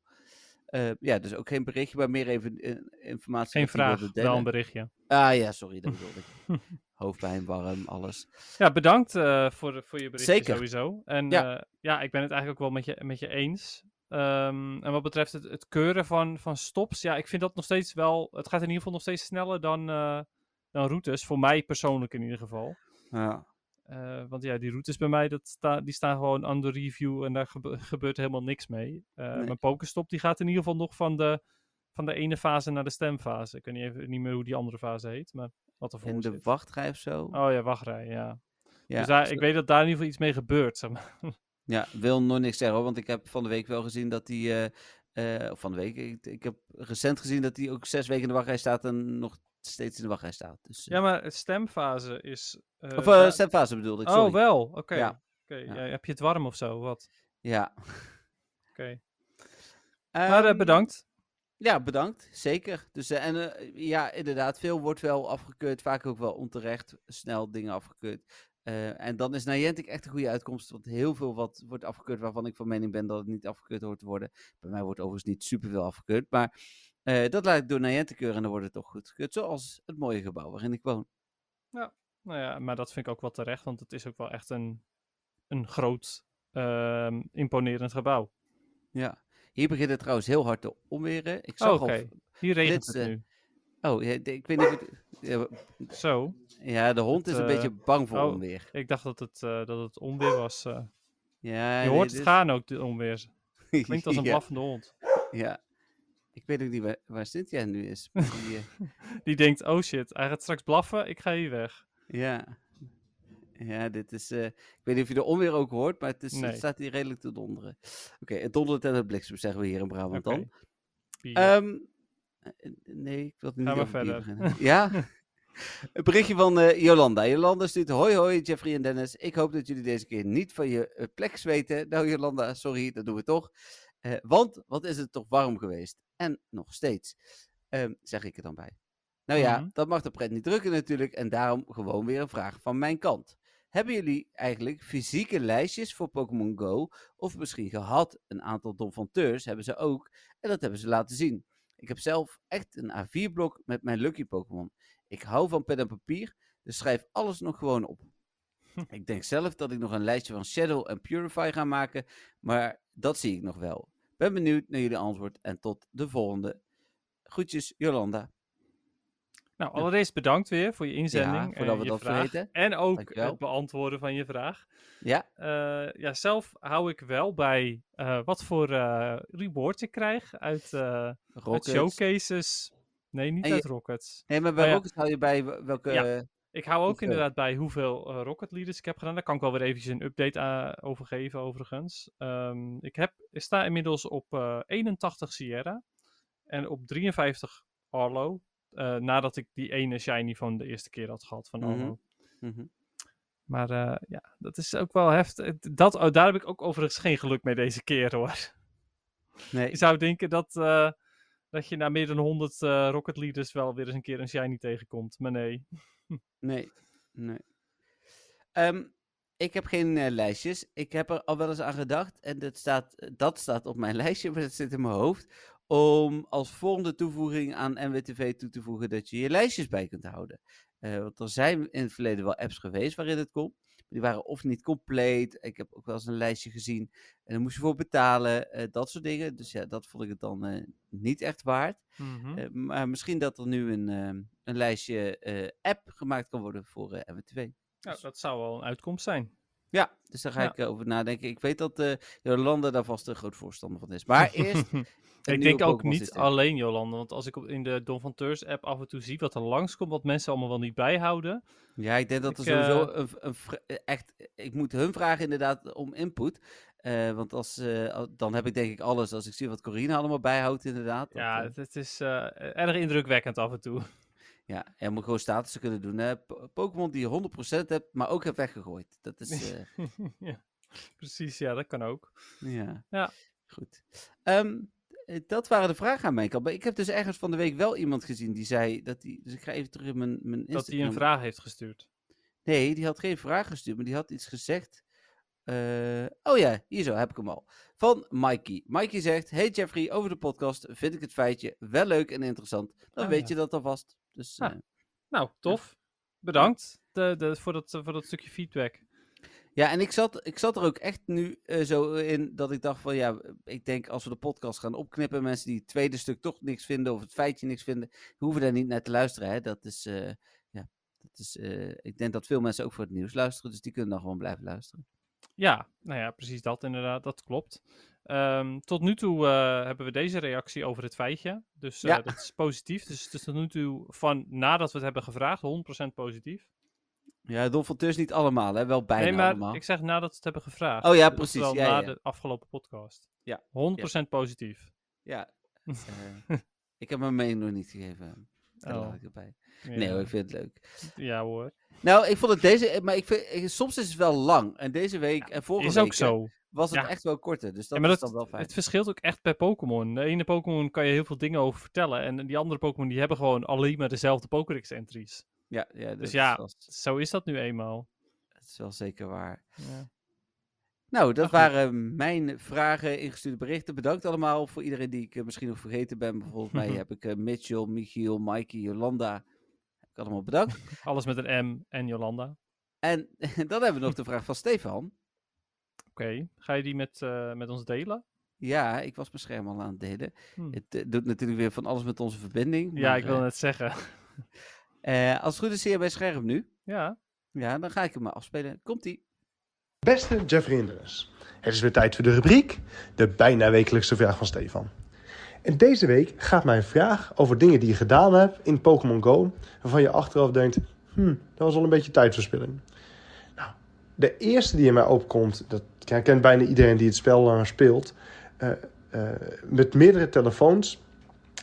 Speaker 1: Eh, ja, dus ook geen berichtje, maar meer even eh, informatie.
Speaker 2: Geen
Speaker 1: wat hij wilde
Speaker 2: vraag,
Speaker 1: delen.
Speaker 2: wel een berichtje.
Speaker 1: Ah ja, sorry, dat bedoelde ik. Hoofdpijn, warm, alles.
Speaker 2: Ja, bedankt eh, voor, voor je berichtje
Speaker 1: Zeker.
Speaker 2: sowieso. En
Speaker 1: Ja.
Speaker 2: ja. ja, ik ben het eigenlijk ook wel met je, met je eens. Ehm, en wat betreft het, het keuren van, van stops, ja, ik vind dat nog steeds wel. Het gaat in ieder geval nog steeds sneller dan, eh, dan routes. Voor mij persoonlijk in ieder geval.
Speaker 1: Ja.
Speaker 2: Eh, want ja, die routes bij mij, dat sta, die staan gewoon under review en daar gebe- gebeurt helemaal niks mee. Eh,
Speaker 1: Nee.
Speaker 2: Mijn pokerstop die gaat in ieder geval nog van de, van de ene fase naar de stemfase. Ik weet niet, even, niet meer hoe die andere fase heet, maar wat er
Speaker 1: In
Speaker 2: voor
Speaker 1: de
Speaker 2: zit.
Speaker 1: wachtrij of zo.
Speaker 2: Oh ja, wachtrij, ja.
Speaker 1: ja,
Speaker 2: dus daar,
Speaker 1: zo-
Speaker 2: ik weet dat daar in ieder geval iets mee gebeurt, zeg maar.
Speaker 1: ja, wil nog niks zeggen, hoor, want ik heb van de week wel gezien dat die... eh, eh, of van de week, ik, ik heb recent gezien dat hij ook zes weken in de wachtrij staat en nog steeds in de wachtrij staat. Dus, eh,
Speaker 2: Ja, maar het stemfase is... eh,
Speaker 1: of
Speaker 2: daar-
Speaker 1: eh stemfase bedoelde ik, sorry.
Speaker 2: oh, wel, oké.
Speaker 1: Ja.
Speaker 2: Oké,
Speaker 1: Ja.
Speaker 2: ja, heb je het warm of zo? Wat?
Speaker 1: Ja.
Speaker 2: Oké. Maar eh,
Speaker 1: Ehm,
Speaker 2: bedankt.
Speaker 1: Ja, bedankt. Zeker. Dus, eh, en eh, ja, inderdaad, veel wordt wel afgekeurd. Vaak ook wel onterecht. Snel dingen afgekeurd. Eh, en dan is Niantic echt een goede uitkomst. Want heel veel wat wordt afgekeurd waarvan ik van mening ben dat het niet afgekeurd hoort te worden. Bij mij wordt overigens niet superveel afgekeurd. Maar eh, dat laat ik door Niantic keuren en dan wordt het toch goed gekeurd. Zoals het mooie gebouw waarin ik woon.
Speaker 2: Nou ja, maar dat vind ik ook wel terecht, want het is ook wel echt een, een groot, ehm, imponerend gebouw.
Speaker 1: Ja. Hier begint het trouwens heel hard te omweren. Ik
Speaker 2: Oh,
Speaker 1: zag
Speaker 2: Oké, hier regent het
Speaker 1: flitsen.
Speaker 2: nu.
Speaker 1: al... Oh, ja, ik ik weet niet... of het- ja,
Speaker 2: Zo,
Speaker 1: Ja, de hond
Speaker 2: Het,
Speaker 1: is een
Speaker 2: eh,
Speaker 1: beetje bang voor
Speaker 2: oh.
Speaker 1: onweer.
Speaker 2: ik dacht dat het, eh, dat het onweer was. eh.
Speaker 1: Ja,
Speaker 2: je
Speaker 1: nee,
Speaker 2: hoort
Speaker 1: dit-
Speaker 2: het gaan ook, de onweer. Klinkt als een
Speaker 1: Ja.
Speaker 2: blaffende hond.
Speaker 1: Ja. Ik weet ook niet waar, waar Cynthia nu is. maar die, eh,
Speaker 2: Die denkt, oh shit, hij gaat straks blaffen, ik ga hier weg.
Speaker 1: ja. Ja, dit is... eh, ik weet niet of je de onweer ook hoort, maar het, is, het
Speaker 2: Nee.
Speaker 1: staat hier redelijk te donderen. Oké, het dondert en het bliksem zeggen we hier in Brabant
Speaker 2: Oké.
Speaker 1: dan.
Speaker 2: Ja.
Speaker 1: Ehm, eh, nee, ik wil het niet
Speaker 2: Gaan we
Speaker 1: over bier
Speaker 2: verder.
Speaker 1: beginnen. Ja? Een berichtje van eh, Jolanda. Jolanda stuurt, hoi hoi Jeffrey en Dennis. Ik hoop dat jullie deze keer niet van je eh, plek zweten. Nou Jolanda, sorry, dat doen we toch. Eh, want, wat is het toch warm geweest. En nog steeds, Ehm, zeg ik er dan bij. Nou ja,
Speaker 2: Mhm.
Speaker 1: dat mag de pret niet drukken natuurlijk. En daarom gewoon weer een vraag van mijn kant. Hebben jullie eigenlijk fysieke lijstjes voor Pokémon Go? Of misschien gehad? Een aantal donfanteurs hebben ze ook. En dat hebben ze laten zien. Ik heb zelf echt een A4-blok met mijn Lucky Pokémon. Ik hou van pen en papier, dus schrijf alles nog gewoon op. ik denk zelf dat ik nog een lijstje van Shadow en Purify ga maken, maar dat zie ik nog wel. Ben benieuwd naar jullie antwoord en tot de volgende. Groetjes, Jolanda.
Speaker 2: Nou, allereerst bedankt weer voor je inzending.
Speaker 1: Ja, voordat
Speaker 2: eh,
Speaker 1: we
Speaker 2: je
Speaker 1: dat
Speaker 2: vraag.
Speaker 1: vergeten.
Speaker 2: En ook
Speaker 1: Dankjewel.
Speaker 2: het beantwoorden van je vraag.
Speaker 1: Ja,
Speaker 2: Eh, ja, zelf hou ik wel bij eh, wat voor eh rewards ik krijg uit, eh, uit
Speaker 1: Rocket.
Speaker 2: showcases. Nee, niet
Speaker 1: En je-
Speaker 2: uit Rockets.
Speaker 1: Nee, maar bij
Speaker 2: Oh ja.
Speaker 1: Rocket hou je bij w- welke...
Speaker 2: Ja.
Speaker 1: eh,
Speaker 2: Ik hou ook
Speaker 1: Hoeveel?
Speaker 2: inderdaad bij hoeveel eh, Rocket Leaders ik heb gedaan. Daar kan ik wel weer eventjes een update aan over geven, overigens. Ehm, ik, heb, ik sta inmiddels op eh, 81 Sierra en op 53 Arlo. eh, nadat ik die ene shiny van de eerste keer had gehad van
Speaker 1: Mhm.
Speaker 2: Arlo.
Speaker 1: mhm.
Speaker 2: Maar eh, ja, dat is ook wel heftig. Dat, oh, daar heb ik ook overigens geen geluk mee deze keer hoor.
Speaker 1: Nee,
Speaker 2: Je zou denken dat, eh, dat je na meer dan 100 eh, Rocket Leaders wel weer eens een keer een shiny tegenkomt. Maar nee.
Speaker 1: nee, nee. Ehm, ik heb geen eh, lijstjes. Ik heb er al wel eens aan gedacht. En dat staat, eh, dat staat op mijn lijstje, maar dat zit in mijn hoofd. Om als volgende toevoeging aan NWTV toe te voegen dat je je lijstjes bij kunt houden. Eh, want er zijn in het verleden wel apps geweest waarin het kon. Die waren of niet compleet. Ik heb ook wel eens een lijstje gezien. En daar moest je voor betalen. eh, dat soort dingen. Dus ja, dat vond ik het dan eh, niet echt waard.
Speaker 2: Mhm.
Speaker 1: Eh, maar misschien dat er nu een, ehm, een lijstje eh, app gemaakt kan worden voor eh MW2.
Speaker 2: Nou, dat zou wel een uitkomst zijn.
Speaker 1: Ja, dus daar ga
Speaker 2: Ja.
Speaker 1: ik eh, over nadenken. Ik weet dat eh, Jolanda daar vast een groot voorstander van is. Maar eerst. een
Speaker 2: ik denk
Speaker 1: nieuwe
Speaker 2: ook
Speaker 1: Pokémon
Speaker 2: niet
Speaker 1: systeem.
Speaker 2: alleen Jolande, want als ik op, in de Don van Teurs app af en toe zie wat er langskomt, wat mensen allemaal wel niet bijhouden.
Speaker 1: Ja, ik denk dat er
Speaker 2: Ik, eh,
Speaker 1: sowieso een, v- een vra- eh, echt. Ik moet hun vragen inderdaad om input. Eh, want als, eh, al- dan heb ik denk ik alles. Als ik zie wat Corine allemaal bijhoudt, inderdaad. dat,
Speaker 2: Ja,
Speaker 1: eh,
Speaker 2: het, het is eh, erg indrukwekkend af en toe.
Speaker 1: ja, en moet gewoon statussen kunnen doen. hè. Po- Pokémon die je 100% hebt, maar ook hebt weggegooid. Dat is. eh,
Speaker 2: ja. Precies, ja, dat kan ook.
Speaker 1: Ja.
Speaker 2: Ja.
Speaker 1: Goed. Ehm, eh, dat waren de vragen aan mijn kant. Maar ik heb dus ergens van de week wel iemand gezien die zei dat hij. Dus ik ga even terug in mijn, mijn
Speaker 2: Dat hij een
Speaker 1: Instagram.
Speaker 2: vraag heeft gestuurd.
Speaker 1: Nee, die had geen vraag gestuurd, maar die had iets gezegd. Eh, oh ja, hier zo heb ik hem al. Van Mikey. Mikey zegt: Hey Jeffrey, over de podcast vind ik het feitje wel leuk en interessant. Dan
Speaker 2: Ah,
Speaker 1: weet
Speaker 2: ja.
Speaker 1: je dat alvast. Dus
Speaker 2: Ah.
Speaker 1: eh,
Speaker 2: Nou, tof. Bedankt de, de, voor, dat, eh, voor dat stukje feedback.
Speaker 1: Ja, en ik zat, ik zat er ook echt nu eh, zo in dat ik dacht van ja, ik denk als we de podcast gaan opknippen, mensen die het tweede stuk toch niks vinden of het feitje niks vinden, die hoeven daar niet naar te luisteren. Hè? Dat is, eh, ja, dat is, eh, ik denk dat veel mensen ook voor het nieuws luisteren, dus die kunnen dan gewoon blijven luisteren.
Speaker 2: Ja, nou ja, precies dat inderdaad. Dat klopt. Ehm, tot nu toe eh, hebben we deze reactie over het feitje. Dus eh,
Speaker 1: Ja.
Speaker 2: dat is positief. Dus het is tot nu toe van nadat we het hebben gevraagd, 100% positief.
Speaker 1: Ja, Don van Tus niet allemaal, hè? wel bijna
Speaker 2: nee, maar
Speaker 1: allemaal.
Speaker 2: ik zeg nadat we het hebben gevraagd.
Speaker 1: Oh ja,
Speaker 2: Dus
Speaker 1: precies,
Speaker 2: oftewel
Speaker 1: ja,
Speaker 2: na
Speaker 1: ja.
Speaker 2: de afgelopen podcast.
Speaker 1: Ja,
Speaker 2: 100% positief.
Speaker 1: Ja, eh, ik heb mijn mening nog niet gegeven. Daar
Speaker 2: Oh,
Speaker 1: laat ik erbij.
Speaker 2: ja.
Speaker 1: Nee hoor, ik vind het leuk.
Speaker 2: Ja hoor.
Speaker 1: Nou, ik vond het deze, maar ik vind, eh, soms is het wel lang. En deze week en vorige
Speaker 2: Is
Speaker 1: week
Speaker 2: ook
Speaker 1: eh,
Speaker 2: zo.
Speaker 1: was het
Speaker 2: Ja.
Speaker 1: echt wel korter. Dus dat
Speaker 2: Ja, maar
Speaker 1: is
Speaker 2: dat-
Speaker 1: dan wel fijn.
Speaker 2: Het verschilt ook echt per Pokémon. De ene Pokémon kan je heel veel dingen over vertellen. En die andere Pokémon die hebben gewoon alleen maar dezelfde Pokédex-entries.
Speaker 1: Ja, ja dat
Speaker 2: Dus
Speaker 1: Is
Speaker 2: ja.
Speaker 1: wel,
Speaker 2: Zo is dat nu eenmaal.
Speaker 1: dat is wel zeker waar.
Speaker 2: Ja.
Speaker 1: Nou, dat
Speaker 2: Maar goed.
Speaker 1: waren mijn vragen, ingestuurde berichten. Bedankt allemaal voor iedereen die ik eh, misschien nog vergeten ben. Bijvoorbeeld mij heb ik eh, Mitchell, Michiel, Mikey, Jolanda. Heb ik allemaal bedankt.
Speaker 2: Alles met een M en Jolanda.
Speaker 1: En dan hebben we nog de vraag van Stefan.
Speaker 2: Oké, ga je die met, eh, met ons delen?
Speaker 1: Ja, ik was mijn scherm al aan het delen.
Speaker 2: Hmm.
Speaker 1: Het eh, doet natuurlijk weer van alles met onze verbinding.
Speaker 2: Ja,
Speaker 1: maar,
Speaker 2: ik wil
Speaker 1: eh,
Speaker 2: net zeggen.
Speaker 1: eh, als het goed is, zie je bij scherm nu.
Speaker 2: Ja,
Speaker 1: Ja, dan ga ik hem maar afspelen. Komt-ie.
Speaker 3: Beste Jeffrey en Dennis, het is weer tijd voor de rubriek, de bijna wekelijkse vraag van Stefan. En deze week gaat mijn vraag over dingen die je gedaan hebt in Pokémon Go, waarvan je achteraf denkt, hmm, dat was al een beetje tijdverspilling. Nou, de eerste die in mij opkomt, dat herkent bijna iedereen die het spel langer speelt, eh, eh, met meerdere telefoons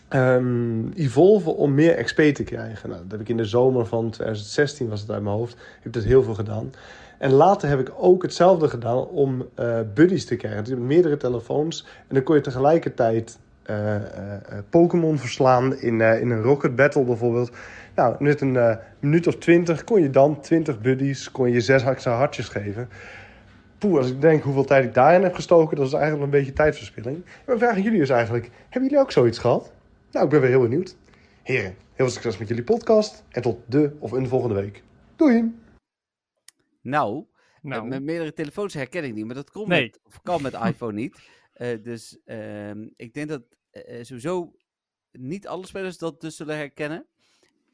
Speaker 3: ehm evolven om meer XP te krijgen. Nou, dat heb ik in de zomer van 2016, was het uit mijn hoofd, heb ik dat heel veel gedaan. En later heb ik ook hetzelfde gedaan om eh, buddies te krijgen. Dus je hebt meerdere telefoons. En dan kon je tegelijkertijd eh, eh, eh, Pokémon verslaan in, eh, in een Rocket Battle bijvoorbeeld. Nou, met een eh, minuut of twintig kon je dan twintig buddies, kon je zes extra hartjes geven. Poeh, als ik denk hoeveel tijd ik daarin heb gestoken, dat is eigenlijk wel een beetje tijdverspilling. En mijn vraag aan jullie is eigenlijk, hebben jullie ook zoiets gehad? Nou, ik ben weer heel benieuwd. Heren, heel veel succes met jullie podcast. En tot de of een volgende week. Doei!
Speaker 1: Nou,
Speaker 2: Nou,
Speaker 1: eh, met meerdere telefoons herken ik niet, maar dat komt
Speaker 2: Nee.
Speaker 1: met, of kan met iPhone niet. Eh, dus ehm, ik denk dat eh, eh, sowieso niet alle spelers dat dus zullen herkennen.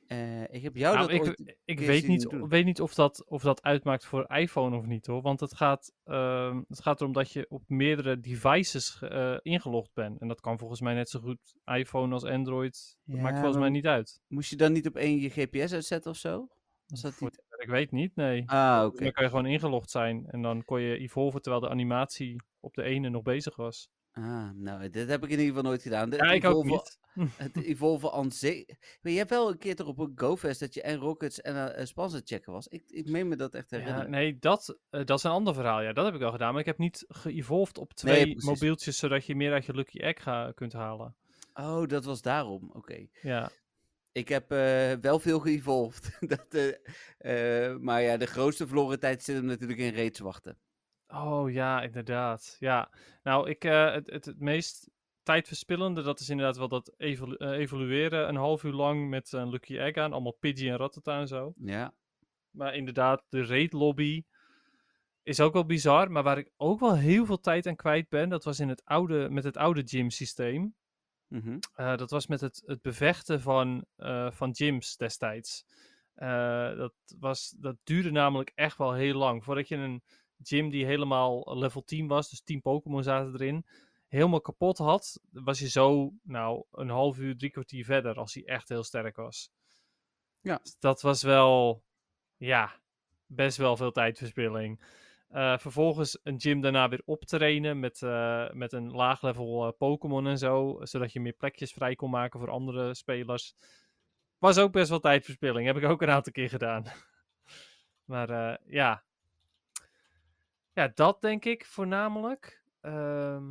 Speaker 1: Eh, ik heb jou
Speaker 2: nou,
Speaker 1: dat
Speaker 2: ik,
Speaker 1: ooit...
Speaker 2: ik
Speaker 1: keer
Speaker 2: weet
Speaker 1: zien
Speaker 2: niet,
Speaker 1: doen.
Speaker 2: weet niet of, dat, of dat uitmaakt voor iPhone of niet hoor. Want het gaat, ehm, het gaat erom dat je op meerdere devices eh, ingelogd bent. En dat kan volgens mij net zo goed iPhone als Android. Dat
Speaker 1: Ja,
Speaker 2: maakt volgens
Speaker 1: dan-
Speaker 2: mij niet uit.
Speaker 1: Moest je dan niet op één je GPS uitzetten of zo? Was dat
Speaker 2: Voor
Speaker 1: niet...
Speaker 2: Ik weet niet, nee.
Speaker 1: Ah, oké.
Speaker 2: Dan kan je gewoon ingelogd zijn. En dan kon je evolven terwijl de animatie op de ene nog bezig was.
Speaker 1: Ah, nou, dit heb ik in ieder geval nooit gedaan. De
Speaker 2: Ja, ik ook
Speaker 1: Evolve-
Speaker 2: niet.
Speaker 1: Het evolven aan zee. Maar je hebt wel een keer toch op een GoFest dat je en Rockets en eh, eh, Spans checken was. Ik, ik meen me dat echt te
Speaker 2: Ja,
Speaker 1: herinneren.
Speaker 2: nee, dat, eh, dat is een ander verhaal. Ja, dat heb ik wel gedaan. Maar ik heb niet geëvolved op twee
Speaker 1: precies.
Speaker 2: mobieltjes, zodat je meer uit je Lucky Egg ga- kunt halen.
Speaker 1: Oh, dat was daarom. Oké.
Speaker 2: Ja.
Speaker 1: Ik heb eh, wel veel geëvolved. dat, eh, eh, maar ja, de grootste verloren tijd zit hem natuurlijk in raids wachten.
Speaker 2: Oh ja, inderdaad. Ja, nou, ik, eh, het, het, het meest tijdverspillende, dat is inderdaad wel dat evolu- eh, evolueren een half uur lang met een Lucky Egg aan, allemaal Pidgey en Rattata en zo.
Speaker 1: Ja.
Speaker 2: Maar inderdaad, de raid lobby is ook wel bizar, maar waar ik ook wel heel veel tijd aan kwijt ben, dat was in het oude, met het oude gym systeem.
Speaker 1: Mhm.
Speaker 2: Eh, dat was met het, het bevechten van, eh van gyms destijds. Eh, dat, was, dat duurde namelijk echt wel heel lang. Voordat je een gym die helemaal level 10 was, dus 10 Pokémon zaten erin, helemaal kapot had, was je zo, nou, een half uur, drie kwartier verder als hij echt heel sterk was.
Speaker 1: Ja.
Speaker 2: Dus dat was wel, ja, best wel veel tijdverspilling. Eh, vervolgens een gym daarna weer optrainen met, eh, met een laag level eh, Pokémon en zo. Zodat je meer plekjes vrij kon maken voor andere spelers. Was ook best wel tijdverspilling. Heb ik ook een aantal keer gedaan. maar eh, ja. Ja, dat denk ik voornamelijk. Ehm,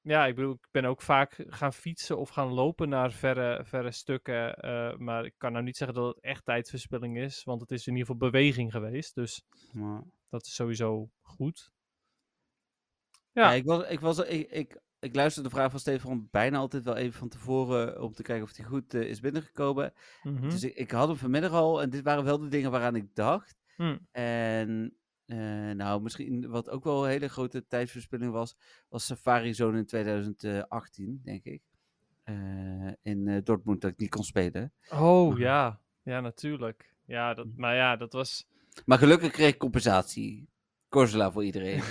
Speaker 2: ja, ik bedoel, ik ben ook vaak gaan fietsen of gaan lopen naar verre, verre stukken. eh, maar ik kan nou niet zeggen dat het echt tijdverspilling is. Want het is in ieder geval beweging geweest. Dus
Speaker 1: Maar...
Speaker 2: dat is sowieso goed.
Speaker 1: Ja.
Speaker 2: Ja.
Speaker 1: ik, was, ik, was, ik, ik, ik luisterde de vraag van Stefan bijna altijd wel even van tevoren om te kijken of die goed eh, is binnengekomen. Dus ik, ik had hem vanmiddag al en dit waren wel de dingen waaraan ik dacht.
Speaker 2: Hm.
Speaker 1: En eh, nou, misschien wat ook wel een hele grote tijdsverspilling was, was Safari Zone in 2018, denk ik. Eh, in eh, Dortmund dat ik niet kon spelen.
Speaker 2: Oh
Speaker 1: Mhm.
Speaker 2: ja, ja natuurlijk. Ja, dat, maar ja, dat was.
Speaker 1: Maar gelukkig kreeg ik compensatie. Corsola voor iedereen.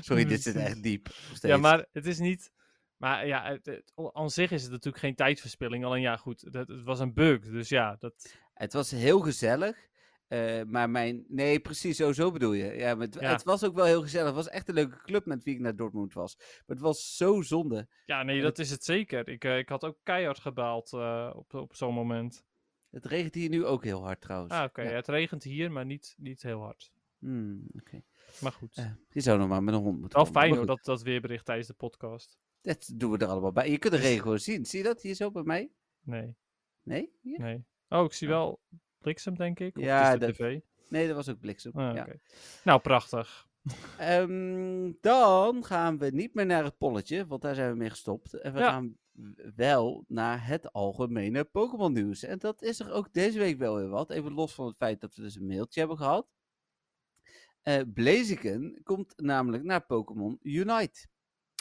Speaker 1: Sorry, dit zit echt diep. nog
Speaker 2: ja,
Speaker 1: steeds.
Speaker 2: maar het is niet. Maar ja, het, het- o- aan zich is het natuurlijk geen tijdverspilling. Alleen ja, goed, dat, het was een bug. Dus ja, dat.
Speaker 1: Het was heel gezellig. eh, maar mijn. Nee, precies, zo, zo bedoel je. Ja, maar het,
Speaker 2: Ja.
Speaker 1: het was ook wel heel gezellig. Het was echt een leuke club met wie ik naar Dortmund was. Maar het was zo zonde.
Speaker 2: Ja, nee, dat is het zeker. Ik, eh, ik had ook keihard gebaald eh, op, op zo'n moment.
Speaker 1: Het regent hier nu ook heel hard trouwens.
Speaker 2: Ah, oké.
Speaker 1: Dus, Ja.
Speaker 2: Het regent hier, maar niet, niet heel hard.
Speaker 1: Hmm, oké.
Speaker 2: Maar goed.
Speaker 1: Eh, je zou nog maar met een hond moeten
Speaker 2: Wel
Speaker 1: wandelen, maar
Speaker 2: fijn hoor,
Speaker 1: goed,
Speaker 2: dat, dat weerbericht tijdens de podcast.
Speaker 1: Dat doen we er allemaal bij. Je kunt de
Speaker 2: Dus-
Speaker 1: regen gewoon zien. Zie je dat hier zo bij mij?
Speaker 2: Nee,
Speaker 1: Nee? Hier?
Speaker 2: nee. Oh, ik zie wel bliksem, denk ik. Of
Speaker 1: Ja,
Speaker 2: ja, de
Speaker 1: dat-
Speaker 2: tv.
Speaker 1: Nee, dat was ook bliksem.
Speaker 2: Ah,
Speaker 1: ja.
Speaker 2: oké. Nou, prachtig.
Speaker 1: Ehm, dan gaan we niet meer naar het polletje, want daar zijn we mee gestopt. En we
Speaker 2: Ja.
Speaker 1: gaan w- wel naar het algemene Pokémon nieuws. En dat is er ook deze week wel weer wat. Even los van het feit dat we dus een mailtje hebben gehad. Eh Blaziken komt namelijk naar Pokémon Unite.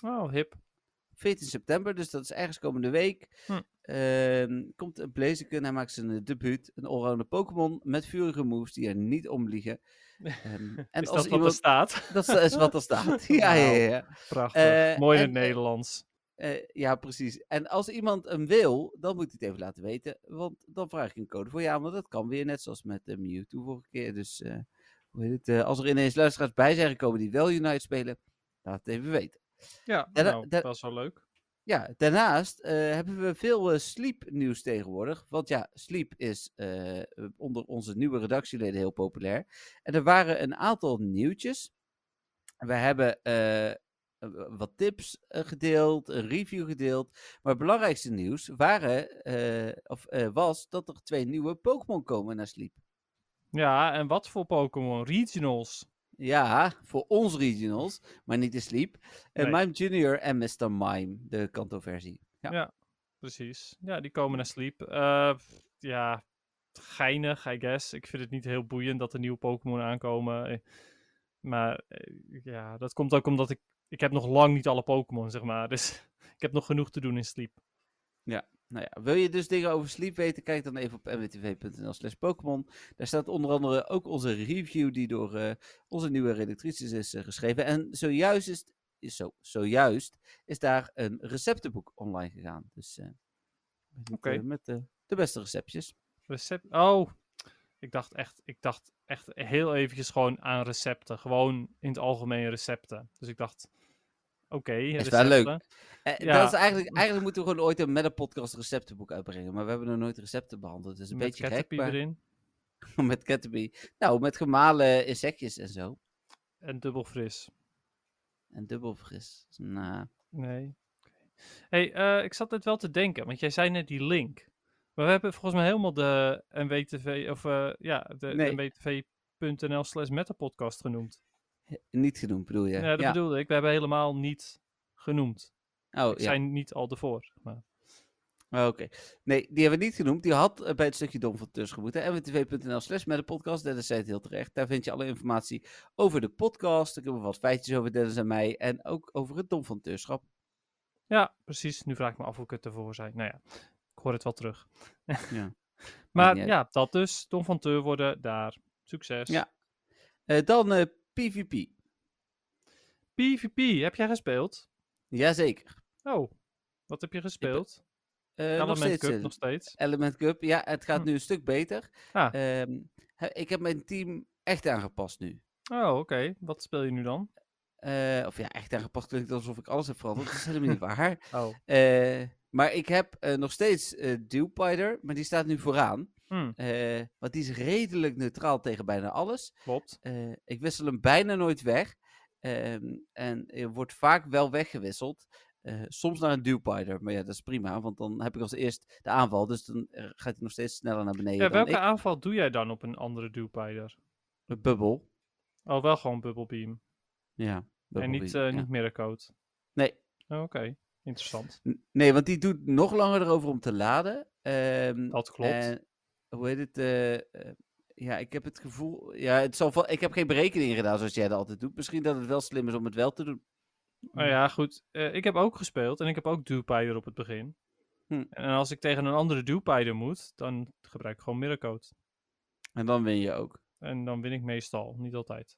Speaker 2: Oh, hip.
Speaker 1: 14 september, dus dat is ergens komende week.
Speaker 2: Hm.
Speaker 1: Ehm, komt een Blaziken, hij maakt zijn eh, debuut. Een allrounder Pokémon met vurige moves die er niet om liegen. Ehm, en als
Speaker 2: is dat wat er
Speaker 1: iemand... eh,
Speaker 2: staat?
Speaker 1: Dat is wat er staat. Ja, ja, ja. ja.
Speaker 2: Prachtig.
Speaker 1: Eh,
Speaker 2: Mooi in
Speaker 1: en,
Speaker 2: het
Speaker 1: eh,
Speaker 2: Nederlands.
Speaker 1: Eh, ja, precies. En als iemand hem wil, dan moet hij het even laten weten. Want dan vraag ik een code voor ja, want dat kan weer net zoals met eh, Mewtwo vorige keer. Dus eh, hoe heet het? eh, als er ineens luisteraars bij zijn gekomen die wel Unite spelen, laat het even weten.
Speaker 2: Ja,
Speaker 1: da-
Speaker 2: nou,
Speaker 1: da-
Speaker 2: dat is wel leuk.
Speaker 1: Ja, daarnaast eh, hebben we veel eh, Sleep nieuws tegenwoordig. Want ja, Sleep is eh, onder onze nieuwe redactieleden heel populair. En er waren een aantal nieuwtjes. We hebben eh, wat tips eh, gedeeld, een review gedeeld. Maar het belangrijkste nieuws waren, eh, of, eh, was dat er twee nieuwe Pokémon komen naar Sleep.
Speaker 2: Ja, en wat voor Pokémon? Regionals.
Speaker 1: Ja, voor ons regionals, maar niet in Sleep. Eh,
Speaker 2: Nee.
Speaker 1: Mime Junior en Mr. Mime, de kantoversie. Ja.
Speaker 2: Precies. Ja, die komen naar Sleep. Eh, pff, ja, geinig, I guess. Ik vind het niet heel boeiend dat er nieuwe Pokémon aankomen. Eh, Maar eh, ja, dat komt ook omdat ik... Ik heb nog lang niet alle Pokémon, zeg maar. Dus ik heb nog genoeg te doen in Sleep.
Speaker 1: Nou ja, wil je dus dingen over Sleep weten? Kijk dan even op mwtv.nl slash Pokémon. Daar staat onder andere ook onze review die door eh, onze nieuwe redactrices is eh, geschreven. En zojuist is, is zo, zojuist is daar een receptenboek online gegaan. Dus eh, met,
Speaker 2: Oké.
Speaker 1: eh, met eh, de beste receptjes.
Speaker 2: Recept. Oh, ik dacht echt, ik dacht echt heel eventjes gewoon aan recepten. Gewoon in het algemeen recepten. Dus ik dacht, oké,
Speaker 1: Is wel
Speaker 2: recepten.
Speaker 1: leuk. Eh,
Speaker 2: Ja.
Speaker 1: dat is eigenlijk, eigenlijk moeten we gewoon ooit een met een podcast receptenboek uitbrengen. Maar we hebben nog nooit recepten behandeld. Dus een
Speaker 2: Met
Speaker 1: beetje gek.
Speaker 2: Caterpie
Speaker 1: Maar,
Speaker 2: erin.
Speaker 1: met Caterpie. Nou, met gemalen insectjes en zo.
Speaker 2: En dubbel fris.
Speaker 1: En dubbelfris. Nou,
Speaker 2: Nee. Oké. hey, eh, ik zat net wel te denken, want jij zei net die link. Maar we hebben volgens mij helemaal de NWTV, of eh, ja, de,
Speaker 1: Nee.
Speaker 2: NWTV.nl slash metapodcast genoemd.
Speaker 1: niet genoemd bedoel je?
Speaker 2: Ja, dat bedoelde ik. We hebben helemaal niet genoemd.
Speaker 1: Oh,
Speaker 2: We
Speaker 1: ja.
Speaker 2: zijn niet al ervoor. Maar...
Speaker 1: Oh, Oké. Nee, die hebben we niet genoemd. Die had eh, bij het stukje Dom van Tussen moeten. mwtv.nl slash met de podcast. Dennis zei het heel terecht. Daar vind je alle informatie over de podcast. Ik heb wat feitjes over Dennis en mij. En ook over het Dom van Tussenschap.
Speaker 2: Ja, precies. Nu vraag ik me af hoe ik het ervoor zei. Nou ja, ik hoor het wel terug.
Speaker 1: Ja.
Speaker 2: Maar
Speaker 1: niet uit.
Speaker 2: ja, dat dus. Don van Teur worden daar. Succes.
Speaker 1: Ja. Eh, dan eh, PvP.
Speaker 2: PvP, heb jij gespeeld?
Speaker 1: Jazeker.
Speaker 2: Oh, wat heb je gespeeld?
Speaker 1: Eh nog
Speaker 2: Element
Speaker 1: steeds.
Speaker 2: Cup
Speaker 1: eh,
Speaker 2: nog steeds.
Speaker 1: Element Cup. Ja, het gaat
Speaker 2: Hm.
Speaker 1: nu een stuk beter.
Speaker 2: Ah.
Speaker 1: Ehm, he- ik heb mijn team echt aangepast nu.
Speaker 2: Oh, oké. Wat speel je nu dan?
Speaker 1: Eh, of ja, echt aangepast klinkt alsof ik alles heb veranderd. Dat is helemaal niet waar.
Speaker 2: Oh.
Speaker 1: Eh, maar ik heb eh, nog steeds eh Dewpider, maar die staat nu vooraan.
Speaker 2: Hmm.
Speaker 1: Eh, want die is redelijk neutraal tegen bijna alles.
Speaker 2: Klopt.
Speaker 1: Eh, ik wissel hem bijna nooit weg. Ehm, en eh, wordt vaak wel weggewisseld. Eh, soms naar een Dewpider, maar ja, dat is prima. Want dan heb ik als eerst de aanval, dus dan eh, gaat hij nog steeds sneller naar beneden
Speaker 2: Ja,
Speaker 1: dan
Speaker 2: welke
Speaker 1: ik.
Speaker 2: aanval doe jij dan op een andere Dewpider?
Speaker 1: Een Bubble.
Speaker 2: Oh, wel gewoon Bubble Beam.
Speaker 1: Ja,
Speaker 2: en
Speaker 1: Bubble
Speaker 2: niet,
Speaker 1: Bee,
Speaker 2: eh
Speaker 1: ja.
Speaker 2: niet Miracote.
Speaker 1: Nee,
Speaker 2: Oh, oké. Interessant.
Speaker 1: N- Nee, want die doet nog langer erover om te laden. Ehm,
Speaker 2: Dat klopt.
Speaker 1: En, hoe heet het? eh, eh, ja, ik heb het gevoel. Ja, het zal van, ik heb geen berekening gedaan zoals jij dat altijd doet. Misschien dat het wel slim is om het wel te doen.
Speaker 2: Nou
Speaker 1: Hmm.
Speaker 2: ja, goed. Eh, ik heb ook gespeeld en ik heb ook Dewpider op het begin.
Speaker 1: Hm.
Speaker 2: En als ik tegen een andere Dewpider moet, dan gebruik ik gewoon Miracote.
Speaker 1: En dan win je ook.
Speaker 2: En dan win ik meestal, niet altijd.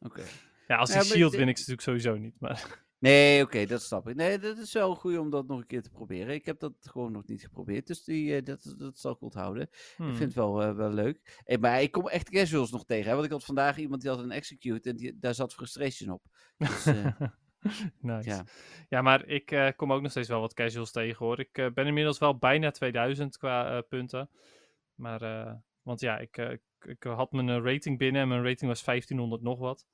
Speaker 1: Oké.
Speaker 2: Ja, als
Speaker 1: Ja,
Speaker 2: die
Speaker 1: maar
Speaker 2: shield
Speaker 1: dit-
Speaker 2: win ik ze natuurlijk sowieso niet. Maar
Speaker 1: Nee, oké, dat snap ik. Nee, dat is wel goed om dat nog een keer te proberen. Ik heb dat gewoon nog niet geprobeerd. Dus die, eh, dat, dat zal ik onthouden.
Speaker 2: hmm.
Speaker 1: Ik vind het wel, eh, wel leuk. Eh, maar ik kom echt casuals nog tegen. Hè? Want ik had vandaag iemand die had een execute en die, daar zat frustration op. Dus, eh,
Speaker 2: nice.
Speaker 1: ja.
Speaker 2: Ja. maar ik eh, kom ook nog steeds wel wat casuals tegen hoor. Ik eh, ben inmiddels wel bijna 2000 qua eh, punten. Maar, eh, want ja, ik, eh, ik, ik had mijn eh, rating binnen en mijn rating was 1500 nog wat.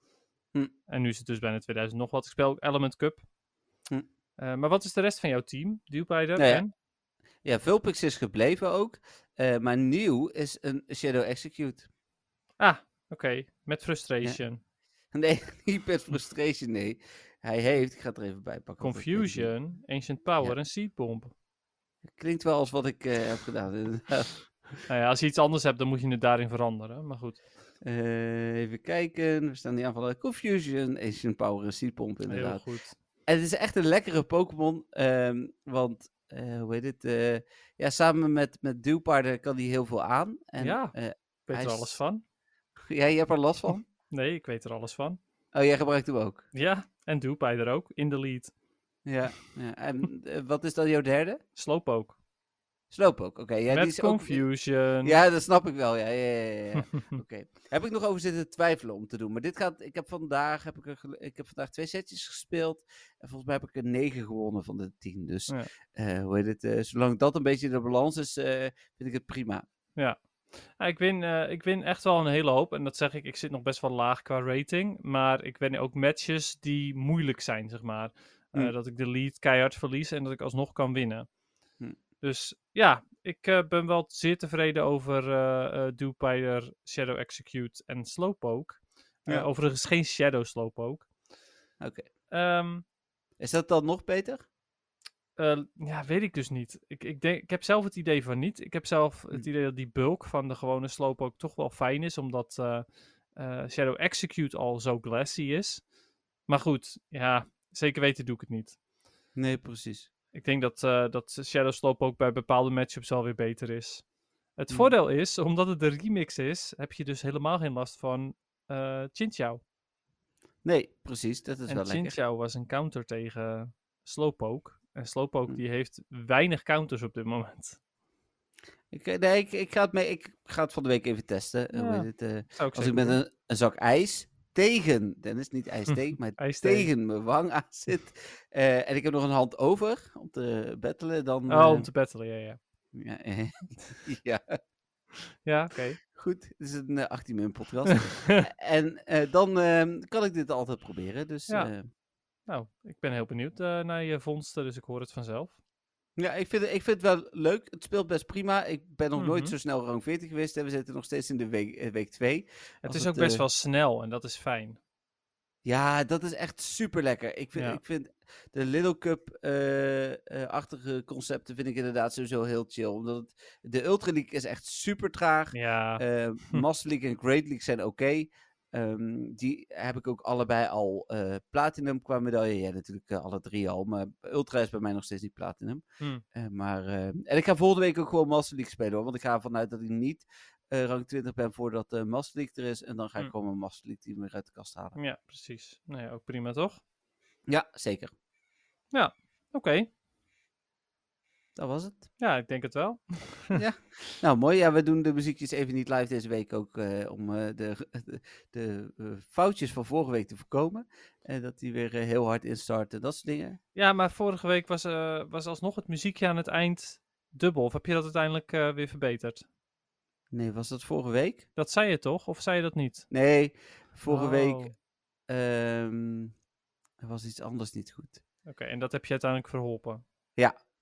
Speaker 1: Hm.
Speaker 2: En nu is het dus bijna 2000 nog wat. Ik speel ook Element Cup.
Speaker 1: Hm.
Speaker 2: Eh, maar wat is de rest van jouw team? Dewpider?
Speaker 1: Nou ja,
Speaker 2: en?
Speaker 1: Ja, Vulpix is gebleven ook. eh, maar nieuw is een Shadow Execute.
Speaker 2: Ah, oké. Met frustration.
Speaker 1: Nee, niet met frustration, nee. Hij heeft, ik ga het er even bij pakken. want dat klinkt-
Speaker 2: Confusion, Ancient Power
Speaker 1: Ja.
Speaker 2: en Seed Bomb.
Speaker 1: Klinkt wel als wat ik eh, heb gedaan. inderdaad.
Speaker 2: Nou ja, als je iets anders hebt, dan moet je het daarin veranderen. Maar goed,
Speaker 1: Eh, even kijken, we staan die aanvallen. eh, Confusion, Ancient Power en Seed Pomp
Speaker 2: heel
Speaker 1: inderdaad.
Speaker 2: goed.
Speaker 1: En het is echt een lekkere Pokémon, ehm, want eh, hoe heet het? eh, ja, samen met, met Dewpaarden kan hij heel veel aan. En,
Speaker 2: Ja.
Speaker 1: eh,
Speaker 2: Ik weet
Speaker 1: Hij
Speaker 2: er
Speaker 1: is-
Speaker 2: alles van.
Speaker 1: ja, je hebt er last van?
Speaker 2: Nee, ik weet er alles van.
Speaker 1: Oh, jij gebruikt hem ook?
Speaker 2: Ja, en Doopij er ook, in de lead.
Speaker 1: Ja. ja. En eh, wat is dan jouw derde?
Speaker 2: Slooppoke.
Speaker 1: Slooppoke, oké. Ja,
Speaker 2: Met
Speaker 1: die is ook-
Speaker 2: Confusion.
Speaker 1: Ja, dat snap ik wel. Ja, ja, ja, ja, ja. Oké. Heb ik nog over zitten twijfelen om te doen. Maar dit gaat. Ik heb vandaag, heb ik, er gel- ik heb vandaag twee setjes gespeeld. En volgens mij heb ik er negen gewonnen van de tien. Dus
Speaker 2: Ja.
Speaker 1: eh, hoe heet het? eh, zolang dat een beetje de balans is, eh, vind ik het prima.
Speaker 2: Ja, ik, win, eh, ik win echt wel een hele hoop. En dat zeg ik, ik zit nog best wel laag qua rating. Maar ik win ook matches die moeilijk zijn, zeg maar. Eh,
Speaker 1: Hmm.
Speaker 2: Dat ik de lead keihard verlies en dat ik alsnog kan winnen.
Speaker 1: Hmm.
Speaker 2: Dus ja, ik eh, ben wel zeer tevreden over eh eh Dewpider, Shadow Execute en Slowpoke. Eh,
Speaker 1: Ja.
Speaker 2: overigens geen Shadow Slowpoke.
Speaker 1: Oké.
Speaker 2: Ehm,
Speaker 1: Is dat dan nog beter?
Speaker 2: Eh, ja, weet ik dus niet. Ik, ik, denk, ik heb zelf het idee van niet. Ik heb zelf
Speaker 1: Hmm.
Speaker 2: het idee dat die bulk van de gewone sloop ook toch wel fijn is, omdat eh, eh, Shadow Execute al zo glassy is. Maar goed, ja, zeker weten doe ik het niet.
Speaker 1: Nee, precies.
Speaker 2: Ik denk dat, eh, dat Shadow Slope ook bij bepaalde matchups alweer beter is. Het
Speaker 1: Hmm.
Speaker 2: voordeel is, omdat het een remix is, heb je dus helemaal geen last van eh Chin Chow.
Speaker 1: Nee, precies. Dat is wel
Speaker 2: En
Speaker 1: lekker.
Speaker 2: Chinchou was een counter tegen Slowpoke. En Slowpoke
Speaker 1: Hmm.
Speaker 2: die heeft weinig counters op dit moment.
Speaker 1: Ik, eh, nee, ik, ik, ga het mee, ik ga het van de week even testen. Eh, hoe
Speaker 2: Ja.
Speaker 1: heet het, eh,
Speaker 2: Zou ik
Speaker 1: als ik
Speaker 2: zeker
Speaker 1: met
Speaker 2: doen.
Speaker 1: een, een zak ijs tegen, Dennis, niet ijs tegen, maar
Speaker 2: Ijs tegen.
Speaker 1: tegen mijn wang aan zit. eh, en ik heb nog een hand over om te battelen, dan...
Speaker 2: Oh,
Speaker 1: eh,
Speaker 2: om te battelen, ja, ja.
Speaker 1: ja, eh, ja,
Speaker 2: Ja, oké.
Speaker 1: goed. Het is een eh, 18 min podcast. Eh, en eh, dan ehm, kan ik dit altijd proberen. Dus
Speaker 2: Ja.
Speaker 1: ja,
Speaker 2: Nou, ik ben heel benieuwd eh, naar je vondsten, dus ik hoor het vanzelf.
Speaker 1: ja ik, vind, het- ik vind het wel leuk. Het speelt best prima. Ik ben nog nooit
Speaker 2: Mhm.
Speaker 1: zo snel rang 40 geweest. En we zitten nog steeds in de week, eh, week 2.
Speaker 2: Het
Speaker 1: Als
Speaker 2: is
Speaker 1: het,
Speaker 2: ook best
Speaker 1: eh,
Speaker 2: wel snel en dat is fijn.
Speaker 1: Ja, dat is echt super lekker. Ik vind,
Speaker 2: Ja.
Speaker 1: ik vind de Little Cup-achtige concepten vind ik inderdaad sowieso heel chill. Omdat het- de Ultra League is echt super traag.
Speaker 2: Ja,
Speaker 1: Eh, Master League en Great League zijn oké. Ehm, die heb ik ook allebei al eh, platinum qua medaille. Ja, natuurlijk eh, alle drie al. Maar Ultra is bij mij nog steeds niet platinum.
Speaker 2: Hmm.
Speaker 1: Eh, maar, eh, en ik ga volgende week ook gewoon Master League spelen hoor. Want ik ga ervan uit dat ik niet eh, rang 20 ben voordat eh Master League er is. En dan ga ik
Speaker 2: Hmm.
Speaker 1: gewoon mijn Master League team weer uit de kast halen.
Speaker 2: ja, precies. Nou ja, ook prima toch?
Speaker 1: Ja, zeker.
Speaker 2: Oké,
Speaker 1: Dat was het.
Speaker 2: ja, ik denk het wel.
Speaker 1: Nou, mooi. Ja, we doen de muziekjes even niet live deze week ook eh, om eh, de, de, de, eh, foutjes van vorige week te voorkomen. En dat die weer eh, heel hard instarten, dat soort dingen.
Speaker 2: Ja, maar vorige week was, eh, was alsnog het muziekje aan het eind dubbel. Of heb je dat uiteindelijk eh, weer verbeterd?
Speaker 1: Nee, was dat vorige week?
Speaker 2: Dat zei je toch? Of zei je dat niet?
Speaker 1: Nee, vorige
Speaker 2: Oh,
Speaker 1: week
Speaker 2: Oké,
Speaker 1: ehm, er was iets anders niet goed.
Speaker 2: en dat heb je uiteindelijk verholpen.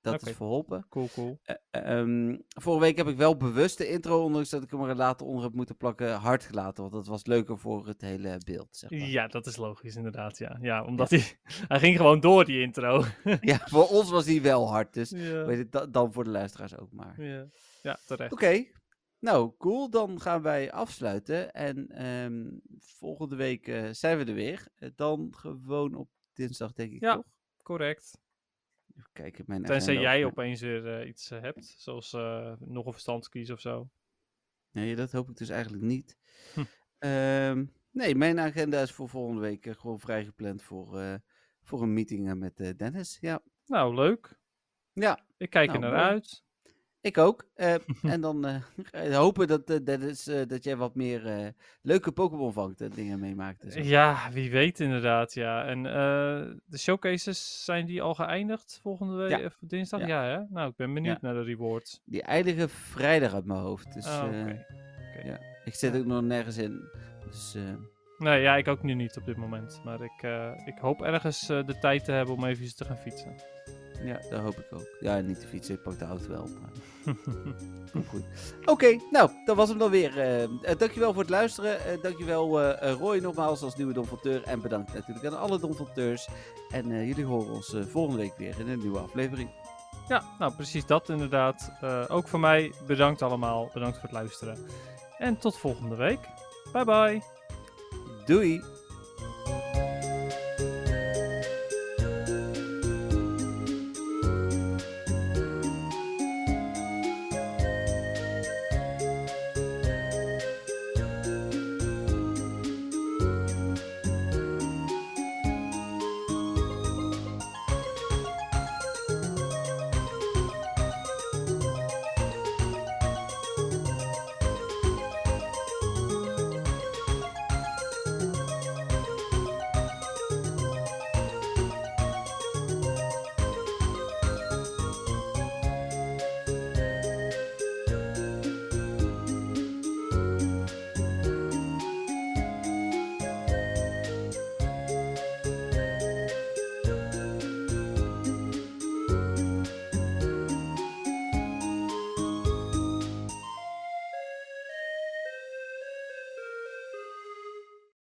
Speaker 1: Dat
Speaker 2: Oké.
Speaker 1: is verholpen.
Speaker 2: Cool, cool.
Speaker 1: Ehm, vorige week heb ik wel bewust de intro, ondanks dat ik hem er later onder heb moeten plakken, hard gelaten. Want dat was leuker voor het hele beeld, zeg maar.
Speaker 2: Ja, dat is logisch inderdaad, ja. Ja, omdat Hij, hij ging gewoon door, die intro.
Speaker 1: Ja, voor ons was die wel hard, dus
Speaker 2: ja.
Speaker 1: weet het, da- dan voor de luisteraars ook maar.
Speaker 2: Ja. ja, terecht.
Speaker 1: Oké. Nou, cool. Dan gaan wij afsluiten. En ehm, volgende week eh, zijn we er weer. Eh, Dan gewoon op dinsdag, denk ik.
Speaker 2: Ja.
Speaker 1: Toch?
Speaker 2: Correct.
Speaker 1: Even kijken. Mijn
Speaker 2: Tenzij
Speaker 1: agenda
Speaker 2: jij
Speaker 1: of mijn-
Speaker 2: opeens weer eh, iets eh, hebt, zoals eh, nog een verstandskies of zo.
Speaker 1: Nee, dat hoop ik dus eigenlijk niet.
Speaker 2: Hm.
Speaker 1: Ehm, nee, mijn agenda is voor volgende week eh, gewoon vrijgepland voor, eh, voor een meeting eh, met eh, Dennis. Ja.
Speaker 2: Nou, leuk.
Speaker 1: Ja.
Speaker 2: Ik kijk
Speaker 1: Nou,
Speaker 2: er naar
Speaker 1: mooi.
Speaker 2: uit.
Speaker 1: Ik ook. Eh, en dan eh, hopen dat, eh, Dennis, eh, dat jij wat meer eh, leuke Pokémon vangt en dingen meemaakt. en zo.
Speaker 2: Ja, wie weet inderdaad, ja. En eh, de showcases, zijn die al geëindigd volgende week,
Speaker 1: Ja.
Speaker 2: eh, dinsdag?
Speaker 1: Ja.
Speaker 2: Ja. hè? Nou, ik ben benieuwd
Speaker 1: Ja.
Speaker 2: naar de rewards.
Speaker 1: Die eindigen vrijdag uit mijn hoofd. Dus,
Speaker 2: Ah, Oké.
Speaker 1: eh,
Speaker 2: ja.
Speaker 1: ja. Ik zit ook nog nergens in. Dus eh,
Speaker 2: Nou ja, ik ook nu niet op dit moment. Maar ik, eh, ik hoop ergens eh, de tijd te hebben om even te gaan fietsen.
Speaker 1: ja, dat hoop ik ook. Ja, niet de fiets, ik pak de auto wel. Maar... Komt goed. Oké, nou, dat was hem dan weer. Eh, eh, dankjewel voor het luisteren. Eh, dankjewel eh, eh, Roy nogmaals als nieuwe donfalteur. En bedankt natuurlijk aan alle donfalteurs. En eh, jullie horen ons eh, volgende week weer in een nieuwe aflevering.
Speaker 2: Ja, nou precies dat inderdaad. Eh, ook van mij bedankt allemaal. Bedankt voor het luisteren. En tot volgende week. Bye bye.
Speaker 1: Doei!